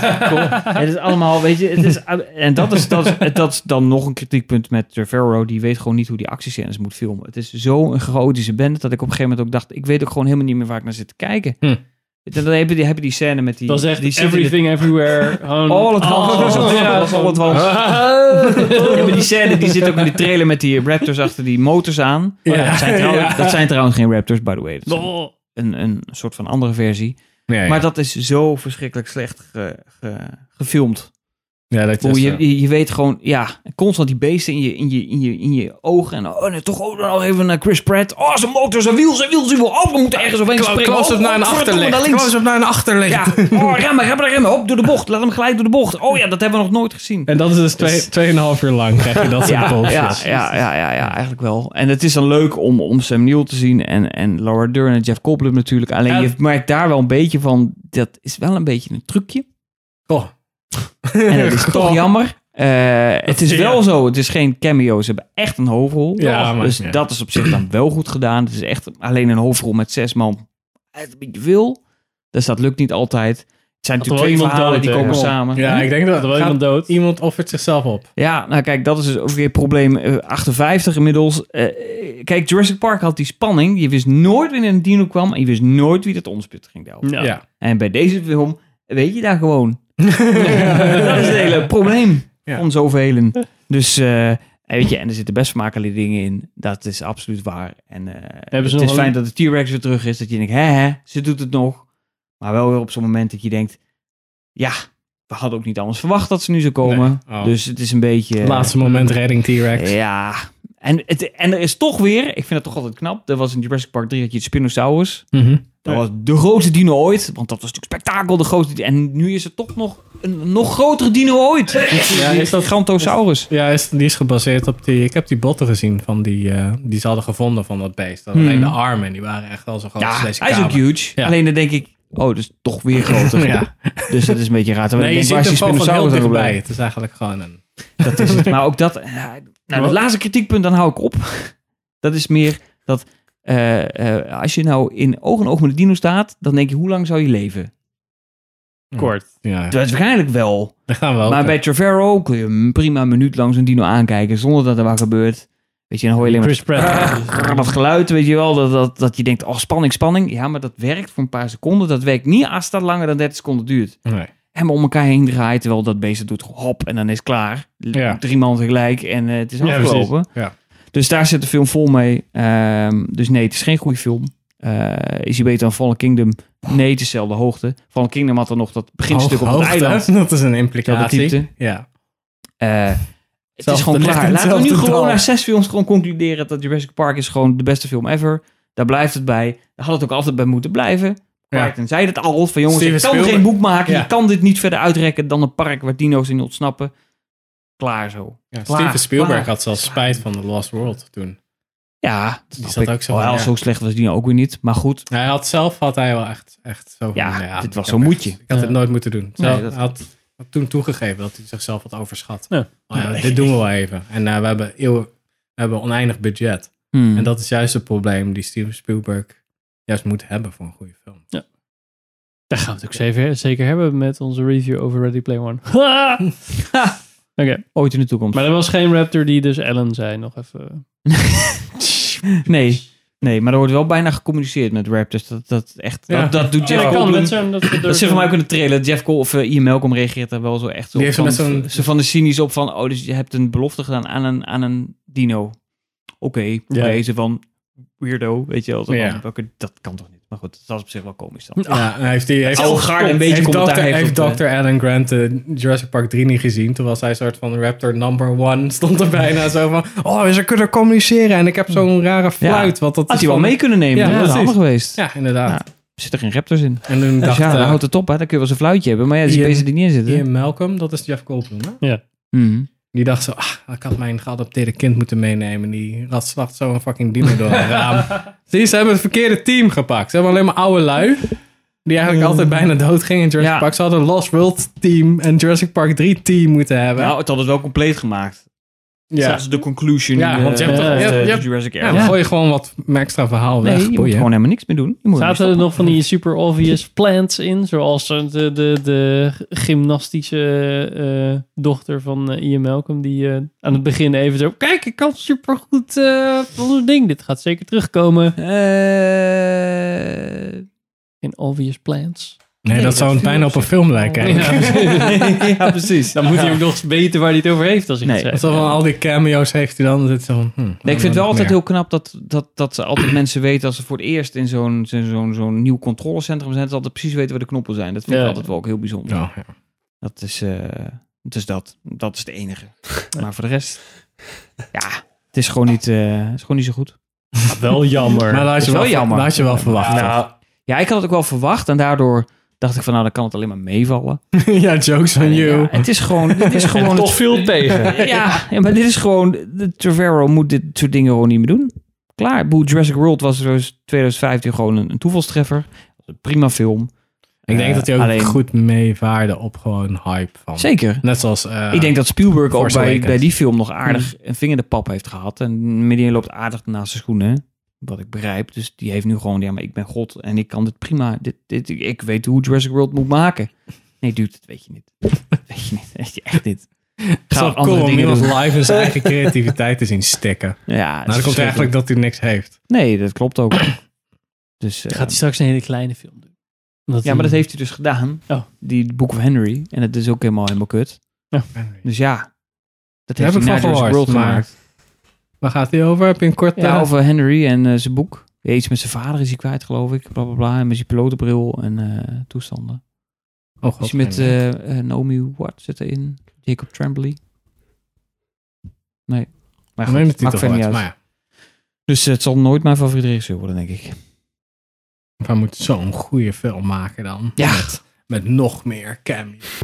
E: Het is allemaal, weet je, het is, en dat is, dat, is, dat is dan nog een kritiekpunt met Trevorrow. Die weet gewoon niet hoe die actiescènes moet filmen. Het is zo'n chaotische band dat ik op een gegeven moment ook dacht... ik weet ook gewoon helemaal niet meer waar ik naar zit te kijken.
C: Hm.
E: Dan heb je, die, heb je die scène met die...
B: Dat is echt
E: die zit in de-
B: everything, everywhere. Gewoon,
E: All at once.
B: Oh,
E: Ja, dat is all at once. Ja, maar die scène die zit ook in de trailer met die Raptors achter die motors aan.
C: Ja.
E: dat, zijn trouwens,
C: Ja.
E: dat zijn trouwens geen Raptors, by the way. Dat is een-
B: Oh.
E: een, een soort van andere versie.
C: ja.
E: Maar dat is zo verschrikkelijk slecht ge- ge- gefilmd.
C: Ja, dat
E: Hoe
C: is,
E: je,
C: eh,
E: je, je weet gewoon, ja, constant die beesten in je, in je, in je, in je ogen. En oh, nee, toch ook nog even naar Chris Pratt. Oh, zijn motor, zijn wiel, zijn wiel, zijn wiel. Oh, we moeten ergens overheen
C: Close-
E: springen.
C: close
E: oh,
C: up naar
E: oh,
C: een
E: verdomme,
C: achterlicht.
E: naar links.
C: Close up naar een achterlicht.
E: Ja, oh, remmen, remmen, remmen. Hop, door de bocht. Laat hem glijden door de bocht. Oh ja, dat hebben we nog nooit gezien.
C: En dat is dus twee- 2,5 uur lang krijg je dat soort
E: ja,
C: bullshit.
E: ja, ja, ja, ja, ja, eigenlijk wel. En het is dan leuk om, om Sam Neill te zien en, en Laura Dern en Jeff Goldblum natuurlijk. Alleen je merkt daar wel een beetje van, dat is wel een beetje een trucje.
C: Oh.
E: En dat is toch
C: Goh.
E: jammer. Eh, het is wel zo, het is geen cameo. Ze hebben echt een hoofdrol.
C: Ja, maar-
E: dus
C: ja.
E: dat is op zich dan wel goed gedaan. Het is echt alleen een hoofdrol met zes man. Het is een beetje veel. Dus dat lukt niet altijd. Het zijn
C: Had
E: natuurlijk twee
C: er wel
E: verhalen
C: iemand dood,
E: die
C: hè?
E: komen
C: Kom.
E: samen.
C: Ja, ik denk dat
B: wel iemand
C: dood. iemand offert zichzelf op.
E: Ja, nou kijk, dat is dus ook weer probleem eh, 58 inmiddels. Eh, eh, kijk, Jurassic Park had die spanning. Je wist nooit wanneer een dino kwam en je wist nooit wie dat omspit ging delven.
B: Ja. Ja.
E: En bij deze film weet je daar gewoon. dat is het hele probleem van zoveel. Dus, eh, en weet je, en er zitten best vermakelijke dingen in. Dat is absoluut waar. En eh,
B: Hebben ze
E: het
B: nog
E: is fijn
B: een-
E: dat de T-Rex weer terug is. Dat je denkt, hè, hè, ze doet het nog. Maar wel weer op zo'n moment dat je denkt, ja, we hadden ook niet anders verwacht dat ze nu zou komen.
C: Nee. Oh.
E: Dus het is een beetje... eh,
C: Het laatste moment redding T-Rex.
E: Ja. En, het, en er is toch weer, ik vind het toch altijd knap, er was in Jurassic Park 3 dat je het Spinosaurus.
C: Mhm.
E: Dat was de grootste dino ooit, want dat was natuurlijk spektakel, de grootste. En nu is het toch nog een nog grotere dino ooit.
C: Ja, is dat
E: Grantosaurus?
C: Ja, is, die is gebaseerd op die... Ik heb die botten gezien van die, eh, die ze hadden gevonden van dat beest. Dat
E: Hmm.
C: Alleen de armen, die waren echt wel zo groot
E: Ja,
C: als deze
E: hij is ook
C: kamer.
E: huge.
C: Ja.
E: Alleen dan denk ik, oh, dat is toch weer groter.
C: Ja.
E: Dus dat is een beetje raar. Terwijl
C: nee,
E: ik
C: je
E: denk,
C: ziet
E: waar is
C: er
E: die
C: gewoon van heel
E: Spinosaurus dan
C: dichtbij.
E: gebleven?
C: Het is eigenlijk gewoon een...
E: Dat eh, is het. Maar ook dat. Nou, het laatste kritiekpunt, dan hou ik op. Dat is meer dat eh, eh, als je nou in oog en oog met de dino staat, dan denk je, hoe lang zou je leven?
B: Kort.
C: Ja.
E: Dat is waarschijnlijk wel.
C: Dat gaan we ook.
E: Maar bij Trevorrow kun je hem prima een minuut lang zo'n dino aankijken zonder dat er wat gebeurt. Weet je, dan hoor je alleen maar
B: Chris Pratt.
E: grrr, dat geluid, weet je wel, dat, dat, dat je denkt, oh spanning, spanning. Ja, maar dat werkt voor een paar seconden. Dat werkt niet als dat langer dan 30 seconden duurt.
C: Nee.
E: En om elkaar heen draait, terwijl dat beest het doet hop en dan is het klaar. L-
C: Ja.
E: Drie man tegelijk en eh, het is
C: Ja,
E: afgelopen.
C: precies. Ja.
E: Dus daar zit de film vol mee. Ehm, dus nee, het is geen goede film. Eh, is hij beter dan Fallen Kingdom? Nee, het is dezelfde hoogte. Fallen Kingdom had dan nog dat beginstuk
C: Hoog-
E: op het
C: hoogte,
E: eiland.
C: Dat is een
E: Dezelfde diepte.
C: implicatie. Ja.
E: Eh, het is
C: Zelfde
E: gewoon
C: licht
E: klaar.
C: en
E: Laten we nu
C: zelfde
E: gewoon
C: dal.
E: na zes films gewoon concluderen dat Jurassic Park is gewoon de beste film ever. Daar blijft het bij. Daar had het ook altijd bij moeten blijven. Crichton zei het al, van jongens,
C: Steven
E: ik kan
C: Spielberg.
E: geen boek maken.
C: Ja.
E: Je kan dit niet verder uitrekken dan een park waar dino's in ontsnappen. Klaar zo.
C: Ja,
E: Klaar,
C: Steven Spielberg
E: klaar.
C: had zelfs spijt van The Lost World toen.
E: Ja, dat
C: Die
E: snap
C: zat
E: ik.
C: ook zo
E: Oh,
C: van,
E: ja,
C: ja.
E: Zo slecht was Dino ook weer niet. Maar goed,
C: Hij had zelf had hij wel echt, echt zo van,
E: Ja,
C: nee,
E: dit
C: ik
E: was
C: heb
E: zo'n
C: echt-
E: moetje.
C: Ik had het
E: Ja.
C: nooit moeten doen.
E: Nee,
C: Zelf,
E: dat-
C: had, had toen toegegeven dat hij zichzelf had overschat.
B: Ja.
C: Oh ja, dit doen we wel even. En eh, we, hebben eeuwen, we hebben oneindig budget.
E: Hmm.
C: En dat is juist het probleem die Steven Spielberg juist moet hebben voor een goede film.
B: Daar gaan we het ook zeker, zeker hebben met onze review over Ready Player One. Oké.
E: ooit in de toekomst.
B: Maar er was geen raptor die dus Ellen zei, nog even.
E: Nee, nee, maar er wordt wel bijna gecommuniceerd met Raptors. Dat, dat, echt,
B: Ja.
E: dat, dat doet
B: Ja,
E: Jeff
B: dat kan,
E: Goldblum.
B: dat zijn- dat- dat
E: Dat zit voor
B: durven.
E: mij ook in de trailer. Jeff Goldblum of eh, Ian Malcolm reageert daar wel zo echt
C: Die
E: op.
C: heeft
E: van,
C: hem met zo'n-
E: zo van de cynisch op van, oh, dus je hebt een belofte gedaan aan een, aan een dino. Oké, oké,
C: Ja.
E: ze van weirdo, weet je wel. Zo van,
C: Ja.
E: welke- dat kan toch niet? Maar goed, dat is op zich wel komisch dan.
C: Ja, en heeft die, heeft,
E: Al gaar een beetje
C: heeft
E: commentaar
C: Dr.
E: heeft
C: heeft
E: op, eh,
C: Dr. Alan Grant de Jurassic Park 3 niet gezien. Terwijl zij soort van Raptor number one stond er bijna zo van... Oh, ze kunnen communiceren en ik heb zo'n rare fluit. Wat dat
E: Had
C: is
E: hij wel
C: van-
E: mee kunnen nemen,
C: Ja,
E: dat was
C: precies.
E: handig geweest.
C: Ja, inderdaad.
E: Zit er geen raptors in?
C: En toen
E: Dus
C: dacht
E: ja, dan
C: eh,
E: houdt het op, hè. Dan kun je wel eens een fluitje hebben, maar ja, die
C: Ian-
E: beesten die neerzitten.
C: Ian Malcolm, dat is Jeff Goldblum, hè?
B: Ja.
E: Mhm.
C: Die dacht zo, ah, ik had mijn geadopteerde kind moeten meenemen. Die rat slacht zo een fucking dino door een raam. Zie, ze hebben het verkeerde team gepakt. Ze hebben alleen maar oude lui. Die eigenlijk altijd bijna dood gingen in Jurassic Park. Ze hadden een Lost World team en Jurassic Park 3 team moeten hebben.
E: Nou, het had het wel compleet gemaakt.
C: Ja.
E: Zelfs de conclusion.
C: ja, want je hebt
E: eh,
C: toch... je
E: de-
C: hebt-
E: de
C: je hebt-
E: Jurassic
C: ja,
E: Era.
C: dan gooi je gewoon wat extra verhaal
E: Nee,
C: weg.
E: je moet
C: boeien.
E: gewoon helemaal niks meer doen. Je moet
B: Zaten er nog van die super obvious plants in? Zoals eh, de, de, de gymnastische eh, dochter van eh, Ian Malcolm. Die eh, aan het begin even zo... Kijk, ik kan supergoed eh van zo'n ding. Dit gaat zeker terugkomen.
E: Eh.
B: In obvious plants.
C: Nee, dat zou het bijna op een film lijken.
B: Ja, precies. Dan moet hij
C: Ja.
B: ook nog eens weten waar hij het over heeft als ik
C: Want
B: het
C: zo
B: zeg.
C: van al die cameo's heeft hij dan. Zit zo van, hm,
E: Nee, ik vind het wel
C: nog
E: altijd
C: meer.
E: heel knap dat, dat, dat ze altijd mensen weten als ze voor het eerst in zo'n zo'n zo'n zo'n nieuw controlecentrum zijn, dat ze altijd precies weten waar de knoppen zijn. Dat vind ik
B: Ja.
E: altijd wel ook heel bijzonder.
C: Ja, ja.
E: Dat is, eh, dus dat, dat is het enige. Maar voor de rest, ja, het is gewoon niet, eh, het is gewoon niet zo goed.
B: Wel jammer.
C: Maar dat had
E: Dat
C: je
E: is
C: wel,
E: wel jammer.
C: dat had je wel verwacht.
E: Nou, ja, ik had het ook wel verwacht en daardoor dacht ik van, nou, dan kan het alleen maar meevallen.
C: ja, jokes on you.
E: Ja, het is gewoon, het is gewoon het-
G: veel tegen.
E: Ja, ja, maar dit is gewoon... de Trevorrow moet dit soort dingen gewoon niet meer doen. Klaar. Ik bedoel, Jurassic World was in 2015 gewoon een, een toevalstreffer. Een prima film.
C: Ik denk
E: Eh,
C: dat hij ook
E: alleen-
C: goed meevaarde op gewoon hype van.
E: Zeker.
C: Net zoals. eh,
E: ik denk dat Spielberg ook
C: Force
E: bij,
C: Awakens. Mm.
E: bij die film nog aardig een vinger in de pap heeft gehad. En Midian loopt aardig naast zijn schoenen. hè, Wat ik begrijp. Dus die heeft nu gewoon... Ja, maar ik ben God en ik kan dit prima. Dit, dit, ik- ik weet hoe Jurassic World moet maken. Nee, dude, dat weet je niet. Dat weet je niet. Dat weet je echt niet.
C: Het is
E: Ga
C: wel
E: andere
C: cool om
E: dingen
C: iemand
E: doen.
C: live in zijn eigen creativiteit te zien stikken.
E: Ja,
C: Nou, dan komt eigenlijk dat hij niks heeft.
E: Nee, dat klopt ook. Dus, eh,
B: Gaat hij straks een hele kleine film doen. Omdat
E: ja, maar dat heeft hij dus gedaan.
B: Oh.
E: Die Book of Henry. En het is ook helemaal helemaal kut.
B: Ja.
E: Dus ja, dat heeft hij
C: Daar heb ik van
E: naar Jurassic
C: gehoord.
E: World
C: Maar
E: gemaakt.
C: waar gaat hij over? Heb je een kort
E: Ja, over Henry en eh, zijn boek. Ja, Iets met zijn vader is hij kwijt, geloof ik. Bla, bla, bla. En met zijn pilotenbril en eh, toestanden.
C: Oh,
E: Is hij met eh eh, Naomi Watt zit erin? Jacob Tremblay? Nee. Maar goed,
C: Neem de
E: eh, maakt
C: titel
E: verder
C: uit.
E: niet uit.
C: Maar ja,
E: Dus het zal nooit mijn favoriete regisseur worden, denk ik.
C: we moeten zo'n goede film maken dan.
E: Ja.
C: Met, met nog meer cameo's.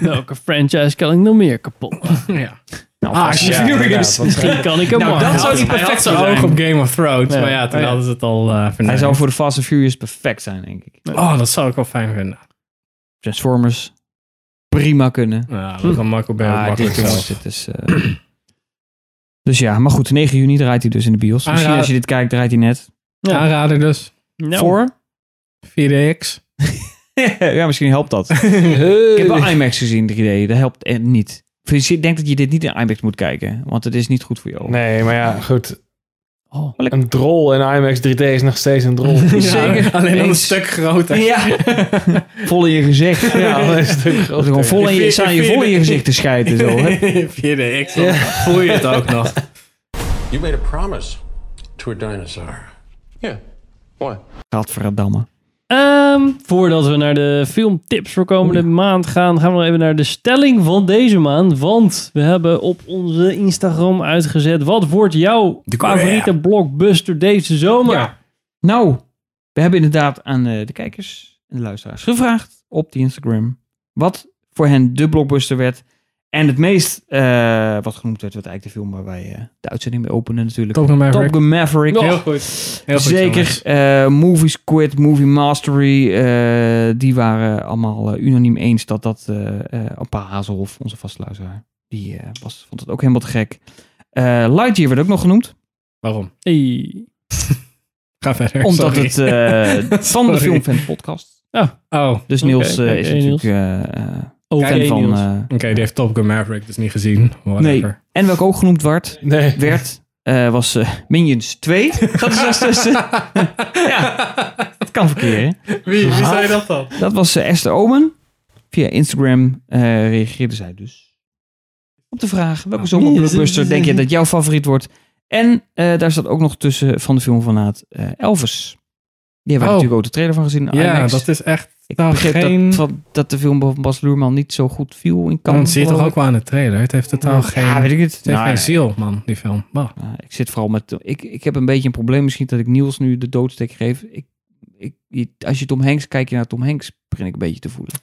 B: Welke franchise kan ik nog meer kapot maken?
C: Ja.
E: Nou,
C: Ah,
E: vast-
C: shit.
E: ja, inderdaad, want-
B: Misschien kan ik hem
C: Nou,
B: maken.
C: dat zou die
B: Hij had
C: perfect
B: zijn
C: zijn oog
B: ogen
C: op Game of Thrones.
B: Ja.
C: Maar ja, toen
B: Oh, ja.
C: hadden ze het al eh
E: Hij
C: verneukt.
E: zou voor de Fast and Furious perfect zijn, denk ik.
C: Oh, dat zou ik wel fijn vinden.
E: Transformers prima kunnen.
C: Nou, dat kan Marco Bay ook
E: Maar Ah, dit
C: makkelijk
E: is,
C: zelf.
E: dit is eh, Dus ja, maar goed, 9 juni draait hij dus in de bios. Misschien
C: Aanraden.
E: als je dit kijkt, draait hij net.
C: Ja. Aanrader dus.
B: Nou.
E: Voor?
C: 4DX.
E: ja, misschien helpt dat. Ik heb wel IMAX gezien, 3D. Dat helpt eh, niet. Ik denk dat je dit niet in IMAX moet kijken, want het is niet goed voor je ogen.
G: Nee, maar ja, goed. Oh. een drol in IMAX 3D is nog steeds een drol.
E: Zeker.
C: Alleen dan een
E: Eens.
C: stuk groter.
E: Ja. vol in je gezicht.
G: Ja, dat is een stuk groter.
E: Gewoon vol in je, staan je vol in je gezicht te schijten. Zo, hè?
C: 4DX, dan voel je het ook nog.
O: You made a promise to a dinosaur. Yeah. What?
E: Gadverdamme.
B: Ehm, voordat we naar de filmtips voor komende maand gaan, gaan we nog even naar de stelling van deze maand. Want we hebben op onze Instagram uitgezet: wat wordt jouw favoriete blockbuster deze zomer?
E: Nou, we hebben inderdaad aan eh, de kijkers en de luisteraars gevraagd op die Instagram wat voor hen de blockbuster werd. En het meest eh, wat genoemd werd, werd eigenlijk de film waar wij eh, de uitzending mee openen natuurlijk.
C: Top Gun Maverick.
E: Top Gun Maverick.
C: Heel goed. Heel goed,
E: Zeker.
C: jongens.
E: eh movie Squid, Movie Mastery, eh, die waren allemaal eh, unaniem eens dat dat eh eh, Appa Hazelhoff, onze vaste luisteraar, die eh, was, vond het ook helemaal te gek. Eh, Lightyear werd ook nog genoemd.
C: Waarom?
B: Hey.
C: Ga verder.
E: Omdat
C: sorry.
E: het eh, van de
C: Sorry.
E: Filmfan podcast.
C: Oh.
E: Dus Niels eh, is natuurlijk eh, eh, fan van... eh,
C: Oké, die heeft Top Gun Maverick dus niet gezien.
E: nee.
C: Whatever.
E: En welke ook genoemd werd, werd eh, was eh, Minions 2. Dat is dus- als tussen. ja, dat kan verkeer. hè?
C: Wie, wie zei dat dan?
E: Dat was eh, Esther Omen. Via Instagram eh, reageerde zij dus op de vraag
C: Ah,
E: welke zomerblockbuster denk je dat jouw favoriet wordt. En eh, daar staat ook nog tussen van de film van Naad eh, Elvis. Die hebben we
C: Oh.
E: natuurlijk ook de trailer van gezien. in
C: Ja,
E: IMAX.
C: dat is echt...
E: Ik
C: nou
E: begreep
C: geen-
E: dat, van- dat de film van Bas Luhrmann niet zo goed viel in Cannes.
C: Dan zie je toch
E: geloof
C: ook wel aan de trailer. Het heeft totaal
E: Ja,
C: Oh, geen...
E: weet ik het.
C: heeft
E: Nou,
C: geen
E: ja.
C: ziel, man, die film. Wow.
E: ik. Nou, ik zit vooral met... Ik, ik heb een beetje een probleem misschien dat ik Niels nu de doodsteek geef. Ik, ik, je- als je Tom Hanks kijkt je naar Tom Hanks, begin ik een beetje te voelen.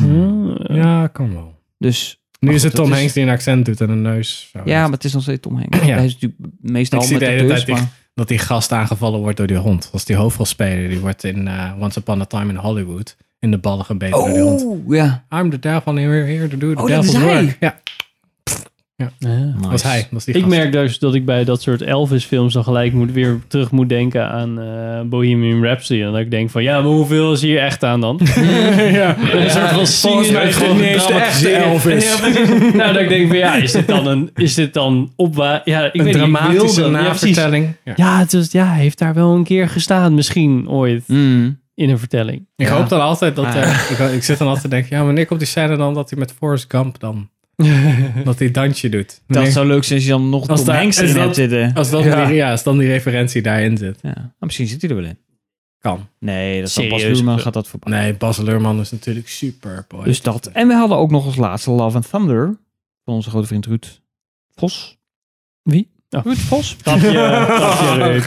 C: Hm.
B: Hmm,
C: Ja, kan wel.
E: Dus...
C: Nu
E: Hm. maar goed,
C: is het Tom
E: dat
C: Hanks die een accent doet en een neus. Zo.
E: Ja, maar het is nog steeds Tom Hanks. Hij is natuurlijk meestal
C: Oh, Ik zie
E: met
C: de
E: de,
C: hele
E: bus,
C: tijd die-
E: maar...
C: dat die gast aangevallen wordt door die hond. Dat is die hoofdrolspeler. Die wordt in eh, Once Upon a Time in Hollywood in de ballen gebeten door die hond.
E: Oeh, Oh, ja.
C: I'm the devil here, here to do the
E: Oh, dat
C: devil's
E: is hij.
C: work. Ja. Ja. Dat was hij. Dat was die
B: ik
C: gast.
B: merk dus dat ik bij dat soort Elvis-films dan gelijk moet, weer terug moet denken aan eh, Bohemian Rhapsody. En dat ik denk van, ja, maar hoeveel is hier echt aan dan? ja. Een soort van
C: volgens mij is dit niet eens de echte Elvis.
B: Ja, precies. nou, dat ik denk van, ja, is dit dan een, is dit dan opwa... Ja, ik
C: Een
B: weet niet,
C: dramatische
B: wilde- ja, precies.
C: navertelling.
B: Ja,
C: Ja.
B: het is, ja, hij heeft daar wel een keer gestaan, misschien ooit,
E: Mm.
B: in een vertelling.
C: Ik
B: Ja.
C: hoop dan altijd dat...
B: Ah.
C: eh, ik, ik zit dan altijd te denken, ja, wanneer komt die scène dan dat hij met Forrest Gump dan... dat hij dansje doet.
E: Dat
C: Wanneer-
E: zou leuk zijn als je dan nog Tom
C: daar-
E: Hanks
C: als
E: in
C: dat- Oh.
E: hebt zitten.
C: Als, dat
E: Ja.
C: die, ja, als dan die referentie daarin zit.
E: Ja. Ah, Misschien zit hij er wel in.
C: Kan.
E: Nee, dat zal Bas
C: Serieus? Oh,
E: Luhrmann gaat dat voorbij.
C: Nee, Bas Leurman is natuurlijk super poëtisch.
E: Dus dat. En we hadden ook nog als laatste Love and Thunder. Van onze grote vriend Ruud Vos. Wie?
C: Oh.
E: Ruud Vos.
B: Tapje, tapje, Ruud.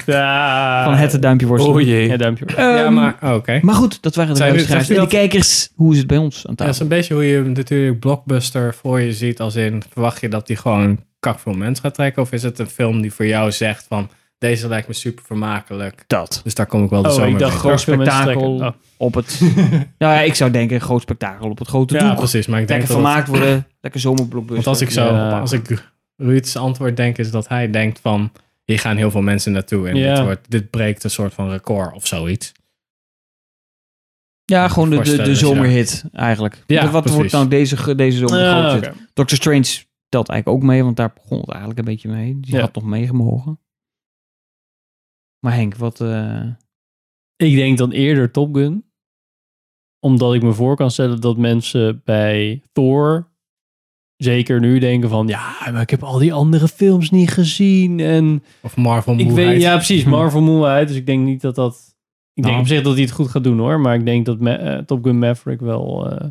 E: Van het duimpje worstelen.
B: Oh jee. Het duimpje worstelen.
C: ja,
E: Ehm,
C: maar oh, oké.
E: Maar goed, dat waren de
C: Zijn we-
E: luisteraars.
C: zegt u
E: En de
C: dat?
E: kijkers, hoe is het bij ons aan
C: Ja, dat is
E: tafel?
C: een beetje hoe je natuurlijk blockbuster voor je ziet. Als in, verwacht je dat die gewoon kak veel mensen gaat trekken? Of is het een film die voor jou zegt van, deze lijkt me super vermakelijk.
E: Dat.
C: Dus daar kom ik wel de
B: Oh,
C: zomer
B: ik dacht
C: mee.
B: gewoon spektakel.
C: Oh.
E: op het... nou ja, ik zou denken een groot spektakel op het grote
C: Ja,
E: doel.
C: precies, maar ik denk
E: Lekker
C: dat
E: vermaakt
C: dat-
E: worden. Lekker zomerblockbuster.
C: Want als ik zo,
E: Ja.
C: als ik Ruud's antwoord denk, is dat hij denkt van, hier gaan heel veel mensen naartoe. En
E: Ja.
C: dit, wordt, dit breekt een soort van record of zoiets.
E: Ja, gewoon de, de,
C: voorstellen
E: de
C: dat je
E: zomerhit eigenlijk.
C: Ja,
E: wat
C: precies.
E: wordt nou deze, ge- deze zomer
C: Ah,
E: groot?
C: oké.
E: Doctor Strange telt eigenlijk ook mee, want daar begon het eigenlijk een beetje mee. Die had nog meegemogen. Maar Henk, wat... eh,
B: Ik denk dan eerder Top Gun. Omdat ik me voor kan stellen dat mensen bij Thor zeker nu denken van... Ja, maar ik heb al die andere films niet gezien. En
C: Of Marvel
B: ik
C: moeheid.
B: weet, Ja, precies. Marvel moeheid. Dus ik denk niet dat dat... Ik denk
C: Nou.
B: op zich dat hij het goed gaat doen hoor. Maar ik denk dat Ma- eh, Top Gun Maverick wel... eh,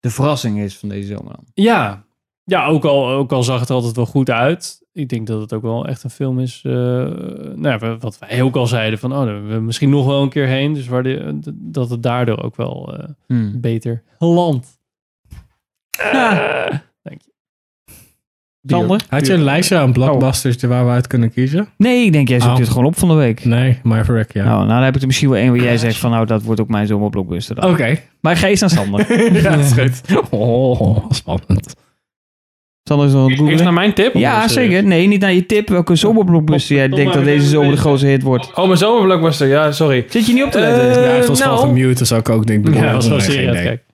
E: de verrassing is van deze zomer dan.
B: ja, ja ook, al, ook al zag het er altijd wel goed uit. Ik denk dat het ook wel echt een film is. eh, nou, ja, wa- wat wij ook al zeiden: van oh, daar willen we misschien nog wel een keer heen. Dus waar de, dat het daardoor ook wel eh,
E: Hmm.
B: beter land. Dank je.
E: Sander?
C: Had je een lijstje aan blockbusters waar we uit kunnen kiezen?
E: Nee, ik denk jij zoekt
C: Oh.
E: dit gewoon op van de week.
C: Nee, Maverick, ja.
E: Nou, nou dan heb ik er misschien wel één waar jij zegt van... Nou, dat wordt ook mijn zomerblockbuster dan.
C: Oké.
E: Maar ik ga eerst naar Sander.
C: ja, dat is goed. Oh, spannend.
E: Sander is nog aan het googlen.
G: Eerst naar mijn tip?
E: Ja,
G: Of, eh,
E: zeker. Nee, niet naar je tip. Welke zomerblockbuster jij denkt dat deze zomer de grootste hit wordt.
G: Oh, mijn zomerblockbuster. Ja, sorry.
E: Zit je niet op te letten?
G: Eh,
C: ja, hij was
G: nou.
C: gewoon gemute, zou ik ook denken.
G: Ja, hij was wel serieus,
C: Kijk.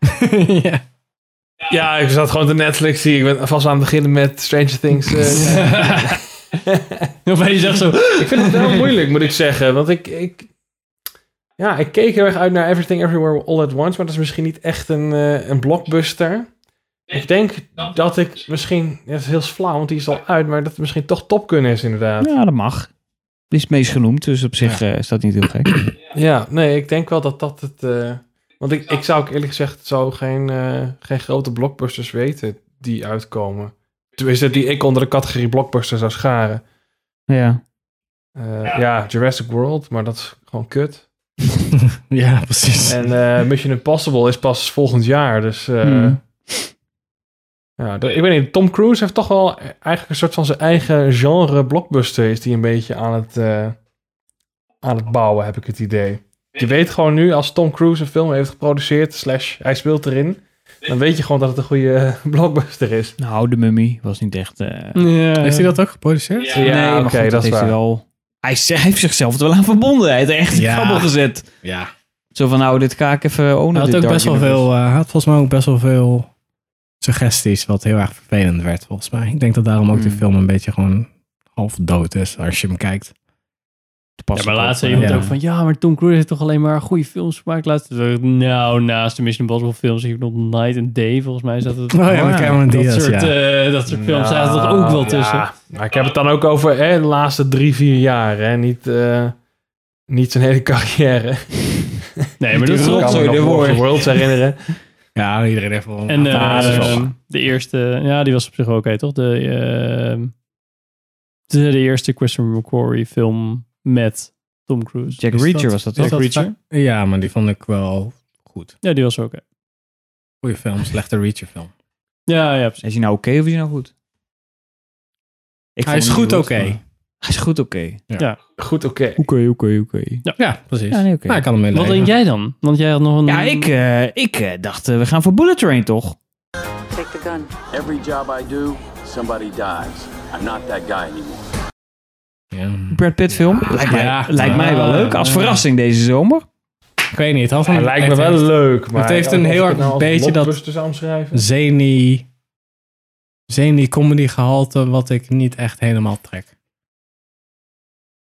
G: Ja, ik zat gewoon te Netflix. Zie, ik ben vast aan het beginnen met Stranger Things. eh.
B: Of je zegt zo.
G: ik vind het wel moeilijk, moet ik zeggen. Want ik, ik, ja, ik keek heel erg uit naar Everything Everywhere All at Once. Maar dat is misschien niet echt een, eh, een blockbuster. Ik denk dat ik misschien... ja, dat is heel flauw, want die is al uit. Maar dat het misschien toch Top Gun is, inderdaad.
E: Ja, dat mag. Dit is het meest genoemd, dus op zich eh, is dat niet heel gek.
G: Ja, nee, ik denk wel dat dat het... eh, want ik, ik zou ook eerlijk gezegd zo geen, eh, geen grote blockbusters weten die uitkomen. Tenminste, die ik onder de categorie blockbuster zou scharen.
E: Ja.
G: Eh, ja, Jurassic World, maar dat is gewoon kut.
C: Ja, precies.
G: En eh, Mission Impossible is pas volgend jaar, dus... eh,
C: Hmm.
G: ja, de- ik weet niet, Tom Cruise heeft toch wel eigenlijk een soort van zijn eigen genre blockbuster... is die een beetje aan het, eh, aan het bouwen, heb ik het idee. Je weet gewoon nu, als Tom Cruise een film heeft geproduceerd... slash hij speelt erin, dan weet je gewoon dat het een goede eh, blockbuster is.
E: Nou, de mummy was niet echt... eh,
C: Heeft hij dat ook geproduceerd?
G: Ja,
E: maar
G: oké,
E: goed, heeft
G: dat is
E: hij
G: waar.
E: wel. Hij, z- hij heeft zichzelf er wel aan verbonden. Hij heeft er echt in
C: Ja.
E: grabbel gezet.
C: Ja.
E: Zo van, nou, dit ga ik even ownen.
C: Hij had
E: dit
C: ook
E: Dark
C: best wel
E: Universe.
C: veel, eh, hij had volgens mij ook best wel veel suggesties, wat heel erg vervelend werd volgens mij. Ik denk dat daarom ook die
E: Hmm.
C: film een beetje gewoon half dood is als je hem kijkt.
B: Ja, maar laatst zei
C: eh, Ja.
E: eh,
B: iemand ook van, ja, maar Tom Cruise heeft toch alleen maar goede films gemaakt. Laatst dacht ik, nou, naast de Mission Impossible films, ik nog Night and Day, volgens mij zat het.
C: Oh ja, met Cameron
B: dat
C: Diaz,
B: soort,
C: ja.
B: eh, dat soort films
G: Nou,
B: zaten er ook wel
G: ja,
B: tussen.
G: maar ik heb het dan ook over hè, de laatste drie, vier jaar, hè. Niet, eh, niet zijn hele carrière.
B: Nee, maar dat is
G: Ik kan me
B: rotzooi,
G: nog
B: de
G: War of the
B: woord.
G: Worlds herinneren.
C: Ja, iedereen heeft wel.
B: En eh,
G: Ah, dat is wel-
B: de eerste, ja, die was op zich wel oké, toch? De, ehm, de, de eerste Christopher McQuarrie film met Tom Cruise.
E: Jack
B: Is
E: Reacher was dat
B: Jack
E: toch?
B: Reacher?
C: Ja, maar die vond ik wel goed.
B: Ja, die was ook oké.
C: Goeie film, slechte Reacher film.
B: Ja, ja, precies.
E: Is hij nou oké of is hij nou goed? Ik
C: Hij
E: vond
C: is
E: hem
C: goed
E: niet
C: oké.
E: maar- Hij is goed oké.
C: Ja.
B: Ja.
G: Goed, oké.
E: Oké, oké, oké.
C: Ja, precies.
E: Ja, nee, oké.
C: Maar ik kan hem
B: Wat
C: meeleven.
B: denk jij dan? Want jij had nog een...
E: Ja, ik, eh, ik eh, dacht, eh, we gaan voor Bullet Train, toch?
P: Take the gun.
I: Every job I do, somebody dies. I'm not that guy anymore.
E: Brad Pitt film. lijkt mij,
C: Ja.
E: lijkt mij wel
C: Ja.
E: leuk. Als verrassing deze zomer.
C: Ik weet niet. Het
G: Hij lijkt me wel leuk, maar...
C: Het heeft een
G: of ik
C: heel
G: het nou
C: erg
G: als
C: beetje dat
G: blockbuster zou omschrijven.
C: zeni, zeni comedy gehalte wat ik niet echt helemaal trek.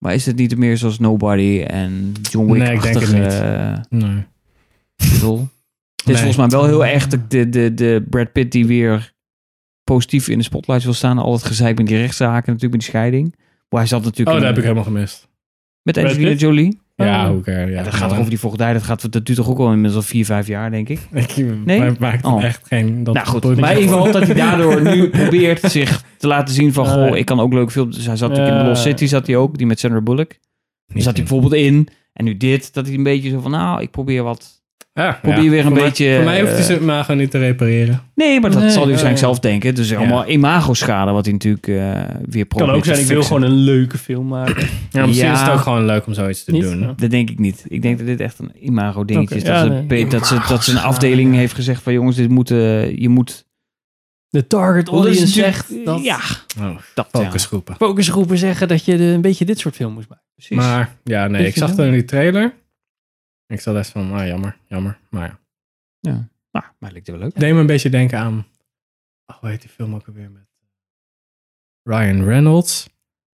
E: Maar is het niet meer zoals Nobody en John Wick?
C: Nee, ik denk het
E: niet.
C: Nee.
E: Het is
C: Nee.
E: volgens mij wel heel erg de, de, de, de Brad Pitt die weer positief in de spotlight wil staan. Al het gezeik met die rechtszaken, natuurlijk met die scheiding. Maar hij zat
C: Oh,
E: natuurlijk
C: dat
E: in-
C: heb ik helemaal gemist.
E: met
C: Brad
E: Angelina
C: Pitt?
E: Jolie.
C: Ja,
E: Oh.
C: hoe ja, Nou,
E: Ja, dat gaat toch over die vochtdij. Dat, gaat, dat duurt toch ook al inmiddels al vier, vijf jaar, denk ik. Nee?
C: Nee? Maar het maakt
E: Oh.
C: echt geen... Dat
E: nou goed,
C: boeit me
E: maar in
C: niet.
E: ieder geval dat hij daardoor nu probeert zich te laten zien van...
C: Nee.
E: Goh, ik kan ook leuk filmen. Dus hij zat natuurlijk in
C: Ja.
E: The Lost City, zat hij ook. Die met Sandra Bullock. Daar zat Dus hij bijvoorbeeld in. En nu dit, dat hij een beetje zo van... Nou, ik probeer wat...
C: Ja,
E: probeer
C: ja.
E: weer een
C: Voor mij-
E: beetje...
C: voor mij hoeft hij
E: eh,
C: zijn imago niet te repareren.
E: Nee, maar dat zal hij
C: Nee, nee.
E: waarschijnlijk zelf denken. Dus allemaal imago-schade wat hij natuurlijk eh, weer probeert
B: kan ook
E: te
B: zijn, ik wil
E: fixen.
B: gewoon een leuke film maken.
C: Ja, misschien is het ook gewoon leuk om zoiets te
B: Niet?
C: doen.
B: Ja.
E: Dat denk ik niet. Ik denk dat dit echt een imago-dingetje
B: Oké,
E: is.
B: ja,
E: Dat, ze,
B: nee.
E: be- dat, ze, dat ze een afdeling heeft gezegd van... Jongens, dit moet, eh, je moet...
B: De target
E: Want dat is
B: audience
E: dus natuurlijk-
B: zegt dat...
E: Ja,
C: Oh,
E: dat ja.
C: focusgroepen.
B: Focusgroepen zeggen dat je de- een beetje dit soort film moest maken.
E: Precies.
C: Maar ja, nee,
B: Weet
C: ik
B: je
C: zag
B: wel.
C: toen die trailer. Ik zat echt van, ah, jammer, jammer. Maar ja.
E: Ja, nou, maar lijkt het wel leuk.
C: Deed me een beetje denken aan... Oh, hoe heet die film ook alweer met... eh, Ryan Reynolds.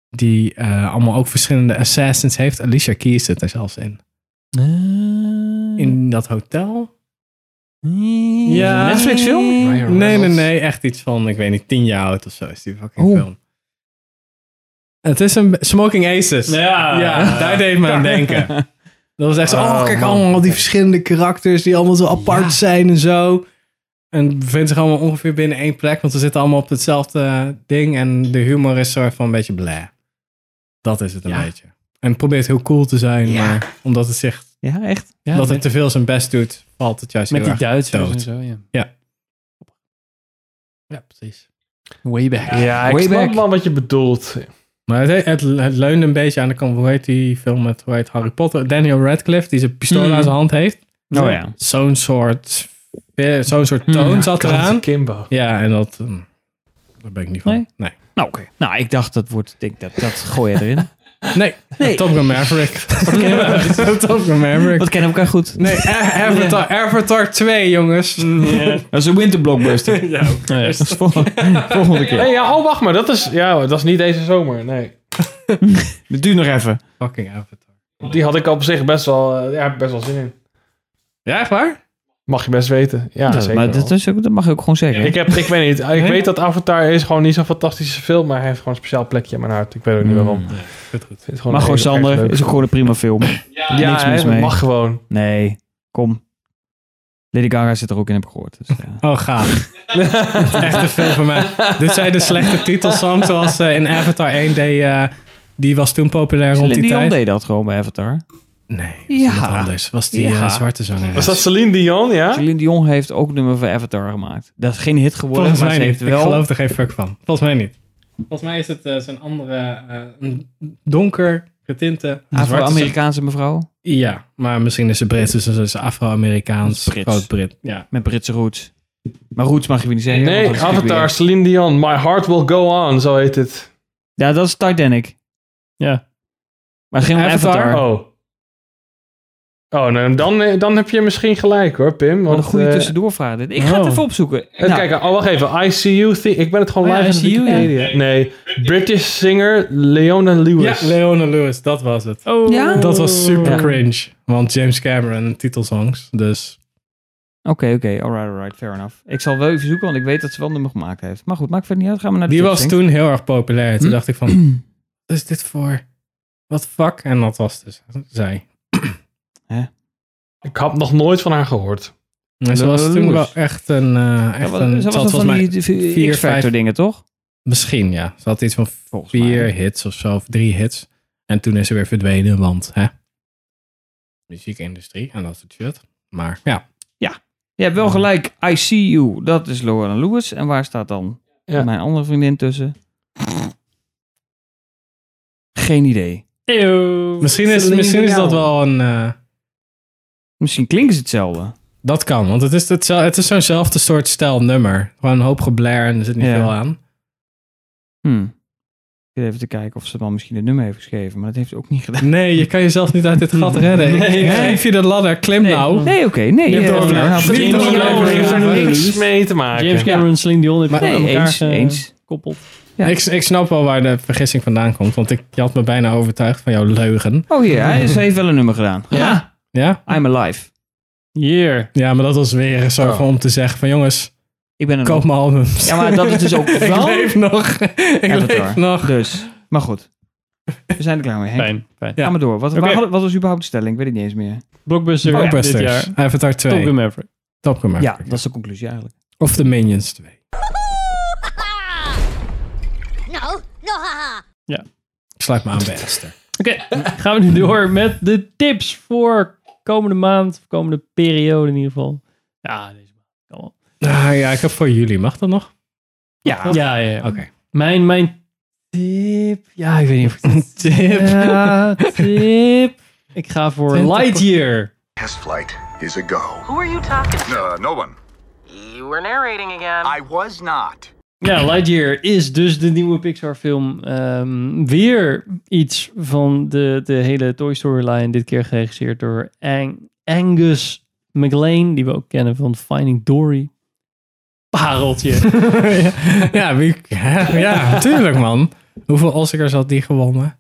C: Die eh, allemaal ook verschillende assassins heeft. Alicia Keys zit er zelfs in. In dat hotel? Mm. Ja.
E: Een Netflix-film?
C: Ryan Nee, nee, nee. Echt iets van, ik weet niet, tien jaar oud of zo is die fucking film. Het is een... Smoking Aces.
B: Ja.
C: Ja, daar deed me aan denken. Dat was echt zo, oh,
B: Oh,
C: kijk
B: man.
C: allemaal die verschillende karakters die allemaal zo apart zijn en zo. En bevinden zich allemaal ongeveer binnen één plek, want ze zitten allemaal op hetzelfde eh, ding. En de humor is soort van een beetje blah. Dat is het een
E: Ja.
C: beetje. En het probeert heel cool te zijn,
E: Ja.
C: maar omdat het zich,
E: Ja, echt.
B: Ja,
C: dat
B: met-
C: het te veel zijn best doet, valt het juist
B: Met
C: heel
B: die
C: erg
B: Duitsers en
C: dood.
B: zo, ja.
C: Ja.
B: Ja, precies. Way back.
G: Ja, ik
C: Way
G: snap
C: back.
G: wel wat je bedoelt.
C: Maar het, het, het leunde een beetje aan de kant, hoe heet die film met, hoe heet Harry Potter? Daniel Radcliffe, die zijn pistool
B: Hmm.
C: aan zijn hand heeft.
E: Oh ja.
C: Zo'n soort, eh, zo'n soort toon zat
G: Kant
C: eraan.
G: Kimbo.
C: Ja, en dat... mm, Daar ben ik niet van. Nee?
E: Nou, oké. Nou, ik dacht, dat wordt, ik denk dat, dat gooi je erin.
C: Nee,
E: Nee.
C: Top Gun Maverick. Top Gun Maverick.
E: Wat kennen elkaar goed.
C: Nee, A- Avatar, Avatar 2, jongens.
E: Dat is een winter blockbuster.
C: ja, oké.
E: Dat is volgende, volgende keer.
G: Nee, ja, oh, wacht maar. Dat is, ja, dat is niet deze zomer. Nee.
E: Het duurt nog even.
C: Fucking Avatar.
G: Die had ik op zich best wel, eh, ja, best wel zin in.
C: Ja, echt waar?
G: Mag je best weten. Ja,
E: dat,
G: zeker
E: maar
G: wel.
E: dat, is ook, dat mag je ook gewoon zeggen.
G: Ik, heb, ik weet niet. Ik
E: Hè?
G: weet dat Avatar is gewoon niet zo'n fantastische film, maar hij heeft gewoon een speciaal plekje in mijn hart. Ik weet ook niet waarom.
C: Nee, goed, goed.
G: Vind het
E: Mm. maar Hmm. gewoon
G: een heel erg
E: Sander,
G: leuk.
E: is ook gewoon een prima film.
G: Ja,
E: Niks mis
G: hè,
E: mee.
G: mag gewoon.
E: Nee, kom. Lady Gaga zit er ook in, heb ik gehoord. Dus, ja.
C: Oh, gaaf. Echt een film voor mij. Dit zijn de slechte titelsong zoals eh, in Avatar 1 deed. eh, die was toen populair rond die
E: Celine Dion
C: tijd.
E: deed dat gewoon bij Avatar.
C: Nee,
E: Ja.
C: ja. anders. Was die
E: Ja.
C: eh, zwarte zanger.
G: Was dat Celine Dion, ja?
E: Celine Dion heeft ook nummer van Avatar gemaakt. Dat is geen hit geworden,
C: Volgens
E: maar
C: mij
E: ze
C: niet.
E: heeft wel...
C: Ik geloof er geen fuck van. Volgens mij niet. Volgens mij is het eh, zo'n andere eh, een donker getinte zwarte
E: Afro-Amerikaanse mevrouw.
C: Ja, maar misschien is ze Brits, dus ze is Afro-Amerikaans,
E: Brits.
C: Groot-Brit. Ja.
E: Met Britse roots. Maar roots mag je weer niet zeggen.
G: Nee,
E: want dat is natuurlijk
G: Avatar,
E: weer-
G: Celine Dion, My Heart Will Go On, zo heet het.
E: Ja, dat is Titanic.
B: Ja.
E: Maar geen Avatar. Avatar.
G: Oh. Oh, nou, dan, dan heb je misschien gelijk hoor, Pim.
E: Wat
G: Want,
E: een goede
G: eh,
E: tussendoor vraag dit. Ik ga
G: oh.
E: het even opzoeken.
G: Even
E: Nou,
G: kijken. Oh, wacht even. ICU. The ik ben het gewoon
E: Oh ja,
G: live in de
E: ICU, ja.
G: Wikipedia. Nee. British singer Leona Lewis.
C: Ja, Leona Lewis, dat was het.
B: Oh.
E: Ja?
B: Ja?
C: Dat was super
G: Ja.
C: cringe, want James Cameron titelsongs, dus...
E: Oké, oké. Alright, alright. Fair enough. Ik zal wel even zoeken, want ik weet dat ze wel een nummer gemaakt heeft. Maar goed, maakt verder niet uit. Gaan we naar de
C: Die was
E: tipsing.
C: toen heel erg populair. Toen dacht ik van, Hm? wat is dit voor? Wat fuck? En dat was dus zij.
G: Ik had nog nooit van haar gehoord.
C: En ze was
E: Leona
C: toen wel
E: Lewis.
C: echt een... eh echt
E: Ja, wat- Ze
C: een ze had
E: was wel
C: volgens
E: van
C: mij
E: die
C: vier,
E: X-Factor
C: vijf-
E: dingen, toch?
C: Misschien, ja. Ze had iets van
E: Volgens
C: vier
E: mij.
C: hits of zo, of drie hits. En toen is ze weer verdwenen, want hè, muziekindustrie en dat soort shit. Maar ja,
E: Je hebt wel gelijk. I see you. Dat is Laura Lewis. En waar staat dan
G: Ja.
E: mijn andere vriendin tussen? Geen idee.
B: Eeuw.
C: misschien is,
G: Celine
C: misschien is
G: Dion.
C: dat wel een... eh,
E: Misschien klinken ze hetzelfde.
C: dat kan, want het is, het, het is zo'nzelfde soort stijl nummer. Gewoon een hoop geblair en er zit niet
E: Ja.
C: veel aan.
E: Hm. Ik zit even te kijken of ze dan misschien het nummer heeft geschreven. Maar dat heeft ze ook niet gedaan.
C: Nee, je kan jezelf niet uit dit gat redden. Ik-
E: Nee.
C: ik Geef je de ladder, klim nou.
E: Nee, oké. nee.
C: Je hebt
E: eh,
C: het over
E: nou,
C: haar
E: precies.
C: vriendin.
G: Leona
C: Leona
G: Lewis heeft er
C: Lewis.
G: niks mee te maken.
B: James Cameron, Celine Dion, dit
C: Maar-
B: gewoon
E: Nee,
B: aan elkaar
E: eens,
B: eh,
E: eens.
B: gekoppeld.
E: Ja.
C: Ik, ik snap wel waar de vergissing vandaan komt, want ik, je had me bijna overtuigd van jouw leugen.
E: Oh ja, hij- ze heeft wel een nummer gedaan. Ja.
C: Ja?
E: I'm alive.
B: Hier.
C: Ja, maar dat was weer zo
G: Oh.
C: van om te zeggen van jongens,
E: Ik ben een
C: koop mijn albums.
E: Ja, maar dat is dus ook
C: ik
E: wel
C: leef nog. ik leef
E: Avatar.
C: nog.
E: Dus, maar goed. We zijn er klaar mee. Henk,
B: Fijn, fijn.
C: Ja.
E: Ga maar door. Wat,
B: Oké.
E: waar hadden- wat was überhaupt de stelling? Ik weet het niet eens meer.
B: Blockbuster dit jaar.
C: Blockbusters. Avatar
B: Top
C: 2.
B: Gun Maverick.
C: Top Gun
E: Ja,
C: Maverick.
E: dat is de conclusie eigenlijk.
C: Of The Minions 2.
L: No, no, haha.
C: Ik sluit me aan bij Esther.
B: Oké, gaan we nu door met de tips voor komende maand, of komende periode in ieder geval. Ja, deze maand kan wel.
C: Ah, ja, ik heb voor jullie. Mag dat nog?
E: Ja.
B: Ja, ja, ja.
C: Oké.
B: Mijn, mijn tip. Ja, ik weet niet of ik het
C: Tip.
E: Eh.
B: Ja, tip. Ik ga voor
C: Twintig-
B: Lightyear.
D: Test flight is a go.
P: Who are you talking to?
D: No, no one.
P: You were narrating again.
Q: I was not.
B: Ja, Lightyear is dus de nieuwe Pixar-film. Ehm, weer iets van de, de hele Toy Story-line. Dit keer geregisseerd door Ang- Angus McLean, die we ook kennen van Finding Dory. Pareltje.
C: ja, wie, ja, tuurlijk man. Hoeveel Oscars had die gewonnen?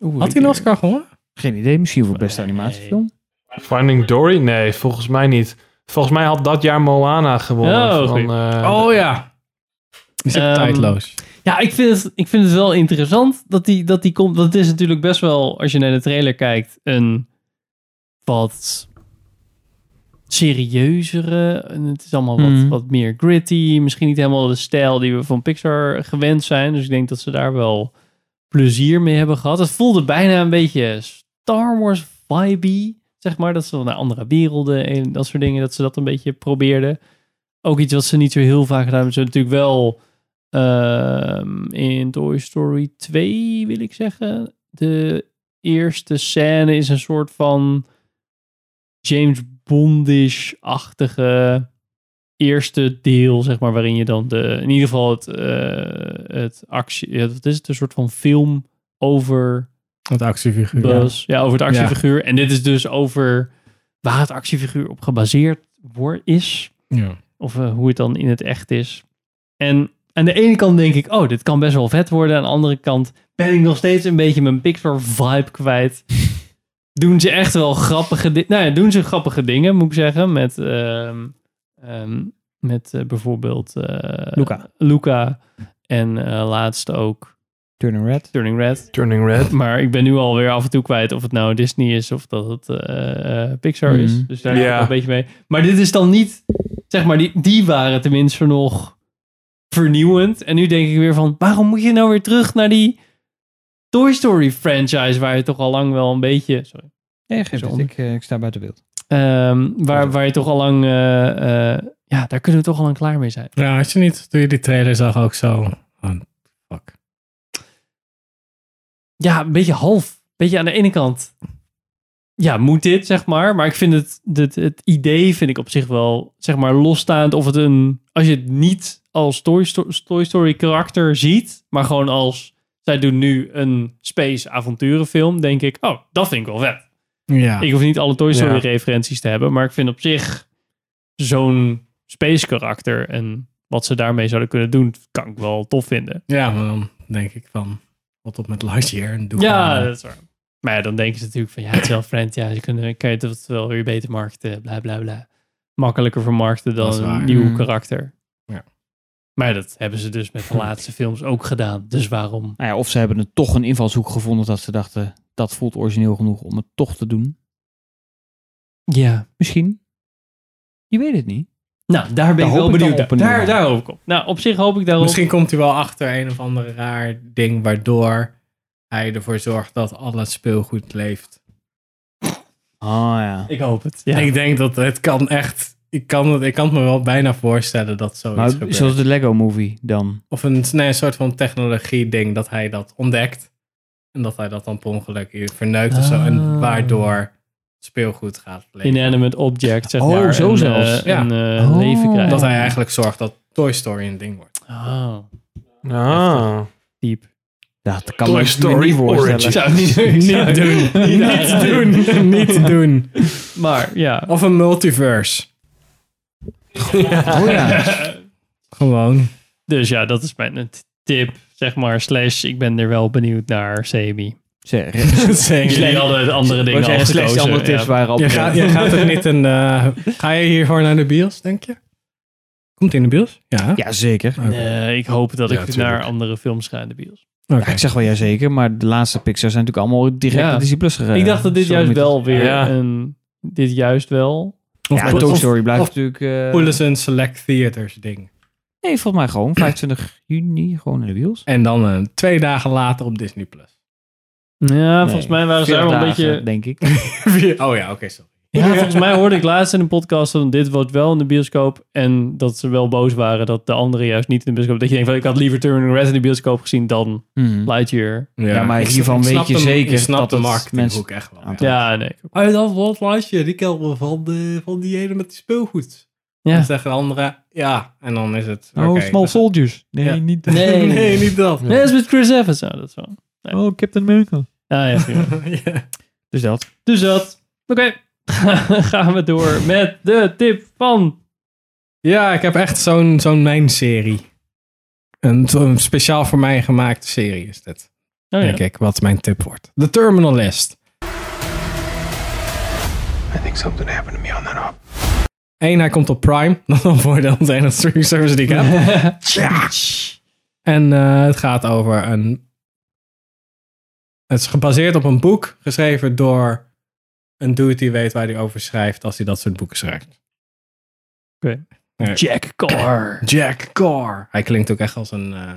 E: Oeh,
C: Had
E: ik-
C: hij een Oscar gewonnen?
E: Geen idee. Misschien voor beste animatiefilm.
G: Finding Dory? Nee, volgens mij niet. Volgens mij had dat jaar Moana gewonnen.
B: Oh,
G: van,
B: goed.
G: eh,
C: Oh ja. Die is ook
B: Ehm,
C: tijdloos.
B: ja, ik vind, het, ik vind het wel interessant dat die, dat die komt. Dat is natuurlijk best wel, als je naar de trailer kijkt, een wat serieuzere. En Het is allemaal wat,
E: Mhm.
B: wat meer gritty. Misschien niet helemaal de stijl die we van Pixar gewend zijn. Dus ik denk dat ze daar wel plezier mee hebben gehad. Het voelde bijna een beetje Star Wars vibe zeg maar. Dat ze wel naar andere werelden en dat soort dingen, dat ze dat een beetje probeerden. Ook iets wat ze niet zo heel vaak gedaan hebben. Ze hebben natuurlijk wel ehm, in Toy Story 2, wil ik zeggen, de eerste scène is een soort van James Bondish-achtige eerste deel, zeg maar, waarin je dan de, in ieder geval het, eh, het actie, ja, wat is het, een soort van film over
C: Het actiefiguur.
B: Buzz. Ja. over het
C: Ja.
B: actiefiguur. En dit is dus over waar het actiefiguur op gebaseerd wordt, is.
C: Ja.
B: Of eh, hoe het dan in het echt is. En aan de ene kant denk ik, oh, dit kan best wel vet worden. Aan de andere kant ben ik nog steeds een beetje mijn Pixar-vibe kwijt. doen ze echt wel grappige dingen. Nou ja, doen ze grappige dingen, moet ik zeggen. Met, ehm, ehm, met eh, bijvoorbeeld... eh,
E: Luca.
B: Luca. En eh, laatst ook...
E: Turning Red.
B: Turning Red.
G: Turning Red.
B: Maar ik ben nu alweer af en toe kwijt of het nou Disney is of dat het eh, eh, Pixar is.
E: Mhm.
B: Dus daar heb ik
G: Ja.
B: wel een beetje mee. Maar dit is dan niet... Zeg maar, die, die waren tenminste nog vernieuwend. En nu denk ik weer van... Waarom moet je nou weer terug naar die Toy Story franchise... waar je toch al lang wel een beetje... Sorry.
E: Nee, geef
B: Zo
E: het. Ik, eh, ik sta buiten beeld.
B: Ehm, waar, waar je toch al lang. eh, eh, ja, daar kunnen we toch al lang klaar mee zijn.
C: Ja, had je niet, toen je die trailer zag, ook zo. van, fuck.
B: Ja, een beetje half. Een beetje aan de ene kant. Ja, moet dit, zeg maar. Maar ik vind het, het, het idee vind ik op zich wel, zeg maar, losstaand. Of het een. Als je het niet als Toy Story, Toy Story karakter ziet, maar gewoon als. Zij doen nu een space avonturenfilm, denk ik. Oh, dat vind ik wel vet.
C: Ja.
B: Ik hoef niet alle Toy Story
C: Ja.
B: referenties te hebben, maar ik vind op zich zo'n space karakter en wat ze daarmee zouden kunnen doen, kan ik wel tof vinden.
C: Ja, maar dan denk ik van, wat op met Lightyear? En doe
B: ja,
C: gewoon-
B: dat is waar. Maar ja, dan denken ze natuurlijk van ja, het is wel friend, ja, ze kunnen, kan je het wel weer beter markten, bla bla bla. Makkelijker vermarkten
C: Dat
B: dan
C: is
B: een
C: waar.
B: nieuw
C: Mm.
B: karakter.
C: Ja.
B: Maar dat hebben ze dus met de laatste films ook gedaan. Dus waarom?
E: Nou ja, of ze hebben er toch een invalshoek gevonden dat ze dachten... dat voelt origineel genoeg om het toch te doen.
B: Ja.
E: Misschien. Je weet het niet.
B: Nou, daar ben
E: Daar hoop
B: ik wel
E: ik dan
B: benieuwd
E: op een-
B: naar. Daar, daar hoop ik op. Nou, op zich hoop ik daarop.
C: Misschien komt hij wel achter een of ander raar ding waardoor hij ervoor zorgt dat al het speelgoed leeft.
E: Oh ja.
B: Ik hoop het. Ah, Ja.
C: Ik denk dat het kan echt. Ik kan het, ik kan het me wel bijna voorstellen dat zoiets
E: Maar
C: gebeurt.
E: zoals de Lego Movie dan.
C: Of een, nee, een soort van technologie-ding dat hij dat ontdekt. En dat hij dat dan per ongeluk hier verneukt of zo. En
B: Ah.
C: waardoor speelgoed gaat leven.
B: inanimate object, zeg
E: Oh,
B: maar.
E: zo
B: een,
E: zelfs. Oh.
B: eh,
C: Ja.
B: een eh, leven krijgen.
C: Dat hij eigenlijk zorgt dat Toy Story een ding wordt.
B: Oh.
G: Ah.
E: Diep. Dat kan
G: Toy
E: me
G: Story
E: niet voorstellen.
G: Origins.
B: Zou ik niet, ik zou
C: Niet doen. Niet doen. Niet doen.
B: Maar ja.
C: Of een multiverse.
E: Oh ja.
C: Gewoon.
B: Dus ja, dat is mijn t- tip, zeg maar. Slash, ik ben er wel benieuwd naar, Semi.
E: Zeg,
B: Jullie hadden de andere dingen al
E: slechts
B: gekozen,
E: andere tips
B: ja.
E: waren al
C: Je gaat, je gaat toch niet een... eh, ga je hiervoor naar de bios, denk je? Komt hij in de bios? Ja.
E: Ja, zeker.
B: Nee, Eh, ik hoop dat
C: Ja,
B: ik
C: tuurlijk.
B: naar andere films ga in de bios.
C: Oké.
E: Ja, ik zeg wel ja zeker, maar de laatste Pixar zijn natuurlijk allemaal direct
B: Ja.
E: naar Disney Plus gegaan.
B: ik dacht dat dit
E: Zo
B: juist
E: moet
B: wel
E: het.
B: weer
G: Ja.
B: een... Dit juist wel.
C: Of,
E: Ja, Toy
C: of-
E: Story blijft
C: Of
E: natuurlijk... eh,
C: Poelen een Select Theaters ding.
E: nee, volgens mij gewoon 25 juni gewoon in de wiels.
C: En dan eh, twee dagen later op Disney+. Plus.
B: Ja, volgens mij waren ze daar wel een beetje...
E: denk ik.
C: oh ja, oké, sorry.
B: Ja, volgens mij hoorde ik laatst in een podcast dat dit wordt wel in de bioscoop. En dat ze wel boos waren dat de anderen juist niet in de bioscoop. Dat je denkt van ik had liever Turning Red in de bioscoop gezien dan
E: Mhm.
B: Lightyear.
E: Ja, maar
C: ik-
E: hiervan
C: ik
E: weet
C: snap
E: je
C: de-
E: zeker
C: Ik snap
E: dat
C: de
E: het
C: marketinghoek
E: mensen-
C: echt wel.
E: Aantal.
B: Ja, nee.
C: Oh, dat was Lightyear. Die kent me van, de, van die ene met die speelgoed.
B: Ja.
C: Dan zeggen de andere, ja. En dan is het...
E: Oh,
C: oké,
E: Small
C: dus-
E: Soldiers. Nee,
C: Ja.
E: niet
B: Nee.
C: nee, niet dat.
B: Nee, dat is met Chris Evans. Nou, dat is wel.
E: Oh, Captain America.
B: Ah, ja, prima.
C: Ja.
E: Dus dat.
B: dus dat. Oké. Gaan we door met de tip van.
C: Ja, ik heb echt zo'n zo'n mijn serie. Een, zo'n speciaal voor mij gemaakte serie is dit.
B: Oh, ja.
C: Denk ik, wat mijn tip wordt. The Terminal List.
D: I think something happened to me on that op.
C: Eén, hij komt op Prime. Dat is een voordeel van de enige streaming service die ik heb. Tja. en eh, het gaat over een... Het is gebaseerd op een boek geschreven door een dude die weet waar hij over schrijft als hij dat soort boeken schrijft.
B: Oké.
C: Ja.
B: Jack Carr.
C: Jack Carr. Hij klinkt ook echt als een, eh,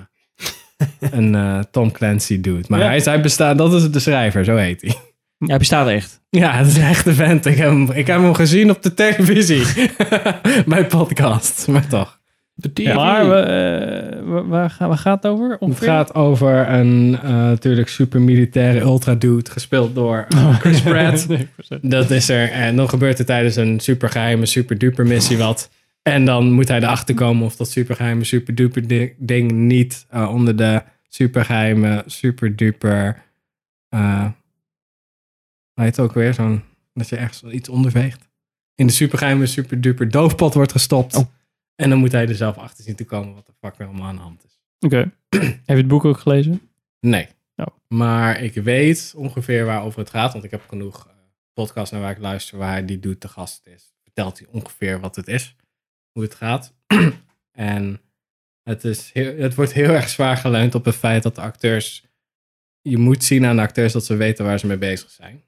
C: een eh, Tom Clancy dude. Maar
B: Ja.
C: hij, is- hij bestaat, dat is de schrijver, zo heet hij.
E: Hij bestaat echt.
C: Ja, dat is echt de vent. Ik heb, hem, ik heb hem gezien op de televisie. Bij podcast, maar toch.
B: Maar we, eh, wa- waar, gaan, waar gaat het over?
C: Het
B: Ongeveer?
C: gaat over een eh, natuurlijk super militaire ultra dude, gespeeld door eh, Chris Pratt.
B: Nee, ik was-
C: Dat is er. En dan gebeurt er tijdens een supergeheime, superduper missie wat. En dan moet hij erachter komen of dat supergeheime superduper di- ding niet eh, onder de supergeheime superduper... eh hoe heet het ook weer? Zo'n, dat je ergens iets onderweegt. In de supergeheime superduper doofpot wordt gestopt. En dan moet hij er zelf achter zien te komen wat de fuck er allemaal aan de hand is.
B: Oké. Heb je het boek ook gelezen?
C: Nee. Maar ik weet ongeveer waarover het gaat, want ik heb genoeg eh, podcasts naar waar ik luister waar hij die doet te gast is. Vertelt hij ongeveer wat het is, hoe het gaat. en het, is heel, het wordt heel erg zwaar geleund op het feit dat de acteurs. Je moet zien aan de acteurs dat ze weten waar ze mee bezig zijn.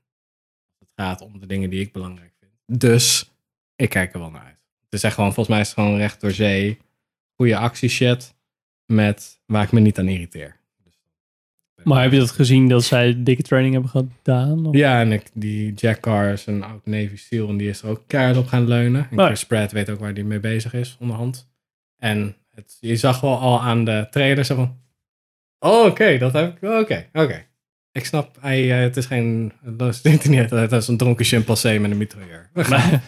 C: Het gaat om de dingen die ik belangrijk vind. Dus ik kijk er wel naar uit. Het is echt gewoon, volgens mij is het gewoon recht door zee. Goede actieshit met waar ik me niet aan irriteer. Dus-
B: Maar heb je dat gezien dat zij dikke training hebben gedaan? Of?
C: Ja, en ik, die Jack Carr is een oud Navy SEAL en die is er ook keihard op gaan leunen. En
B: Nee.
C: Chris Pratt weet ook waar hij mee bezig is onderhand. En het, je zag wel al aan de trailer zo van... Oh, oké, dat heb ik... Oké, oké. Ik snap, hij, eh, het is geen... Dat is niet uit, het is een dronken chimpansee met een mitrailleur. We gaan.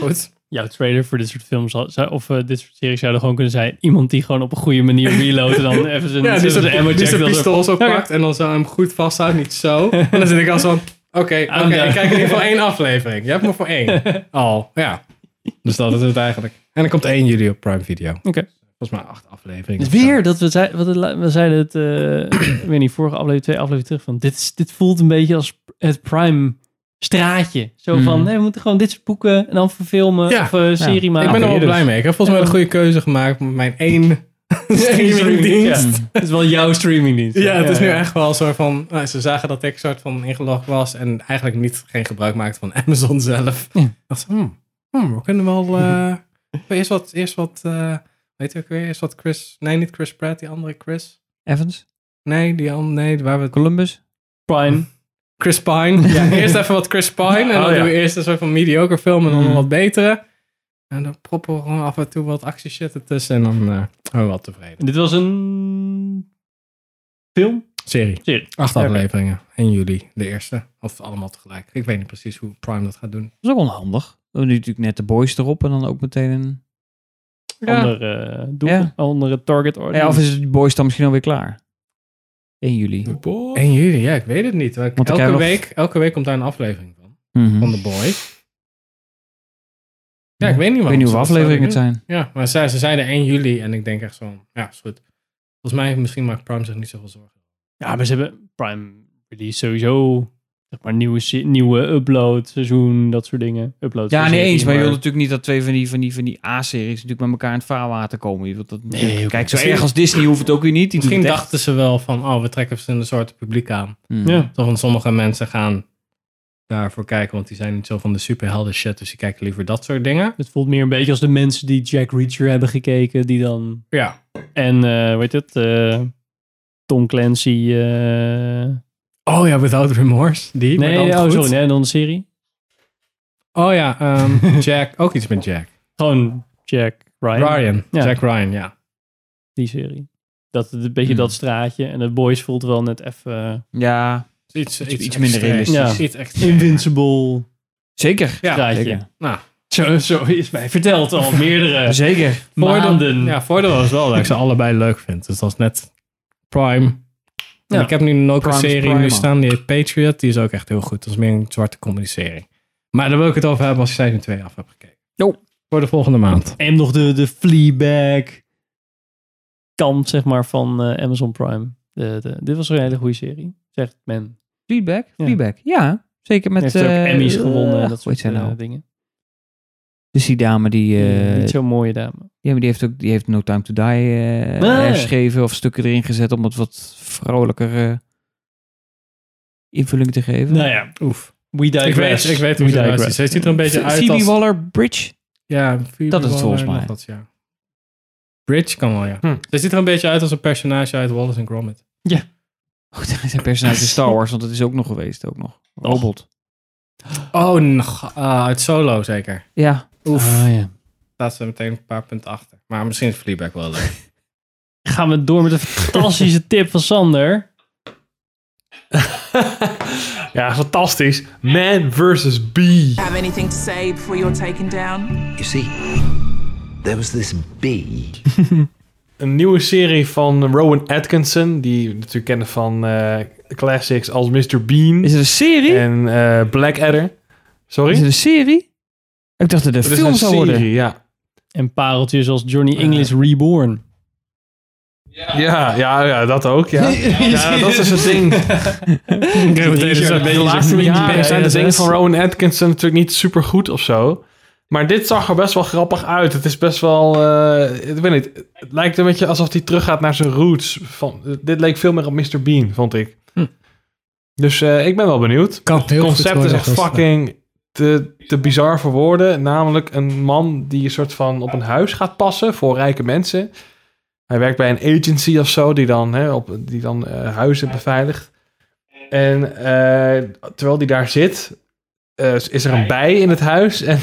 C: Goed.
B: Jouw trailer voor dit soort films had- zou- of eh, dit soort series zouden gewoon kunnen zijn. Iemand die gewoon op een goede manier reloadt en dan even zijn,
C: ja, die
B: zijn
C: zijn,
B: ammo
C: die
B: check
C: zijn
B: dat ze-
C: pistool zo
B: Oké.
C: pakt en dan zou hij hem goed vasthoudt, niet zo. En dan zit ik al zo... Oké, oké,
B: I'm done.
C: ik kijk in ieder geval één aflevering. Je hebt maar voor één. Al, ja. Dus dat is het eigenlijk. En dan komt 1 juli op Prime Video. Oké. Volgens mij acht afleveringen.
B: Het is Weer dat we, zei, wat het la- we zeiden het, eh, ik weet niet, vorige aflevering, twee afleveringen terug, van dit, is- dit voelt een beetje als het prime straatje. Zo van,
C: Mhm.
B: nee, we moeten gewoon dit soort boeken en dan verfilmen of eh, serie maken.
C: Ik ben er wel blij mee. Ik heb volgens mij een goede keuze gemaakt met mijn één streamingdienst.
B: Ja. Het is wel jouw streamingdienst.
C: Ja, het is nu
B: ja.
C: echt wel een soort van... nou, ze zagen dat ik soort van ingelogd was en eigenlijk niet, geen gebruik maakte van Amazon zelf. Ik dacht, hmm, hmm, we kunnen wel... eh, eerst wat, eerst wat eh, weet je ook weer, eerst wat Chris... Nee, niet Chris Pratt, die andere Chris.
E: Evans?
C: Nee, die andere, nee, waar we...
E: Columbus?
B: Pine.
C: Chris Pine. Ja, eerst even wat Chris Pine en dan
B: Oh, ja.
C: doen we eerst een soort van mediocre film en dan
B: Hmm.
C: een wat betere. En dan proppen we gewoon af en toe wat actieshit ertussen en dan eh zijn we wel tevreden.
B: Dit was een film?
C: Serie.
B: Serie.
C: Acht
B: Oké.
C: afleveringen. 1 juli, de eerste. Of allemaal tegelijk. Ik weet niet precies hoe Prime dat gaat doen.
E: Dat is ook wel handig. We hebben nu natuurlijk net de boys erop en dan ook meteen een...
B: Ja. Andere doel,
E: Ja.
B: andere target audience.
E: Ja, of is de boys dan misschien alweer klaar? 1 juli.
C: 1 juli, ja, ik weet het niet. Want
E: Want ik
C: elke,
E: heb nog-
C: week, elke week komt daar een aflevering van.
E: Mhm.
C: Van The Boy. Ja, ik weet niet
E: Ik weet
C: waarom
E: niet
C: ze
E: hoe
C: dat
E: afleveringen het
C: zouden
E: zijn.
C: doen. Ja, maar ze, ze zeiden 1 juli en ik denk echt zo, ja, is goed. Volgens mij, misschien maakt Prime zich niet zoveel zorgen.
B: Ja, maar ze hebben Prime Release sowieso. Zeg maar nieuwe, se- nieuwe upload, seizoen, dat soort dingen. Upload
E: Ja,
B: voor
E: nee
B: serie,
E: eens. Maar je wilt natuurlijk niet dat twee van die, van die, van die A-series natuurlijk met elkaar in het vaarwater komen. Je wilt dat natuurlijk-
C: oké.
E: Kijk, zo
C: Misschien-
E: erg als Disney hoeft het ook weer niet. Die
C: Misschien
E: doet het echt.
C: dachten ze wel van, oh, we trekken verschillende soorten publiek aan.
E: Hmm.
B: Ja.
C: Toch, want sommige mensen gaan daarvoor kijken, want die zijn niet zo van de superhelden shit, dus die kijken liever dat soort dingen.
B: Het voelt meer een beetje als de mensen die Jack Reacher hebben gekeken, die dan...
C: Ja.
B: En, eh weet het, eh, Tom Clancy... eh,
C: Oh ja, Without Remorse. Die, maar
B: nee,
C: dan
B: oh,
C: goed.
B: sorry, nee, dan de serie.
C: Oh ja, ehm, Jack. Ook iets met Jack.
B: Gewoon Jack Ryan.
C: Ryan.
B: Ja.
C: Jack Ryan, ja.
B: Die serie. Dat, een beetje
C: Hmm.
B: dat straatje. En de boys voelt wel net even...
E: Ja.
C: Iets,
E: iets minder realistisch.
B: Ja.
C: Iets echt-
B: Invincible.
E: Zeker.
C: Ja,
B: straatje.
C: zeker. Nou.
B: Zo, zo is mij verteld al meerdere
E: Zeker.
B: maanden.
C: Ja, voordeel was wel dat ik ze allebei leuk vind. Dus dat is net Prime. En
B: Ja.
C: Ik heb nu nog een
B: Prime's
C: serie
B: Prime,
C: nu
B: man.
C: staan, die heet Patriot. Die is ook echt heel goed. Dat is meer een zwarte comedy serie. Maar daar wil ik het over hebben als ik seizoen 2 af heb gekeken. Voor de volgende maand.
B: En nog de, de Fleabag kant, zeg maar, van eh, Amazon Prime. De, de, dit was een hele goede serie, zegt men.
E: Feedback? Feedback, ja. Zeker met...
B: Heeft ook
E: eh,
B: Emmys gewonnen en
E: eh, hoe
B: dat
E: heet
B: soort
E: zij nou?
B: eh, dingen.
E: Dus die dame die... eh,
B: Niet zo'n mooie dame.
E: Ja, maar die heeft ook die heeft No Time to Die eh,
B: Ah, ja.
E: herschreven of stukken erin gezet om het wat vrolijker eh, invulling te geven.
B: Nou ja, oef. We
C: Ik weet,
B: digress.
C: ik weet
B: We
C: hoe ze eruit ziet.
B: digress.
C: Ze ziet er een beetje
E: Phoebe
C: uit als...
E: Waller-Bridge?
C: Ja, Phoebe
E: Dat is het
C: Waller,
E: volgens mij.
C: nog wat, ja. Bridge kan wel, ja. Ze ziet er een beetje uit als een personage uit Wallace and Gromit.
E: Oh, Zijn personage in Star Wars, want dat is ook nog geweest, ook nog. Robot.
C: Oh, nog, eh, uit Solo zeker.
E: Ja.
C: Oef.
B: Ah, ja.
C: Staat ze meteen een paar punten achter. Maar misschien is Fleabag wel leuk.
B: Gaan we door met een fantastische tip van Sander.
G: Ja, fantastisch. Man versus B.
R: Have anything to say before you're taken down?
I: You see, There was this bee.
G: Een nieuwe serie van Rowan Atkinson, die we natuurlijk kennen van eh, classics als Mr. Bean. Is
E: het een serie?
G: En eh, Blackadder. Sorry?
E: Is het een serie? Ik dacht dat het een
G: Het is
E: film
G: een
E: zou
G: serie,
E: worden.
G: ja.
B: En pareltjes als Johnny English Reborn.
G: Ja, ja, ja, dat ook. Ja. ja, dat is het ding. de laatste jaren zijn de dingen van Rowan Atkinson natuurlijk niet super goed of zo. Maar dit zag er best wel grappig uit. Het is best wel. eh, ik weet niet. Het lijkt een beetje alsof hij teruggaat naar zijn roots. Van, dit leek veel meer op Mr. Bean, vond ik. Dus eh, ik ben wel benieuwd.
C: Kan heel
G: het concept
C: goed
G: is
C: worden, dus, eh. dat
G: echt
C: is-
G: fucking te, te bizar voor woorden. Namelijk een man die een soort van op een huis gaat passen voor rijke mensen. Hij werkt bij een agency of zo die dan, hè, op, die dan eh, huizen beveiligt. En eh, terwijl die daar zit, eh, is er een bij in het huis. En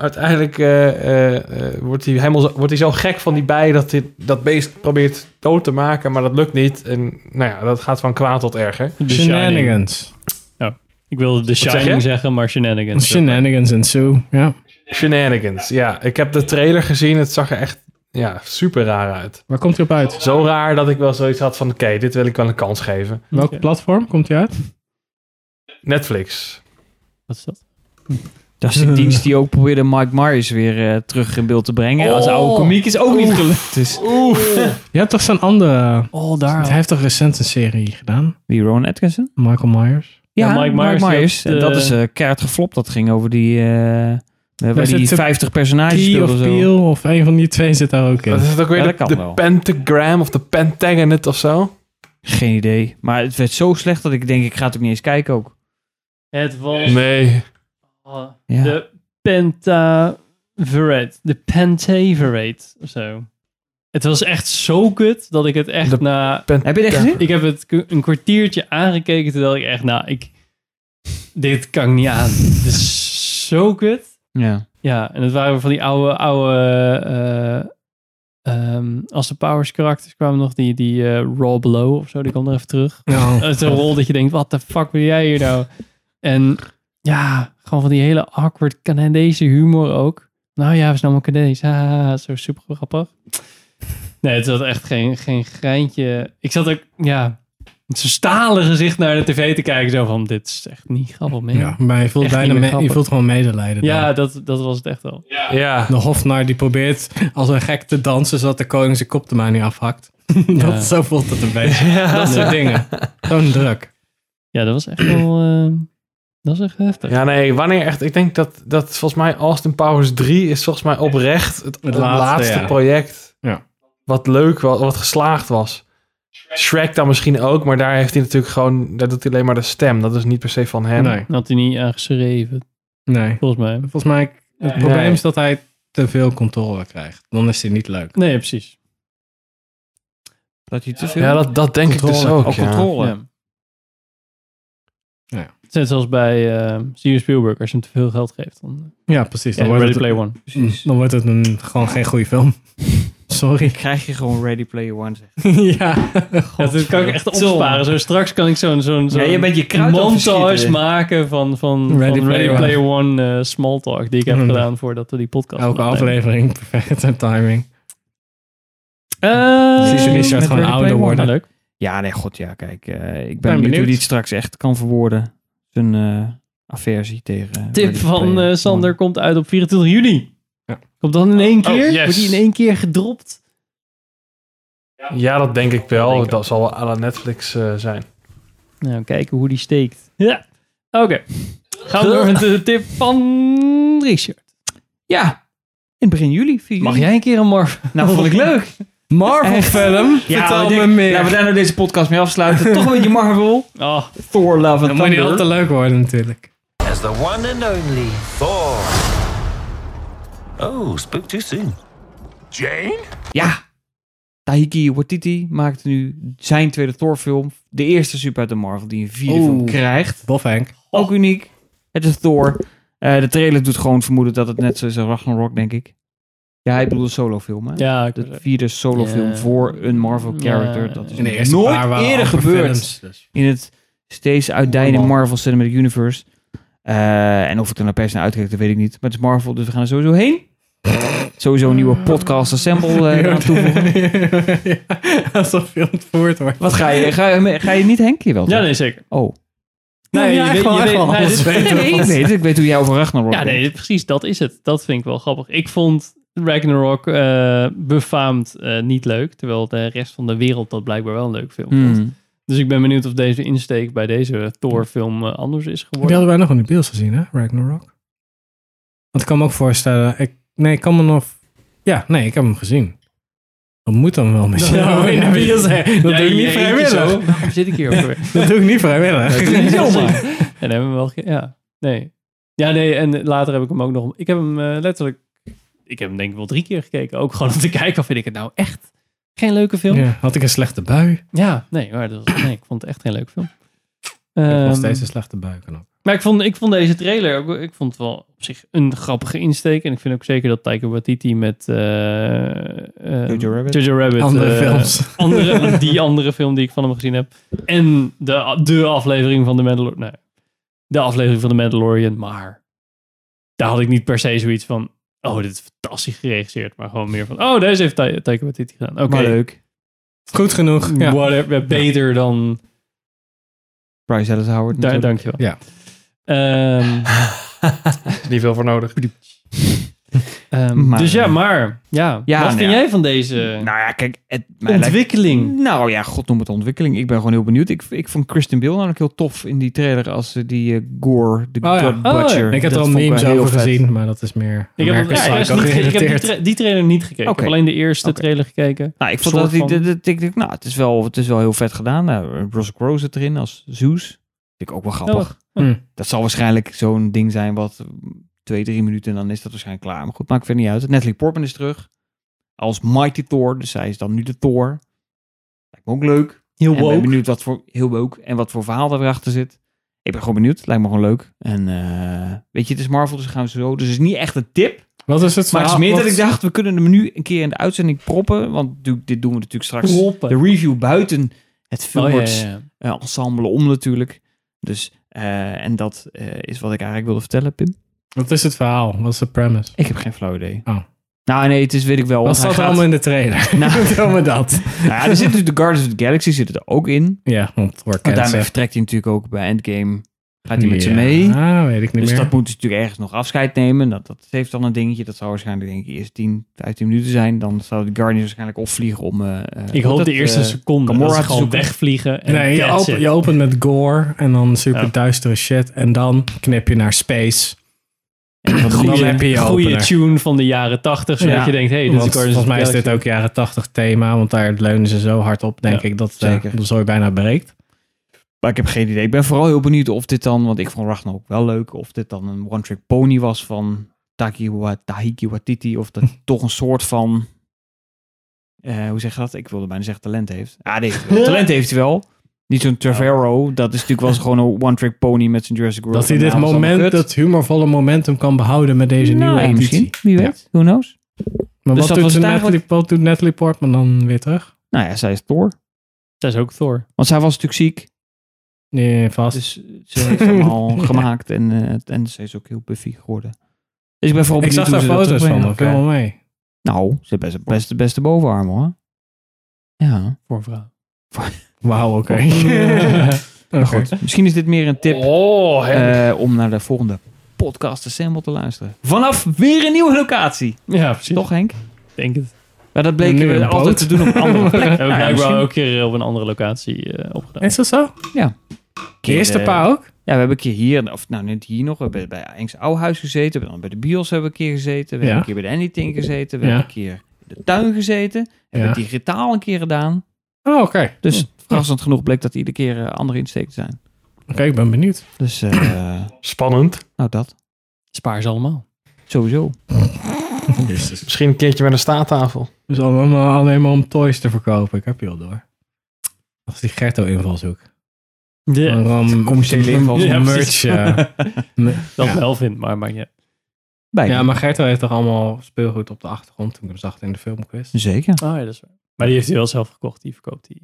G: uiteindelijk eh, eh, eh, wordt, hij helemaal zo, wordt hij zo gek van die bij dat hij dat beest probeert dood te maken, maar dat lukt niet. En nou ja, dat gaat van kwaad tot erger.
B: The Shining. Shenanigans. Oh, ik wilde The
G: zeg
B: Shining
G: je?
B: zeggen, maar shenanigans.
C: Shenanigans en Sue, ja.
G: Shenanigans, ja. Ik heb de trailer gezien. Het zag er echt ja, super raar uit.
C: Waar komt hij op uit?
G: Zo raar dat ik wel zoiets had van... oké, dit wil ik wel een kans geven.
C: Welk platform komt hij uit?
G: Netflix.
B: Wat is dat?
E: Dat is de dienst die ook probeerde Mike Myers weer eh, terug in beeld te brengen. Als oude komiek is ook niet gelukt. Dus.
C: Oef. Je hebt toch zo'n andere...
B: Oh, daar.
C: Hij heeft toch recent een serie gedaan?
E: Wie, Rowan Atkinson?
C: Michael Myers.
E: Ja, Mike Myers.
C: die
E: En
C: had,
E: dat
C: eh,
E: is eh keihard geflopt. Dat ging over die, eh, waar
C: daar
E: die
C: zit de
E: 50 personages
C: Key
E: speelden.
C: of
E: zo.
C: Peel of een van die twee zit daar ook in.
G: Wat is het ook weer?
E: Ja,
G: de
E: dat kan
G: de
E: wel.
G: Pentagram of de Pentagonet of zo?
E: Geen idee. Maar het werd zo slecht dat ik denk, ik ga het ook niet eens kijken ook.
B: Het was...
G: Nee.
B: Oh,
E: Ja.
B: De Pentaverate. De Pentaverate. Of zo. Het was echt zo kut dat ik het echt na...
E: Heb je het echt gezien?
B: Ik heb het k- een kwartiertje aangekeken terwijl ik echt, nou, ik... Dit kan ik niet aan. Dit is zo kut.
E: Ja.
B: Ja, en het waren van die oude, oude eh, ehm, als de Powers karakters kwamen nog, die, die eh, Raw Blow of zo, die kwam er even terug.
C: Ja.
B: Het is een rol dat je denkt, wat de fuck wil jij hier nou? En ja, gewoon van die hele awkward Canadese humor ook. Nou ja, we zijn allemaal Canadees. Ah, zo super grappig. Nee, het was echt geen, geen greintje. Ik zat ook, ja, met zo'n stalen gezicht naar de tv te kijken. Zo van, dit is echt niet grappig, man.
C: Ja, maar je voelt,
B: Echt niet
C: bijna
B: meer
C: me- je
B: grappig.
C: voelt gewoon medelijden. dan.
B: Ja, dat, dat was het echt wel.
G: Ja.
C: De hofnar die probeert als een gek te dansen zodat de koning zijn kop er maar niet afhakt.
B: Ja.
C: dat, zo voelt het een beetje.
B: Ja.
C: Dat soort dingen. Zo'n druk.
B: Ja, dat was echt wel... eh, dat was echt heftig.
G: Ja, nee, wanneer echt... Ik denk dat, dat volgens mij Austin Powers 3 is volgens mij oprecht het,
C: Het
G: laatste,
C: laatste, ja.
G: project
C: Ja.
G: wat leuk was, wat geslaagd was. Shrek dan misschien ook, maar daar heeft hij natuurlijk gewoon... Daar doet hij alleen maar de stem. Dat is niet per se van hem.
C: Nee.
B: Had hij niet aangeschreven,
C: nee.
B: volgens mij.
C: Volgens mij, het
G: Nee.
C: probleem is dat hij te veel controle krijgt. Dan is hij niet leuk.
B: Nee, precies.
E: Dat je te veel...
G: Ja, dat, dat denk ik dus
C: Controle.
G: ook.
E: Oh,
G: ja.
E: controle.
B: Ja.
C: Ja.
B: Het is Net zoals bij eh Steven Spielberg, als je hem te veel geld geeft. Dan,
C: Ja, precies.
B: Ja,
C: Dan, wordt,
B: Ready
C: het,
B: Player One.
C: dan wordt het een, gewoon geen goede film. Sorry.
E: Krijg je gewoon Ready Player One. Zeg.
C: ja.
B: Ja, dat kan ik echt
E: Godverdomme.
B: opsparen. Zo, straks kan ik zo'n zo'n zo'n
E: Ja, je bent je kruid aan het
B: montage
E: verschieten.
B: maken van, van van Ready,
C: Ready Player
B: Player One eh small talk die ik heb
C: Mm.
B: gedaan voordat we die podcast
C: Elke
B: opnemen.
C: aflevering, perfecte timing.
B: Eh,
C: Precies,
B: met
C: Richard gewoon
B: Ready
C: ouder
B: Player One.
C: worden.
B: Ah, leuk.
E: Ja, nee, god, ja, kijk. eh, ik ben,
C: Ben
E: benieuwd
C: benieuwd.
E: hoe die het straks echt kan verwoorden. Zijn eh, aversie tegen... eh,
B: Tip
E: Ready
B: van
E: Player
B: eh, Sander
E: One.
B: komt uit op 24 juni.
C: Ja.
B: Komt dan in één keer?
G: yes.
B: Wordt die in één keer gedropt?
G: Ja, dat denk ik wel. Dat zal wel à la Netflix eh, zijn.
B: Nou, kijken hoe die steekt. Ja. Oké. Gaan we door met de tip van Richard.
E: Ja, in begin juli. 4 juli.
B: Mag jij een keer een Marvel?
E: Nou, vond ik leuk.
C: Marvel
E: Echt?
C: film?
E: Ja,
C: Vertel
E: wat ik-
C: me meer.
E: Laten we daar nou deze podcast mee afsluiten. Toch een beetje Marvel.
B: Oh,
E: Thor, Love
C: dat
E: and
C: moet niet al
E: Thunder.
C: te leuk worden natuurlijk.
I: As the one and only Thor. Oh, spoke too soon.
D: Jane?
E: Ja. Taiki Watiti maakt nu zijn tweede Thor-film. De eerste super uit de Marvel die een vierde film
C: Oeh. Oh.
E: krijgt.
C: Bof Henk.
E: Ook uniek. Het is Thor. Eh, de trailer doet gewoon vermoeden dat het net zo is als Ragnarok, denk ik. Ja, hij bedoelde solo-film, hè?
B: Ja, ik
E: De vierde solo-film
B: Ja.
E: voor een Marvel-character.
B: Ja.
E: Dat is
C: In de eerste
E: nooit
C: paar waren
E: eerder
C: amper
E: gebeurd.
C: films, dus.
E: in het steeds uitdijende
C: Allemaal.
E: Marvel Cinematic Universe. Eh, en of ik er nou per se naar uitkijk, dat weet ik niet. Maar het is Marvel, dus we gaan er sowieso heen. Sowieso een nieuwe podcast assemble eh aan toevoegen.
C: Alsof je ontvoerd wordt.
E: Wat ga je? Ga, je- ga je niet Henk hier wel?
B: Ja,
E: doen?
B: nee, zeker.
E: Oh.
B: Nee,
E: ja,
B: je
E: echt
B: weet-
E: wel,
B: je
E: echt
B: weet-
E: wel.
B: nee, dit-
E: Alles
B: nee,
E: weet
B: nee,
E: ik.
B: nee.
E: Ik weet- ik weet hoe jij over Ragnarok
B: Ja, nee, precies. Dat is het. Dat vind ik wel grappig. Ik vond Ragnarok eh, befaamd eh, niet leuk. Terwijl de rest van de wereld dat blijkbaar wel een leuk film vond.
E: Hmm.
B: Dus ik ben benieuwd of deze insteek bij deze Thor-film eh, anders is
C: Die
B: geworden.
C: hadden wij nog in de beels gezien, hè? Ragnarok. Want ik kan me ook voorstellen... Ik, nee, ik kan me nog... Ja, nee, ik heb hem gezien. Dat moet dan wel met
B: Dat-
C: jou in de
B: Ja,
C: bios, hè?
B: ja,
C: Dat doe ik
B: je
C: niet
B: eentje zo.
C: vrijwillig.
B: Waarom zit ik hier ook weer?
C: Dat doe ik niet vrijwillig.
B: Dat doe ik niet zomaar. En dan hebben we wel... ge- Ja, nee. Ja, nee, en later heb ik hem ook nog... Ik heb hem eh, letterlijk... Ik heb hem denk ik wel drie keer gekeken. Ook gewoon om te kijken of vind ik het nou echt geen leuke film.
C: Ja, had ik een slechte bui?
B: Ja, nee, maar dat was- nee, ik vond het echt geen leuke film.
C: ik heb nog
B: Ehm,
C: steeds een slechte bui. Knop.
B: maar ik vond, ik vond deze trailer ook, ik vond het wel op zich een grappige insteek. En ik vind ook zeker dat Taika Waititi met eh, eh,
E: Jojo Rabbit.
B: Rabbit,
C: Andere
B: eh,
C: films.
B: andere- die andere film die ik van hem gezien heb. En de, de aflevering van The Mandalorian. Nee, de aflevering van The Mandalorian. Maar daar had ik niet per se zoiets van... Oh, dit is fantastisch geregisseerd. Maar gewoon meer van... Oh, deze heeft Ta- Taika Waititi gedaan. Oké.
E: Maar leuk.
C: Goed genoeg. Ja.
B: Whatever, beter dan...
E: Bryce Dallas Howard.
B: Daar,
E: natuurlijk.
B: dankjewel.
C: Ja.
B: Ehm,
G: Niet veel voor nodig.
B: ehm,
E: Maar-
B: dus ja, maar ja.
E: Ja,
B: wat
E: nou
B: vind
E: ja.
B: jij van deze
E: Nou ja, kijk. Het, mij lijkt-
B: ontwikkeling?
E: Nou ja, god noem het ontwikkeling. Ik ben gewoon heel benieuwd. Ik, ik vond Kristen Bill namelijk heel tof in die trailer als eh, die eh, Gore, de
C: Oh ja.
E: Blood
B: Oh ja.
E: Butcher.
C: Ik heb
E: Dat
C: er al
E: vond ik
C: memes
E: wel heel
C: over
E: vet.
C: gezien, maar dat is meer
B: Ik heb,
C: American
B: ja, juist
C: Psycho
B: niet, ik heb die,
C: gerelateerd.
B: tra- die trailer niet gekeken. Ik
E: Oké.
B: heb alleen de eerste
E: Oké.
B: trailer gekeken.
E: Nou, ik vond
B: Soort
E: dat hij,
B: van.
E: dat, dat- ik dacht, nou, het is, wel, het is wel heel vet gedaan. Nou, Russell Crowe zit erin als Zeus. Vind ik ook wel grappig.
B: Oh,
C: hm.
E: Dat zal waarschijnlijk zo'n ding zijn wat mm, twee, drie minuten en dan is dat waarschijnlijk klaar. Maar goed, maakt verder niet uit. Natalie Portman is terug als Mighty Thor. Dus zij is dan nu de Thor. Lijkt me ook leuk.
B: Heel
E: En ben
B: woke.
E: benieuwd wat voor, heel woke, en wat voor verhaal daar weer achter zit. Ik ben gewoon benieuwd. Lijkt me gewoon leuk. En eh, weet je, het is Marvel, dus gaan we zo. Dus het is niet echt een tip.
C: Wat is het
E: Maar het is
C: verhaal?
E: meer dat
C: Wat-
E: ik dacht, we kunnen hem nu een keer in de uitzending proppen. Want natuurlijk, dit doen we natuurlijk straks.
B: Proppen.
E: De review buiten het
B: Oh, ja,
E: filmworks
B: ja, ja.
E: eh, ensemble om natuurlijk. Dus, eh, en dat eh, is wat ik eigenlijk wilde vertellen, Pim.
C: Wat is het verhaal? Wat is de premise?
E: Ik heb geen flauw idee.
C: Oh.
E: Nou nee, het is weet ik wel.
C: Wat
E: want
C: staat
E: hij
C: er
E: gaat-
C: allemaal in de trailer?
E: Nou,
C: Vertel me dat.
E: nou ja, er zit natuurlijk de Guardians of the Galaxy zitten er ook in. Want
C: Ja, want wordt cancel.
E: daarmee vertrekt hij natuurlijk ook bij Endgame. Gaat hij met ze
C: Ja,
E: mee.
C: Ah, weet ik niet
E: Dus
C: meer.
E: dat moet hij natuurlijk ergens nog afscheid nemen. Dat, dat heeft dan een dingetje. Dat zou waarschijnlijk denk ik eerst 10, 15 minuten zijn. Dan zou de Guardians waarschijnlijk opvliegen om... eh, eh,
B: Ik
E: hoe
B: hoop
E: dat,
B: de eerste
E: eh,
B: seconde
E: Gamora
B: dat ze
E: te
B: gewoon
E: zoeken.
B: wegvliegen. En
C: Nee, je,
B: that's
C: open-
B: it.
C: je opent met gore en dan super
B: Ja.
C: duistere shit. En dan knip je naar space.
E: En wat
C: Dan heb je
B: Goede,
C: je
B: goede
C: opener.
B: tune van de jaren tachtig. Zodat
E: Ja.
B: je denkt, hey, dit
C: Want
B: is
E: dus
B: Guardians of
C: volgens
B: the
C: mij is dit
B: Galaxy.
C: ook jaren 80 thema, want daar leunen ze zo hard op, denk
B: Ja,
C: ik, dat eh,
E: zeker.
C: de zooi bijna breekt.
E: Maar ik heb geen idee. Ik ben vooral heel benieuwd of dit dan, want ik vond Ragnarok wel leuk, of dit dan een one-trick pony was van Taki Wa- Tahiki Watiti, of dat hij toch een soort van, eh, hoe zeg je dat? Ik wilde bijna zeggen talent heeft. Ah, nee, heeft hij wel. talent heeft hij wel. Niet zo'n Trevorrow, dat is natuurlijk wel eens gewoon een one-trick pony met zijn Jurassic World.
C: Dat hij
E: En
C: dit
E: alles allemaal
C: moment,
E: kut.
C: dat humorvolle momentum kan behouden met deze
E: Nou,
C: nieuwe editie.
E: misschien. Wie weet, who knows?
C: Maar
E: Dus dat
C: wat, doet
E: was
C: ze
E: het
C: Natalie, wat doet Natalie Portman dan weer terug?
E: Nou ja, zij is Thor.
B: Dat is ook Thor.
E: Want zij was natuurlijk ziek,
C: Nee, vast.
E: dus ze heeft hem al gemaakt en, eh, en ze is ook heel buffy geworden. Dus ik ben vooral
C: ik
E: benieuwd
C: zag
E: hoe
C: daar
E: ze dat
C: foto's van,
E: terugbrengen.
C: dat viel wel mee.
E: Nou, ze hebben best, best de beste bovenarm hoor. Ja.
B: Voor vrouw.
C: Wauw, oké. Oh,
E: Maar goed, misschien is dit meer een tip
G: Oh, hè.
E: eh, om naar de volgende podcast Assemble te luisteren. Vanaf weer een nieuwe locatie.
B: Ja, precies.
E: Toch Henk?
B: Ik denk het.
E: Maar dat
C: Nu
E: bleken
C: een
E: we
C: boot.
E: altijd te doen op een andere plek.
B: Hebben we
E: Nou ja,
B: blijkbaar
E: misschien
B: ook een keer eh, op een andere locatie eh, opgedaan.
C: Is dat zo?
E: een
C: De
E: keer,
C: eerste
E: eh,
C: paar ook?
E: Ja, we hebben een keer hier, of nou net hier nog, we hebben bij Henks Ouwhuis gezeten, we hebben dan bij de Bios hebben we een keer gezeten, we
C: Ja.
E: hebben een keer bij de Anything gezeten, we
C: Ja.
E: hebben een keer in de tuin gezeten, we hebben
C: Ja.
E: het digitaal een keer gedaan.
C: Oh, oké.
E: Dus verrassend genoeg bleek dat iedere keer eh, andere insteken te zijn.
C: Oké, ik ben benieuwd.
E: Dus eh,
G: Spannend.
E: nou dat,
B: Spaar ze allemaal.
E: sowieso.
G: Misschien een keertje met een staattafel.
C: Dus allemaal alleen maar om toys te verkopen. Ik heb je al door. Als die Gerto invalshoek.
B: Ja,
C: Waarom
E: commerciële invalshoek.
C: Ja, merch.
B: precies.
C: Ja.
B: dat
C: ja.
B: wel vindt, maar maakt niet uit.
E: Bijna.
C: ja, maar Gerto heeft toch allemaal speelgoed op de achtergrond toen ik hem zag in de filmquiz.
E: Zeker.
B: Oh ja, dat is waar. Maar die heeft hij wel zelf gekocht. Die verkoopt hij.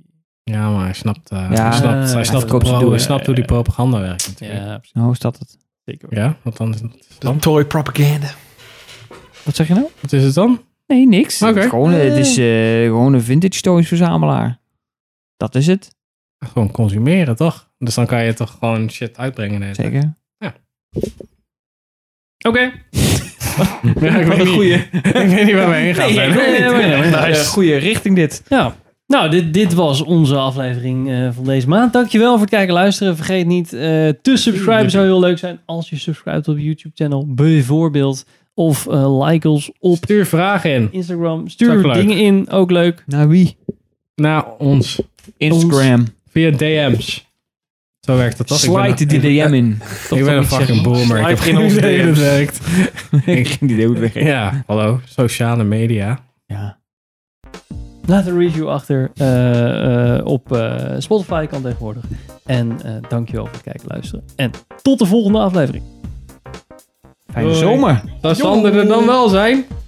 C: Ja, maar hij snapt, eh,
E: Ja,
C: hij snapt, hij
B: hij
C: snapt,
E: verkoopt
C: pro-
E: zijn doel,
C: hij
B: ja,
C: snapt hoe die
B: ja,
C: propaganda werkt natuurlijk. Ja,
B: Ja, precies.
E: Nou is dat het.
B: Zeker.
C: want dan
G: De toy propaganda.
E: Wat zeg je nou?
C: wat is het dan?
E: Nee, niks.
C: Oké.
E: Het is gewoon, het is eh, gewoon een vintage toys verzamelaar. Dat is het.
C: Gewoon consumeren, toch? Dus dan kan je toch gewoon shit uitbrengen. de hele tijd.
E: Zeker.
C: Oké. Ja, ik, weet niet. ik weet niet waar we heen gaan.
B: Nee, ik weet niet. Nice.
E: Goede richting dit.
B: Ja. Nou, dit, dit was onze aflevering eh, van deze maand. Dankjewel voor het kijken en luisteren. Vergeet niet eh, te subscriben. Zou heel leuk zijn als je subscribt op YouTube-channel bijvoorbeeld. Of eh, like ons op...
C: Stuur vragen in.
B: Instagram.
C: Is
B: Stuur
C: ook leuk.
B: dingen in. Ook leuk.
E: Naar wie?
C: Naar ons.
E: Instagram.
C: Via DM's. Zo werkt dat toch? Ik ben
E: Slide die
C: een-
E: DM in.
C: Ik ben een fucking boomer. Ik heb geen idee hoe het werkt.
E: Ik ging die dood weg.
C: Ja, hallo. Sociale media.
E: Ja.
B: Laat een review achter. eh, eh, op eh, Spotify kan tegenwoordig. En eh dankjewel voor het kijken en luisteren. En tot de volgende aflevering.
E: Fijne zomer.
C: Zou Sander er dan wel zijn?